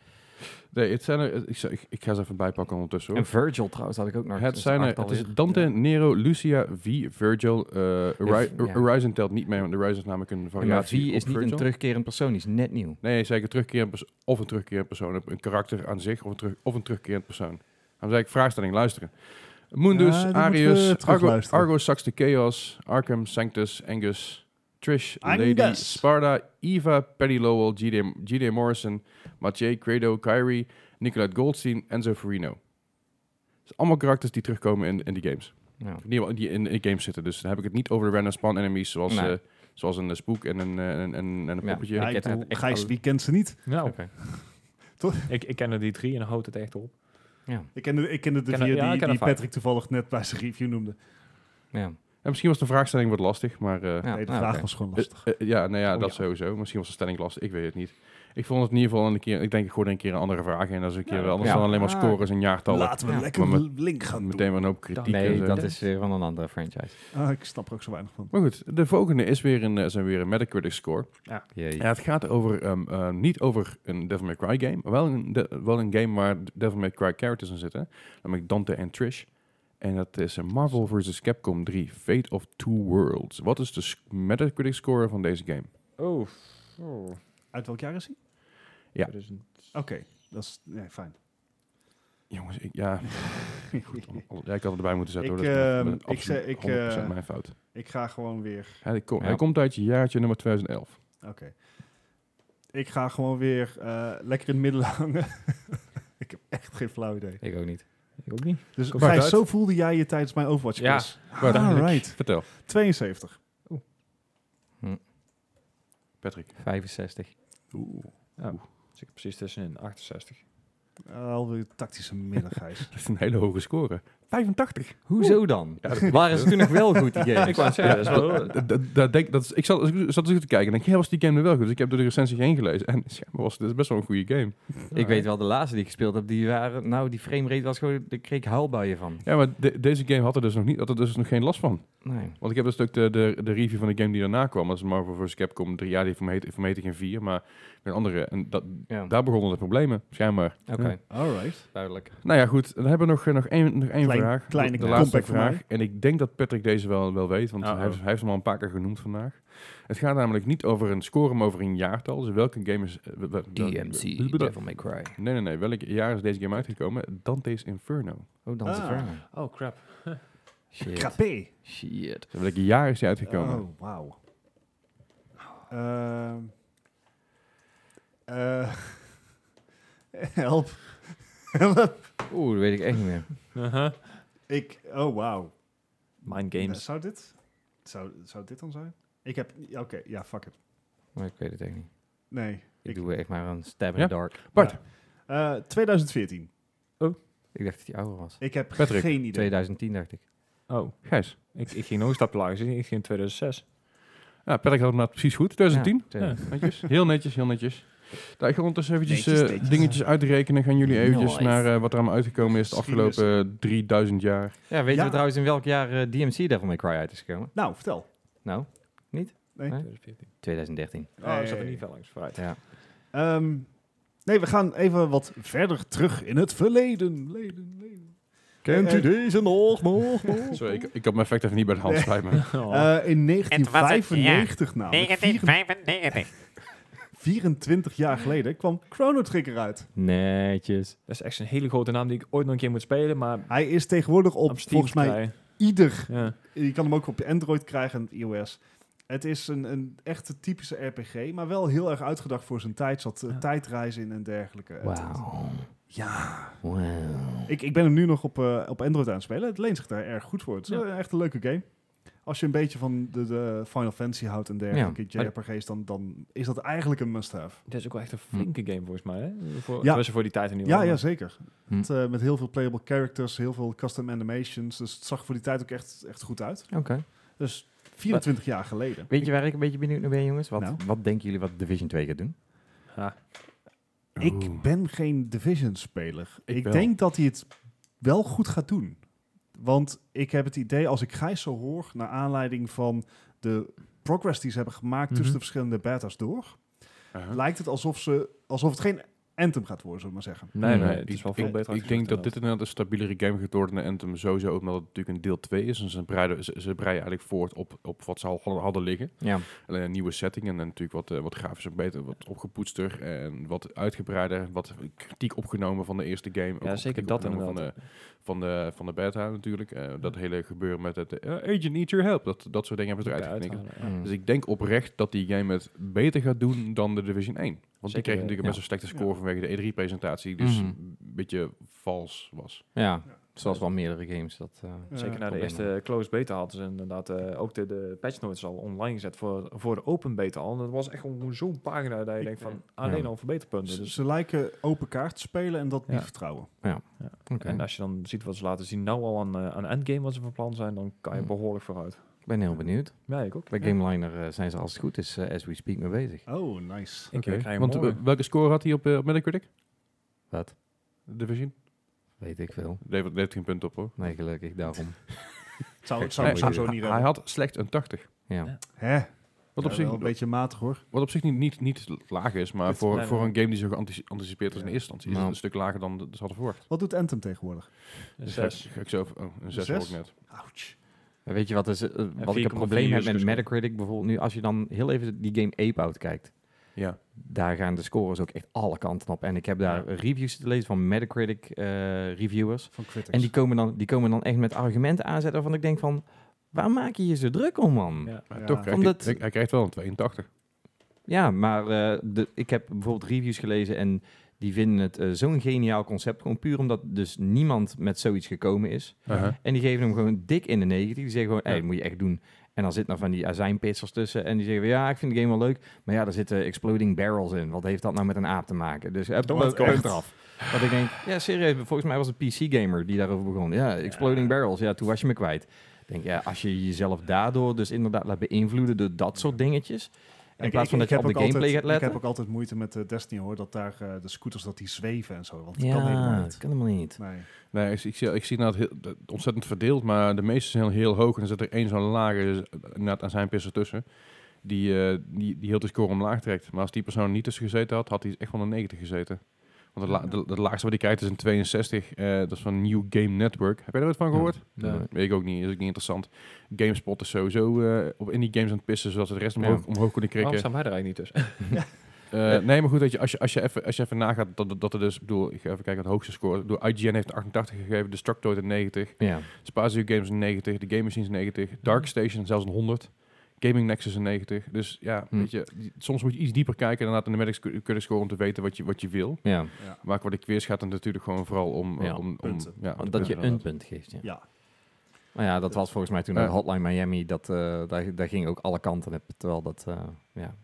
Speaker 3: Nee, het zijn er, het- ik, zal- ik, ik ga ze even bijpakken ondertussen hoor.
Speaker 2: En Virgil trouwens had ik ook nog.
Speaker 3: Het
Speaker 2: een
Speaker 3: zijn er,
Speaker 2: achttal
Speaker 3: het is
Speaker 2: weer.
Speaker 3: Dante,
Speaker 2: Ja.
Speaker 3: Nero, Lucia, V, Virgil. eh, Ori-
Speaker 2: ja.
Speaker 3: Horizon telt niet mee, want Horizon is namelijk een
Speaker 2: Ja, maar V
Speaker 3: variatie op
Speaker 2: is niet
Speaker 3: Virgil.
Speaker 2: een terugkerend persoon, die is net nieuw.
Speaker 3: Nee, zeker terugkerend perso- of een terugkerend persoon. Een karakter aan zich of een, terug, of een terugkerend persoon. Dan zei ik vraagstelling, luisteren. Mundus,
Speaker 1: Ja, die moeten we
Speaker 3: Arius,
Speaker 1: terug
Speaker 3: Argo,
Speaker 1: luisteren.
Speaker 3: Argo Sax de Chaos, Arkham, Sanctus, Angus, Trish, Lady,
Speaker 1: Angus.
Speaker 3: Sparta, Eva, Patty Lowell, G.D. G.D. Morrison, Mathieu, Credo, Kyrie, Nicolette Goldstein, Enzo Ferrino. Dus allemaal karakters die terugkomen in, in die games.
Speaker 2: Ja.
Speaker 3: In ieder geval die in, in games zitten. Dus dan heb ik het niet over de random spawn enemies zoals,
Speaker 2: Nee.
Speaker 3: eh, zoals een eh, spook en een, eh, en, en, en een
Speaker 2: Ja.
Speaker 3: poppetje.
Speaker 1: Ja, ik
Speaker 2: heb
Speaker 1: bedoel,
Speaker 2: het echt
Speaker 1: Gijs,
Speaker 2: al-
Speaker 1: wie kent ze niet?
Speaker 5: Nou,
Speaker 2: Oké.
Speaker 5: ik, ik ken er die drie en dan houdt het echt op.
Speaker 2: Ja.
Speaker 1: Ik kende, ik kende de
Speaker 5: Ken er-
Speaker 1: vier
Speaker 5: ja, ik
Speaker 1: die,
Speaker 5: ken er
Speaker 1: die
Speaker 5: vijf.
Speaker 1: Patrick toevallig net bij zijn review noemde.
Speaker 2: Ja.
Speaker 3: En misschien was de vraagstelling wat lastig, maar... eh,
Speaker 2: Ja,
Speaker 1: nee, de
Speaker 2: ah,
Speaker 1: vraag
Speaker 2: oké.
Speaker 1: was gewoon
Speaker 3: eh,
Speaker 1: lastig.
Speaker 3: eh, ja, nou ja,
Speaker 5: Oh,
Speaker 3: dat
Speaker 5: ja.
Speaker 3: sowieso. Misschien was de stelling lastig, ik weet het niet. Ik vond het in ieder geval een keer... Ik denk, ik gooi er een keer een andere vraag in. Dat is een keer
Speaker 5: Ja,
Speaker 3: wel anders
Speaker 2: ja.
Speaker 3: dan alleen maar
Speaker 2: Ah.
Speaker 3: scores en jaartallen.
Speaker 1: Laten we
Speaker 2: Ja.
Speaker 1: lekker
Speaker 3: Maar
Speaker 1: link gaan doen.
Speaker 3: Meteen maar een hoop kritiek. en
Speaker 2: Nee,
Speaker 3: zo.
Speaker 2: dat is weer van een andere franchise.
Speaker 1: Ah, ik snap er ook zo weinig van.
Speaker 3: Maar goed, de volgende is weer een, eh, zijn weer een Metacritic score.
Speaker 2: Jee.
Speaker 3: Ja, het gaat over, ehm, eh, niet over een Devil May Cry game, maar wel een, de- wel een game waar Devil May Cry characters in zitten. Namelijk Dante en Trish. En dat is een Marvel vs. Capcom 3, Fate of Two Worlds. Wat is de sc- Metacritic score van deze game?
Speaker 5: Oh. oh.
Speaker 1: Uit welk jaar is hij?
Speaker 3: Ja.
Speaker 1: Oké, dat is nee, fijn.
Speaker 3: Jongens, ik, ja, al- ja, ik had het erbij moeten zetten.
Speaker 1: Ik,
Speaker 3: hoor, dat is
Speaker 1: ehm,
Speaker 3: mijn-
Speaker 1: ik
Speaker 3: absoluut
Speaker 1: zei- ik,
Speaker 3: 100%
Speaker 1: eh,
Speaker 3: mijn fout.
Speaker 1: ik ga gewoon weer...
Speaker 3: Hij, kom-
Speaker 2: Ja.
Speaker 3: hij komt uit jaartje nummer 2011.
Speaker 1: Ik ga gewoon weer eh, lekker in het midden hangen. ik heb echt geen flauw idee.
Speaker 2: Ik ook niet.
Speaker 5: Ik ook niet.
Speaker 1: Dus
Speaker 5: Komt
Speaker 1: Gijs,
Speaker 5: uit.
Speaker 1: zo voelde jij je tijdens mijn Overwatch
Speaker 5: Ja,
Speaker 1: quiz.
Speaker 3: Bart,
Speaker 1: Alright.
Speaker 3: Vertel,
Speaker 1: 72.
Speaker 3: Patrick.
Speaker 2: 65.
Speaker 1: Oeh.
Speaker 5: Dus ik precies tussenin, 68.
Speaker 1: Alweer tactische middag, Gijs.
Speaker 3: Dat is een hele hoge score. 85.
Speaker 2: Hoezo dan?
Speaker 3: Ja, dat
Speaker 2: Waren ze toen nog wel goed, die games?
Speaker 5: Ik wou het zeggen, dat is wel...
Speaker 3: Dat- dat- dat denk- dat is- Ik zat ik zat eens goed te kijken en denk, ja, was die game nou wel goed? Dus ik heb door de recensie heen gelezen en ja, maar was, dit is best wel een goede game.
Speaker 2: Ik weet wel, de laatste die ik gespeeld heb, die waren... Nou, die framerate was gewoon... Daar kreeg ik huilbuien van.
Speaker 3: Ja, maar de- deze game had er dus nog niet, had er dus nog geen last van.
Speaker 2: Nee.
Speaker 3: Want ik heb dus ook de, de, de review van de game die daarna kwam, dat is Marvel vs. Capcom 3, ja, die heeft voor mij- voor mij geen 4, maar een andere. En dat,
Speaker 2: Ja,
Speaker 3: daar begonnen de problemen, schijnbaar.
Speaker 2: oké.
Speaker 3: Ja.
Speaker 1: Alright.
Speaker 2: Duidelijk.
Speaker 3: Nou ja, goed, dan hebben we nog, eh, nog één, nog één
Speaker 1: Klein-
Speaker 3: vraag.
Speaker 1: kleine
Speaker 3: de laatste
Speaker 1: comeback voor Ah, oh.
Speaker 3: vraag. En ik denk dat Patrick deze wel, wel weet, want
Speaker 5: Uh-oh.
Speaker 3: hij, heeft- hij heeft hem al een paar keer genoemd vandaag. Het gaat namelijk niet over een score, maar over een jaartal. Dus welke game is... eh, wel- wel-
Speaker 2: DMC,
Speaker 3: wel-
Speaker 2: Devil May Cry.
Speaker 3: Nee, nee, nee. Welk jaar is deze game uitgekomen? Dante's Inferno.
Speaker 2: Oh, dan is het
Speaker 1: Ah.
Speaker 2: waar.
Speaker 5: Oh, crap.
Speaker 2: Shit.
Speaker 1: Krapé.
Speaker 2: Shit.
Speaker 3: Dus welk jaar is die uitgekomen?
Speaker 1: Oh, wauw. Ehm. Eh, help. help.
Speaker 2: Oeh, dat weet ik echt niet meer.
Speaker 5: Uh-huh.
Speaker 1: Ik, oh, wauw.
Speaker 5: Mind
Speaker 1: Eh,
Speaker 5: games.
Speaker 1: Zou dit, zou, zou dit dan zijn? Ik heb, ja, oké, ja, fuck it.
Speaker 2: Maar ik weet het echt niet.
Speaker 1: Nee.
Speaker 2: Ik,
Speaker 1: Ik-
Speaker 2: doe echt maar een stab in
Speaker 3: Ja?
Speaker 2: the dark.
Speaker 3: Bart,
Speaker 1: Ja. Eh, 2014.
Speaker 2: Ik dacht dat die ouder was.
Speaker 1: Ik heb
Speaker 3: Patrick.
Speaker 1: geen idee.
Speaker 2: 2010 dacht ik.
Speaker 5: Oh,
Speaker 3: Gijs.
Speaker 5: ik, ik ging nog een stap lager. dus Ik ging in 2006.
Speaker 3: Ja, Patrick had hem nou precies goed. 2010.
Speaker 2: Ja, 2010.
Speaker 3: Netjes. Heel netjes, heel netjes. Nou, ik ga ondertussen eventjes
Speaker 4: Netjes,
Speaker 3: eh,
Speaker 4: netjes.
Speaker 3: dingetjes uitrekenen. Gaan jullie eventjes
Speaker 4: Nice.
Speaker 3: naar eh, wat er allemaal uitgekomen is de
Speaker 1: Geschiedenis.
Speaker 3: afgelopen eh, 3000 jaar.
Speaker 2: Ja, weet
Speaker 1: Ja.
Speaker 2: je trouwens in welk jaar eh, DMC Devil May Cry uit is gekomen?
Speaker 1: Nou, vertel.
Speaker 2: Nou,
Speaker 1: Nee.
Speaker 2: 2013.
Speaker 5: Oh, dat zat er
Speaker 1: Nee.
Speaker 5: niet veel langs vooruit.
Speaker 2: Ja.
Speaker 1: Ehm, nee, we gaan even wat verder terug in het verleden. Leden, leden. Eh, Kent u
Speaker 2: deze nog, nog, nog?
Speaker 3: Sorry, ik, ik had mijn effect even niet bij de hand,
Speaker 1: Nee.
Speaker 3: spijt me.
Speaker 1: Eh, in 1995 namelijk,
Speaker 4: 1995.
Speaker 1: 24 jaar geleden, kwam Chrono Trigger uit.
Speaker 2: Netjes.
Speaker 5: Dat is echt een hele grote naam die ik ooit nog een keer moet spelen, maar
Speaker 1: Hij is tegenwoordig op,
Speaker 5: op Steam
Speaker 1: volgens mij
Speaker 5: te krijgen.
Speaker 1: ieder...
Speaker 5: Ja.
Speaker 1: Je kan hem ook op Android krijgen en iOS. Het is een, een echte typische RPG, maar wel heel erg uitgedacht voor zijn tijd. Zat eh,
Speaker 5: Ja.
Speaker 1: tijdreizen in en dergelijke. Het-
Speaker 2: Wauw.
Speaker 1: Ja,
Speaker 2: Wauw.
Speaker 1: ik, ik ben hem nu nog op, eh, op Android aan het spelen. Het leent zich daar erg goed voor. Het is
Speaker 5: Ja.
Speaker 1: eh, echt een leuke game. Als je een beetje van de, de Final Fantasy houdt en dergelijke
Speaker 2: Ja, maar-
Speaker 1: JRPG's, dan, dan is dat eigenlijk een must-have.
Speaker 5: Dat is ook wel echt een flinke game volgens mij, hè? Voor,
Speaker 1: Ja.
Speaker 5: ja. voor die tijd in ieder
Speaker 1: Ja,
Speaker 5: geval.
Speaker 1: ja, zeker.
Speaker 2: Hm.
Speaker 1: Het, eh, met heel veel playable characters, heel veel custom animations. Dus het zag voor die tijd ook echt, echt goed uit.
Speaker 2: Oké.
Speaker 1: Dus 24 jaar geleden.
Speaker 2: Weet je waar ik een beetje benieuwd naar ben, jongens? Wat,
Speaker 1: Nou?
Speaker 2: wat denken jullie wat Division 2 gaat doen?
Speaker 5: Ha.
Speaker 1: Ik ben geen Division-speler.
Speaker 3: Ik
Speaker 1: Ik,
Speaker 3: wel.
Speaker 1: denk dat hij het wel goed gaat doen. Want ik heb het idee, als ik Gijs zo hoor, naar aanleiding van de progress die ze hebben gemaakt
Speaker 5: Mhm.
Speaker 1: tussen de verschillende beta's door,
Speaker 3: Aha.
Speaker 1: lijkt het alsof, ze, alsof het geen Anthem gaat worden, zullen we maar zeggen.
Speaker 5: Nee, nee,
Speaker 3: Nee,
Speaker 5: het
Speaker 3: ik-
Speaker 5: is wel veel
Speaker 3: Hmm. ik,
Speaker 5: beter
Speaker 3: Ik denk dat dit
Speaker 5: uitgezocht,
Speaker 3: inderdaad een stabielere game gaat worden. En hem sowieso ook omdat het natuurlijk een deel 2 is. En ze breiden, ze, ze breien eigenlijk voort op, op wat ze al hadden- hadden liggen.
Speaker 2: Ja.
Speaker 3: Alleen een nieuwe setting en dan natuurlijk wat, eh, wat grafischer beter, wat opgepoetster en wat uitgebreider. Wat kritiek opgenomen van de eerste game. Ook
Speaker 5: Ja,
Speaker 3: wat
Speaker 5: zeker
Speaker 3: kritiek
Speaker 5: dat
Speaker 3: opgenomen
Speaker 5: inderdaad.
Speaker 3: Van de, van de, van de beta natuurlijk. Eh, dat hele gebeuren met het eh, Agent Needs Your Help. Dat, dat soort dingen hebben ze eruit
Speaker 5: inderdaad.
Speaker 3: geknikkerd.
Speaker 5: Uithalen, ja.
Speaker 2: Mm.
Speaker 3: Dus ik denk oprecht dat die game het beter gaat doen dan de Division 1. Want
Speaker 5: Zeker,
Speaker 3: die kreeg
Speaker 5: eh,
Speaker 3: natuurlijk
Speaker 2: ja.
Speaker 3: best een slechte score vanwege de E3-presentatie. Dus
Speaker 2: Mhm.
Speaker 3: een beetje vals was.
Speaker 2: Ja, zoals wel meerdere games. Dat, eh,
Speaker 5: Zeker na de
Speaker 2: Probleem
Speaker 5: eerste close beta hadden ze inderdaad eh, ook de, de patch notes al online gezet voor, voor de open beta al. En dat was echt gewoon zo'n pagina dat je denkt van alleen
Speaker 2: Ja.
Speaker 5: al verbeterpunten.
Speaker 1: Ze,
Speaker 5: Dus,
Speaker 1: ze lijken open kaart te spelen en dat
Speaker 5: Ja.
Speaker 1: niet vertrouwen.
Speaker 2: Oké.
Speaker 5: En als je dan ziet wat ze laten zien nou al aan, eh, aan endgame wat ze van plan zijn, dan kan je
Speaker 2: Hmm.
Speaker 5: behoorlijk vooruit.
Speaker 2: Ik ben heel benieuwd.
Speaker 5: Ja, ik ook.
Speaker 2: Bij GameLiner eh, zijn ze als het goed is, eh, as we speak, mee bezig.
Speaker 1: Oh, nice.
Speaker 5: Ik eh, krijg hem
Speaker 3: Want eh,
Speaker 5: morgen.
Speaker 3: welke score had hij op, eh, op Metacritic?
Speaker 2: Wat?
Speaker 3: Division?
Speaker 2: Weet ik veel.
Speaker 3: David heeft geen punt op hoor.
Speaker 2: Nee, gelukkig, daarom.
Speaker 1: Het zou, het
Speaker 2: Zou
Speaker 1: zou
Speaker 2: Nee,
Speaker 1: ik
Speaker 2: moet je
Speaker 1: sowieso
Speaker 3: hij,
Speaker 1: niet
Speaker 3: hij
Speaker 1: hebben.
Speaker 3: had slechts een 80.
Speaker 2: Ja.
Speaker 5: Ja.
Speaker 1: Hè?
Speaker 3: Wat,
Speaker 1: Ja,
Speaker 3: op zich,
Speaker 1: wel een beetje matig hoor.
Speaker 3: wat op zich niet, niet, niet laag is, maar
Speaker 5: Het-
Speaker 3: voor,
Speaker 5: nee,
Speaker 3: voor
Speaker 5: nee.
Speaker 3: een game die zo geanticipeerd is in eerste
Speaker 1: Ja.
Speaker 3: instantie, is het
Speaker 2: Nou.
Speaker 3: een stuk lager dan de- ze hadden verwacht.
Speaker 1: Wat doet Anthem tegenwoordig?
Speaker 5: Een
Speaker 3: Dus ga ik-
Speaker 5: zes.
Speaker 3: ga ik zo, oh, een 6 hoor
Speaker 1: zes?
Speaker 3: ik net.
Speaker 1: Ouch.
Speaker 2: En Weet je wat, is, eh, wat ik een
Speaker 5: 4,4
Speaker 2: probleem heb met
Speaker 5: users.
Speaker 2: Metacritic bijvoorbeeld nu? Als je dan heel even die game Ape Out kijkt.
Speaker 3: Ja.
Speaker 2: daar gaan de scores ook echt alle kanten op. En ik heb daar reviews te lezen van Metacritic eh, reviewers.
Speaker 1: Van Critics.
Speaker 2: En die komen, dan, die komen dan echt met argumenten aanzetten waarvan ik denk van... Waar maak je je zo druk om, man? Ja,
Speaker 5: Ja.
Speaker 3: Maar
Speaker 1: Ja.
Speaker 3: toch krijgt hij,
Speaker 2: Omdat-
Speaker 3: hij- hij krijgt wel een 82.
Speaker 2: maar eh, de, ik heb bijvoorbeeld reviews gelezen en die vinden het eh, zo'n geniaal concept. Gewoon puur omdat dus niemand met zoiets gekomen is.
Speaker 3: Aha.
Speaker 2: En die geven hem gewoon dik in de 90. Die zeggen gewoon, hé,
Speaker 3: Ja.
Speaker 2: dat moet je echt doen. En dan zitten er van die azijnpitsers tussen. En die zeggen, van, ja, ik vind de game wel leuk. Maar ja, daar zitten exploding barrels in. Wat heeft dat nou met een aap te maken? Dus heb
Speaker 1: Wat
Speaker 2: ook
Speaker 1: echt?
Speaker 2: achteraf. Dat ik denk, ja, serieus. Volgens mij was het een PC-gamer die daarover begon. Ja, exploding barrels. Ja, toen was je me kwijt. Ik denk, ja, als je jezelf daardoor dus inderdaad laat beïnvloeden door dat soort dingetjes. In
Speaker 1: Ik-
Speaker 2: plaats
Speaker 1: ik-
Speaker 2: van dat
Speaker 1: ik
Speaker 2: je
Speaker 1: heb
Speaker 2: op de
Speaker 1: ook
Speaker 2: gameplay
Speaker 1: altijd-
Speaker 2: gaat letten.
Speaker 1: Ik heb ook altijd moeite met eh, Destiny hoor, dat daar eh, de scooters dat die zweven en zo. Want dat
Speaker 2: ja,
Speaker 1: kan helemaal niet.
Speaker 2: kan helemaal niet.
Speaker 1: Nee.
Speaker 3: Nee, ik, zie- ik zie, ik zie inderdaad heel, dat- ontzettend verdeeld, maar de meeste zijn heel, heel hoog. En er zit er één zo'n lage, eh, inderdaad aan zijn pisser tussen, die, eh, die, die heel de score omlaag trekt. Maar als die persoon er niet tussen gezeten had, had hij echt wel een 90 gezeten. Want het la- de, de laagste wat ik krijgt is een 62, eh, dat is van New Game Network. Heb jij er wat van gehoord?
Speaker 2: Ja.
Speaker 3: Nee, Weet ik ook niet, is ook niet interessant. GameSpot is sowieso eh, op indie games aan het pissen, zodat ze de rest omhoog,
Speaker 2: Ja.
Speaker 3: omhoog kunnen
Speaker 5: Waarom
Speaker 3: krikken.
Speaker 5: staan wij er eigenlijk niet tussen?
Speaker 3: Eh, nee, maar goed, weet je, als je, als je, even, als je even nagaat dat, dat- dat er dus, ik bedoel, ik ga even kijken wat de hoogste score. Ik bedoel, IGN heeft een 88 gegeven, Destructoid een 90,
Speaker 2: Ja.
Speaker 3: Spazio Games een 90, de Game Machines een
Speaker 2: Mhm.
Speaker 3: 90, Dark Station zelfs een 100, Gaming Nexus een 90. Dus ja,
Speaker 2: Hm.
Speaker 3: weet je, die- soms moet je iets dieper kijken dan de Metacritic kunnen scoren om te weten wat je, wat je wil.
Speaker 2: ja,
Speaker 1: Oh,
Speaker 3: Maar qua de quiz gaat het natuurlijk gewoon vooral om... eh,
Speaker 2: Ja,
Speaker 3: om, om
Speaker 1: punten.
Speaker 3: Ja, om de
Speaker 2: dat je
Speaker 3: punten
Speaker 2: een
Speaker 3: inderdaad.
Speaker 2: punt geeft. Ja.
Speaker 1: Ja.
Speaker 2: Maar ja, dat was volgens mij toen
Speaker 3: Ja.
Speaker 2: uit Hotline Miami. Dat, eh, daar, daar ging ook alle kanten op. Terwijl dat, eh, ja.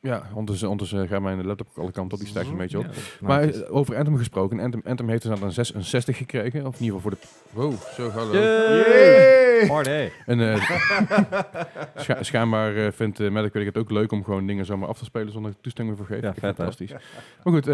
Speaker 3: Ja, dus, ondertussen, ondertussen gaat eh, mijn laptop ook alle kanten op, die stijgt een beetje op.
Speaker 5: Ja.
Speaker 3: Maar
Speaker 2: het is-
Speaker 3: eh, over Anthem gesproken, Anthem, Anthem heeft dus aan een 66 gekregen, of in ieder geval voor de... Wow, zo hallo.
Speaker 2: Yay!
Speaker 1: Yay! Party!
Speaker 2: Party.
Speaker 3: En, eh, scha- schijnbaar eh, vindt uh, Metacritic het ook leuk om gewoon dingen zomaar af te spelen zonder toestemming voor gegeven.
Speaker 2: Ja,
Speaker 3: Ik vind
Speaker 2: vet,
Speaker 3: het
Speaker 2: hè?
Speaker 3: Fantastisch. Maar goed,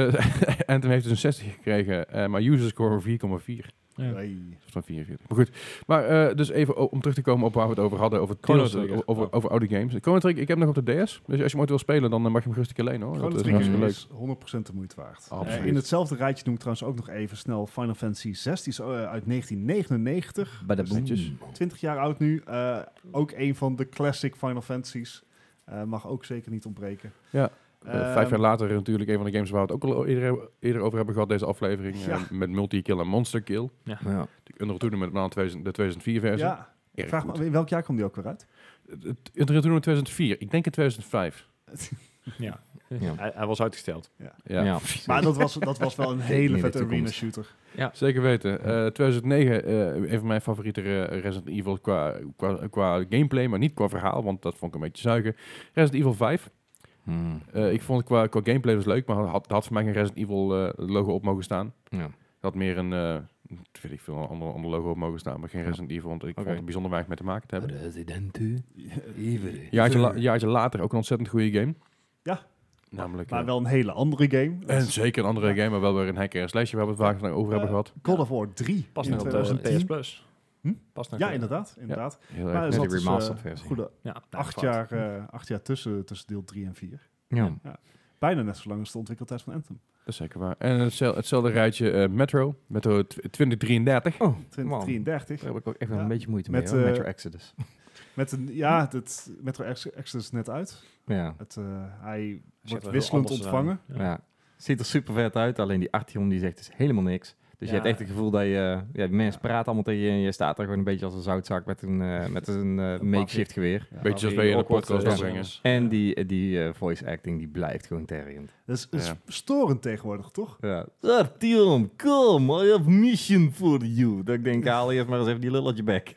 Speaker 3: eh Anthem heeft dus een 60 gekregen, eh, maar user score 4,4.
Speaker 1: Hey.
Speaker 3: Of dan 44. Maar goed, maar eh, dus even o- om terug te komen op waar we het over hadden, over,
Speaker 5: Chrono
Speaker 3: titels, eh,
Speaker 5: Trigger.
Speaker 3: over,
Speaker 2: Oh.
Speaker 3: over oude games. Chrono Trigger, ik heb hem nog op de DS, dus als je hem ooit wil spelen, dan eh, mag je hem rustig alleen hoor.
Speaker 1: Chrono
Speaker 3: Dat is
Speaker 1: Trigger
Speaker 3: hartstikke leuk.
Speaker 1: is 100% de moeite waard.
Speaker 3: Absoluut.
Speaker 1: Eh, in hetzelfde rijtje noem ik trouwens ook nog even snel Final Fantasy 16 eh, uit 1999.
Speaker 2: Bij de
Speaker 3: Netjes.
Speaker 2: boetjes.
Speaker 1: 20 jaar oud nu. Eh, ook een van de classic Final Fantasies. Eh, mag ook zeker niet ontbreken.
Speaker 3: Ja. Eh, vijf
Speaker 1: Ehm,
Speaker 3: jaar later natuurlijk een van de games waar we het ook al eerder, eerder over hebben gehad, deze aflevering.
Speaker 1: Ja.
Speaker 3: eh, met Multi-Kill en Monster Kill.
Speaker 2: Ja.
Speaker 3: Unreal Tournament, maar dan 2000 de 2004 versie.
Speaker 1: Ja,
Speaker 3: Erg
Speaker 1: vraag
Speaker 3: goed.
Speaker 1: me, in welk jaar kwam die ook weer uit?
Speaker 3: Het- Het Unreal Tournament 2004, ik denk in 2005.
Speaker 5: Ja.
Speaker 2: Ja.
Speaker 5: Hij, hij was uitgesteld.
Speaker 3: Ja.
Speaker 2: Ja.
Speaker 1: Maar dat was, dat was wel een
Speaker 2: niet
Speaker 1: hele
Speaker 2: de
Speaker 1: vette arena
Speaker 2: toekomst.
Speaker 1: shooter.
Speaker 3: Zeker weten. Eh, 2009, eh, een van mijn favoriete eh, Resident Evil qua, qua, qua gameplay, maar niet qua verhaal, want dat vond ik een beetje zuigen. Resident Evil 5.
Speaker 2: Hmm.
Speaker 3: Eh, ik vond het qua, qua gameplay was leuk, maar had, had voor mij geen Resident Evil eh, logo op mogen staan.
Speaker 2: Ja.
Speaker 3: had meer een, eh weet ik veel, een ander, ander logo op mogen staan, maar geen Resident Evil, want ik
Speaker 2: Oké. Ah,
Speaker 3: vond het bijzonder weinig mee te maken te hebben.
Speaker 2: Resident Evil.
Speaker 3: Jaartje, la- jaartje later ook een ontzettend goede game.
Speaker 1: Ja.
Speaker 3: Namelijk...
Speaker 1: Maar
Speaker 3: eh,
Speaker 1: wel een hele andere game.
Speaker 3: en zeker een andere game, maar wel weer een hacker en slasher waar we het vaak nog over hebben
Speaker 1: Eh,
Speaker 3: gehad.
Speaker 1: God of War 3
Speaker 5: Pas
Speaker 1: in
Speaker 5: naar de
Speaker 1: 2010.
Speaker 5: eh, PS Plus.
Speaker 1: Hm?
Speaker 5: Pas naar
Speaker 1: Ja, inderdaad. inderdaad.
Speaker 3: Heel
Speaker 1: Maar er
Speaker 3: erg.
Speaker 2: die
Speaker 1: zat dus,
Speaker 2: remastered
Speaker 1: eh,
Speaker 2: versie.
Speaker 1: goede
Speaker 5: Ja, nou,
Speaker 1: acht
Speaker 5: fout.
Speaker 1: jaar, eh, acht jaar tussen, tussen deel 3 en 4.
Speaker 2: Ja. Oh,
Speaker 1: Bijna net zo lang als de ontwikkeltijd van Anthem.
Speaker 3: Dat is zeker waar. En hetzelfde, hetzelfde rijtje eh, Metro, Metro tw- 2033.
Speaker 2: Oh, man.
Speaker 1: 2033.
Speaker 2: Daar heb ik ook echt wel
Speaker 1: Ja.
Speaker 2: een beetje moeite
Speaker 1: Met,
Speaker 2: mee, hoor.
Speaker 1: eh,
Speaker 2: Metro Exodus.
Speaker 1: Met een, ja, dat, Metro Ex- Exodus net uit.
Speaker 2: Ja.
Speaker 1: Het, eh, hij
Speaker 5: Zet
Speaker 1: wordt
Speaker 5: wel
Speaker 1: wisselend
Speaker 5: heel anders
Speaker 1: ontvangen.
Speaker 5: aan. Ja.
Speaker 2: ja. Ziet er super vet uit, alleen die Artion die zegt dus helemaal niks. Dus
Speaker 5: Ja.
Speaker 2: je hebt echt het gevoel dat je... Ja, die mensen praten allemaal tegen je en je staat er gewoon een beetje als een zoutzak met een, eh, met een eh, makeshift geweer.
Speaker 3: Beetje zoals wij in de
Speaker 5: Awkward,
Speaker 3: podcast
Speaker 5: eh,
Speaker 3: afbrengen.
Speaker 5: scènes.
Speaker 2: En die, eh, die eh, voice acting die blijft gewoon terrend.
Speaker 1: Dat is, dat is
Speaker 3: Ja.
Speaker 1: storend tegenwoordig, toch?
Speaker 2: Ja. Artyom, Ah, come, I have mission for you. Dat ik denk, haal eerst maar eens even die lulletje back.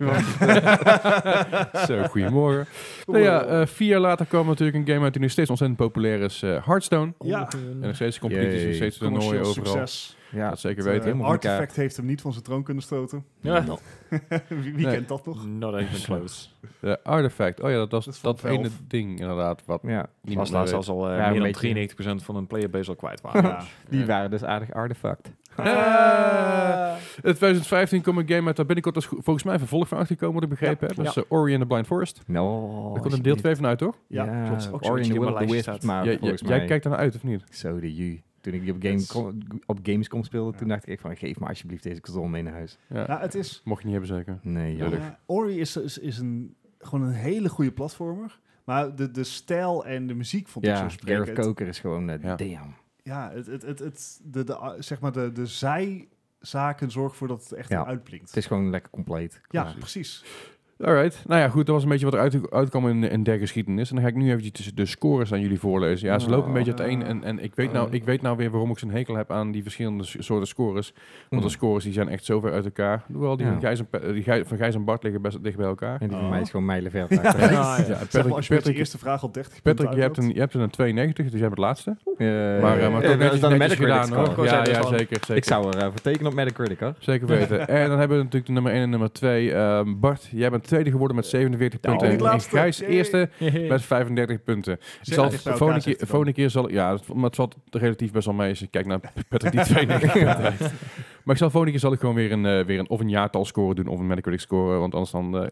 Speaker 3: Zo, goedemorgen. nou ja, eh, vier jaar later kwam natuurlijk een game uit die nog steeds ontzettend populair is, eh, Hearthstone.
Speaker 1: Ja,
Speaker 3: En nog steeds competities,
Speaker 2: Yay.
Speaker 3: nog steeds toernooien
Speaker 1: commercieel
Speaker 3: overal.
Speaker 1: succes.
Speaker 2: ja,
Speaker 3: Dat zeker
Speaker 1: Het,
Speaker 3: weten.
Speaker 1: eh,
Speaker 2: helemaal van elkaar.
Speaker 1: Artifact heeft hem niet van zijn troon kunnen stoten.
Speaker 5: Ja.
Speaker 2: Nou,
Speaker 1: wie wie
Speaker 3: Nee.
Speaker 1: kent dat nog?
Speaker 5: Not even close.
Speaker 3: De Artifact. Oh ja, dat was
Speaker 1: Dat is
Speaker 3: dat,
Speaker 1: van Valve.
Speaker 3: ene ding inderdaad. Wat
Speaker 2: ja.
Speaker 5: Die was
Speaker 3: meer
Speaker 5: laatst
Speaker 3: weet.
Speaker 5: zelfs al
Speaker 2: Ja,
Speaker 5: eh,
Speaker 2: een beetje.
Speaker 5: meer dan 93% van hun playerbase al kwijt waren.
Speaker 1: Ja.
Speaker 2: Die
Speaker 3: Ja.
Speaker 2: waren dus aardig artefact.
Speaker 3: Ah.
Speaker 1: Ah!
Speaker 3: Eh, In 2015 komt een game uit daar binnenkort als, volgens mij een vervolg van achtergekomen, wat ik begrepen heb. Dat is eh, Ori and the Blind Forest.
Speaker 2: No,
Speaker 3: Daar komt een deel 2 van uit, toch?
Speaker 1: Ja, klopt.
Speaker 5: Ook
Speaker 2: Ori
Speaker 5: zoiets
Speaker 2: and the
Speaker 5: die
Speaker 2: Will
Speaker 5: op
Speaker 2: of
Speaker 5: mijn
Speaker 2: the
Speaker 5: lijstje
Speaker 2: Wisps,
Speaker 5: staat.
Speaker 2: maar
Speaker 3: Jij- jij-
Speaker 2: volgens mij...
Speaker 3: jij kijkt ernaar uit, of niet?
Speaker 2: Zo de ju. Toen ik die op, game
Speaker 1: Yes.
Speaker 2: kon- op Gamescom speelde, toen
Speaker 1: Ja.
Speaker 2: dacht ik echt van, geef me alsjeblieft deze console mee naar huis.
Speaker 1: Nou, het is...
Speaker 3: Mocht je niet hebben, zeker.
Speaker 2: Nee, joh.
Speaker 3: Lullig.
Speaker 1: eh, Ori is, is, is een, gewoon een hele goede platformer. Maar de, de stijl en de muziek vond ik
Speaker 2: Ja,
Speaker 1: zo
Speaker 2: Gareth
Speaker 1: sprekend.
Speaker 2: Koker is gewoon, eh,
Speaker 3: Ja.
Speaker 2: damn.
Speaker 1: Ja, het, het, het, het, de, de, ah, zeg maar de, de zijzaken zorgen ervoor dat het echt
Speaker 2: Ja.
Speaker 1: uitblinkt. uitblinkt.
Speaker 2: Het is gewoon lekker compleet.
Speaker 1: Ja,
Speaker 2: Klaar.
Speaker 1: precies.
Speaker 3: Alright. Nou ja, goed. Dat was een beetje wat er uit, uitkwam in, in der geschiedenis. En dan ga ik nu eventjes de scores aan jullie voorlezen. Ja, ze lopen een beetje uiteen. En, en ik, weet nou, ik weet nou weer waarom ik zo'n hekel heb aan die verschillende s- soorten scores. Want de
Speaker 2: Mm.
Speaker 3: scores die zijn echt zo ver uit elkaar. Hoewel, die,
Speaker 2: Ja.
Speaker 3: van, Gijs en, Pe- eh, die Gij- van Gijs en Bart liggen best dicht bij elkaar.
Speaker 2: En die van
Speaker 1: Oh.
Speaker 2: mij is gewoon mijlenver.
Speaker 1: Ja,
Speaker 2: achter.
Speaker 5: ja.
Speaker 3: Ja,
Speaker 1: Zeg
Speaker 3: Patrick,
Speaker 1: maar, als je met de
Speaker 3: Patrick,
Speaker 1: eerste vraag al 30
Speaker 3: Patrick,
Speaker 1: punten
Speaker 3: je, hebt
Speaker 1: uithaalt.
Speaker 3: een, je hebt er een 92, dus jij bent het laatste.
Speaker 2: Eh,
Speaker 3: Maar, eh, maar
Speaker 2: eh,
Speaker 3: toch
Speaker 2: dat
Speaker 3: netjes,
Speaker 2: is dan een Metacritic
Speaker 3: netjes gedaan
Speaker 2: score.
Speaker 3: hoor.
Speaker 5: score.
Speaker 3: Ja,
Speaker 5: Ik
Speaker 3: ja,
Speaker 5: zou-
Speaker 3: zeker, zeker.
Speaker 2: Ik zou er eh, voor tekenen op Metacritic, hoor.
Speaker 3: Zeker weten. en dan hebben we natuurlijk de nummer 1 en nummer 2. Bart, jij bent tweede geworden met 47
Speaker 5: Ja,
Speaker 3: punten.
Speaker 5: niet
Speaker 3: en
Speaker 1: laatste.
Speaker 3: Gijs
Speaker 1: Yay.
Speaker 3: eerste met 35 punten. Ik zal
Speaker 1: dicht bij
Speaker 3: de volgende
Speaker 1: elkaar,
Speaker 3: keer,
Speaker 1: zegt hij dan.
Speaker 3: volgende keer zal ik- ja, het- maar het valt relatief best wel mee als ik kijk naar Patrick die 92 punten heeft. Maar ik zal volgende keer zal ik gewoon weer een, eh, weer een of een jaartal scoren doen of een Metacritic scoren, want anders dan eh,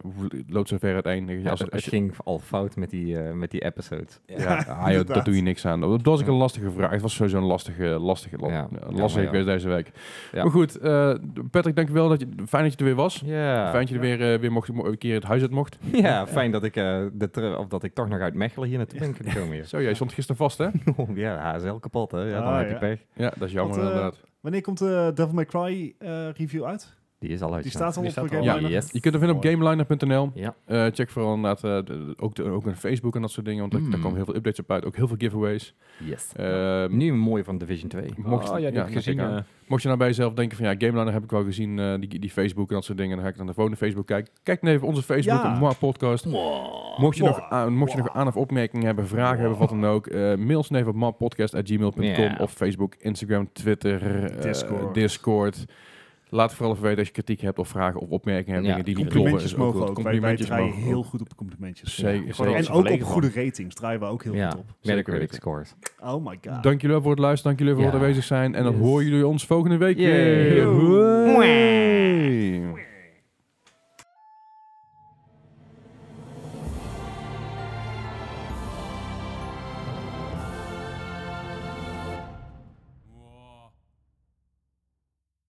Speaker 3: loopt zo ver uiteen.
Speaker 2: Ja,
Speaker 3: als,
Speaker 2: het,
Speaker 3: als je,
Speaker 2: ging al fout met die, eh, met die episode.
Speaker 3: ja, ah, joh,
Speaker 1: inderdaad.
Speaker 3: dat doe je niks aan. Dat was ik een lastige vraag. Het was sowieso een lastige, lastige, la-
Speaker 2: Ja,
Speaker 3: een
Speaker 2: jammer,
Speaker 3: lastige
Speaker 2: ja.
Speaker 3: quiz deze week.
Speaker 2: Ja.
Speaker 3: Maar goed, eh Patrick, dankjewel. Dat je, fijn dat je er weer was.
Speaker 2: Ja,
Speaker 3: Fijn dat je er weer, eh, weer mocht, mo- een keer het huis uit mocht.
Speaker 2: ja fijn dat ik, eh, de ter- of dat ik toch nog uit Mechelen hier naartoe ben kunnen komen.
Speaker 3: Zo, jij stond gisteren vast, hè?
Speaker 2: Hier. ja, HSL kapot, hè. Ja, dan
Speaker 1: Ah,
Speaker 2: heb je
Speaker 1: ja.
Speaker 2: pech.
Speaker 3: Ja, dat is jammer
Speaker 1: Want, eh,
Speaker 3: inderdaad.
Speaker 1: Wanneer komt de Devil May Cry eh, review uit?
Speaker 2: Die is al uit.
Speaker 1: Die
Speaker 2: ja.
Speaker 1: staat al
Speaker 5: Die
Speaker 1: op
Speaker 5: staat
Speaker 1: de
Speaker 5: al.
Speaker 1: Gameliner.
Speaker 2: Ja, yes.
Speaker 3: Je kunt hem vinden op gameliner.nl.
Speaker 2: Ja.
Speaker 3: Eh, check vooral inderdaad eh, de- ook, de, ook een Facebook en dat soort dingen, want daar-
Speaker 2: Mm.
Speaker 3: daar komen heel veel updates op uit. Ook heel veel giveaways.
Speaker 2: Yes. Eh,
Speaker 3: Ehm,
Speaker 2: Nu een mooie van Division 2.
Speaker 3: mocht,
Speaker 5: oh, ja, die heb ik gezien.
Speaker 3: zeker.
Speaker 5: eh.
Speaker 3: mocht je nou bij jezelf denken van ja, Gameliner heb ik wel gezien, eh, die, die Facebook en dat soort dingen. Dan ga ik dan de volgende Facebook kijken. Kijk dan even onze Facebook,
Speaker 1: Ja.
Speaker 3: op Moi Podcast. Mocht je, nog aan, mocht je nog aan of opmerkingen hebben, vragen hebben, wat dan ook, eh mail ze even op mappodcast.gmail.com
Speaker 2: Ja.
Speaker 3: of Facebook, Instagram, Twitter, eh,
Speaker 1: Discord.
Speaker 3: Discord. Laat vooral even weten als je kritiek hebt of vragen of opmerkingen hebt.
Speaker 2: Ja,
Speaker 3: dingen die niet kloppen,
Speaker 1: Complimentjes
Speaker 3: is ook
Speaker 1: mogen
Speaker 3: goed.
Speaker 1: ook. Wij, wij draaien
Speaker 3: mogen
Speaker 1: heel
Speaker 3: ook. Dus-
Speaker 1: goed op complimentjes.
Speaker 3: Zeker,
Speaker 5: Ja,
Speaker 3: zeker.
Speaker 1: En ook op goede ratings draaien we ook heel
Speaker 2: ja,
Speaker 1: goed op.
Speaker 3: Zeker
Speaker 2: Metacritic
Speaker 3: weten.
Speaker 2: scores.
Speaker 1: Oh my god.
Speaker 3: Dank jullie wel voor het luisteren. Dank jullie wel voor het
Speaker 2: Ja.
Speaker 3: aanwezig zijn. En dan
Speaker 2: Yes.
Speaker 3: horen jullie ons volgende week
Speaker 2: Yay.
Speaker 3: weer.
Speaker 2: Mwah.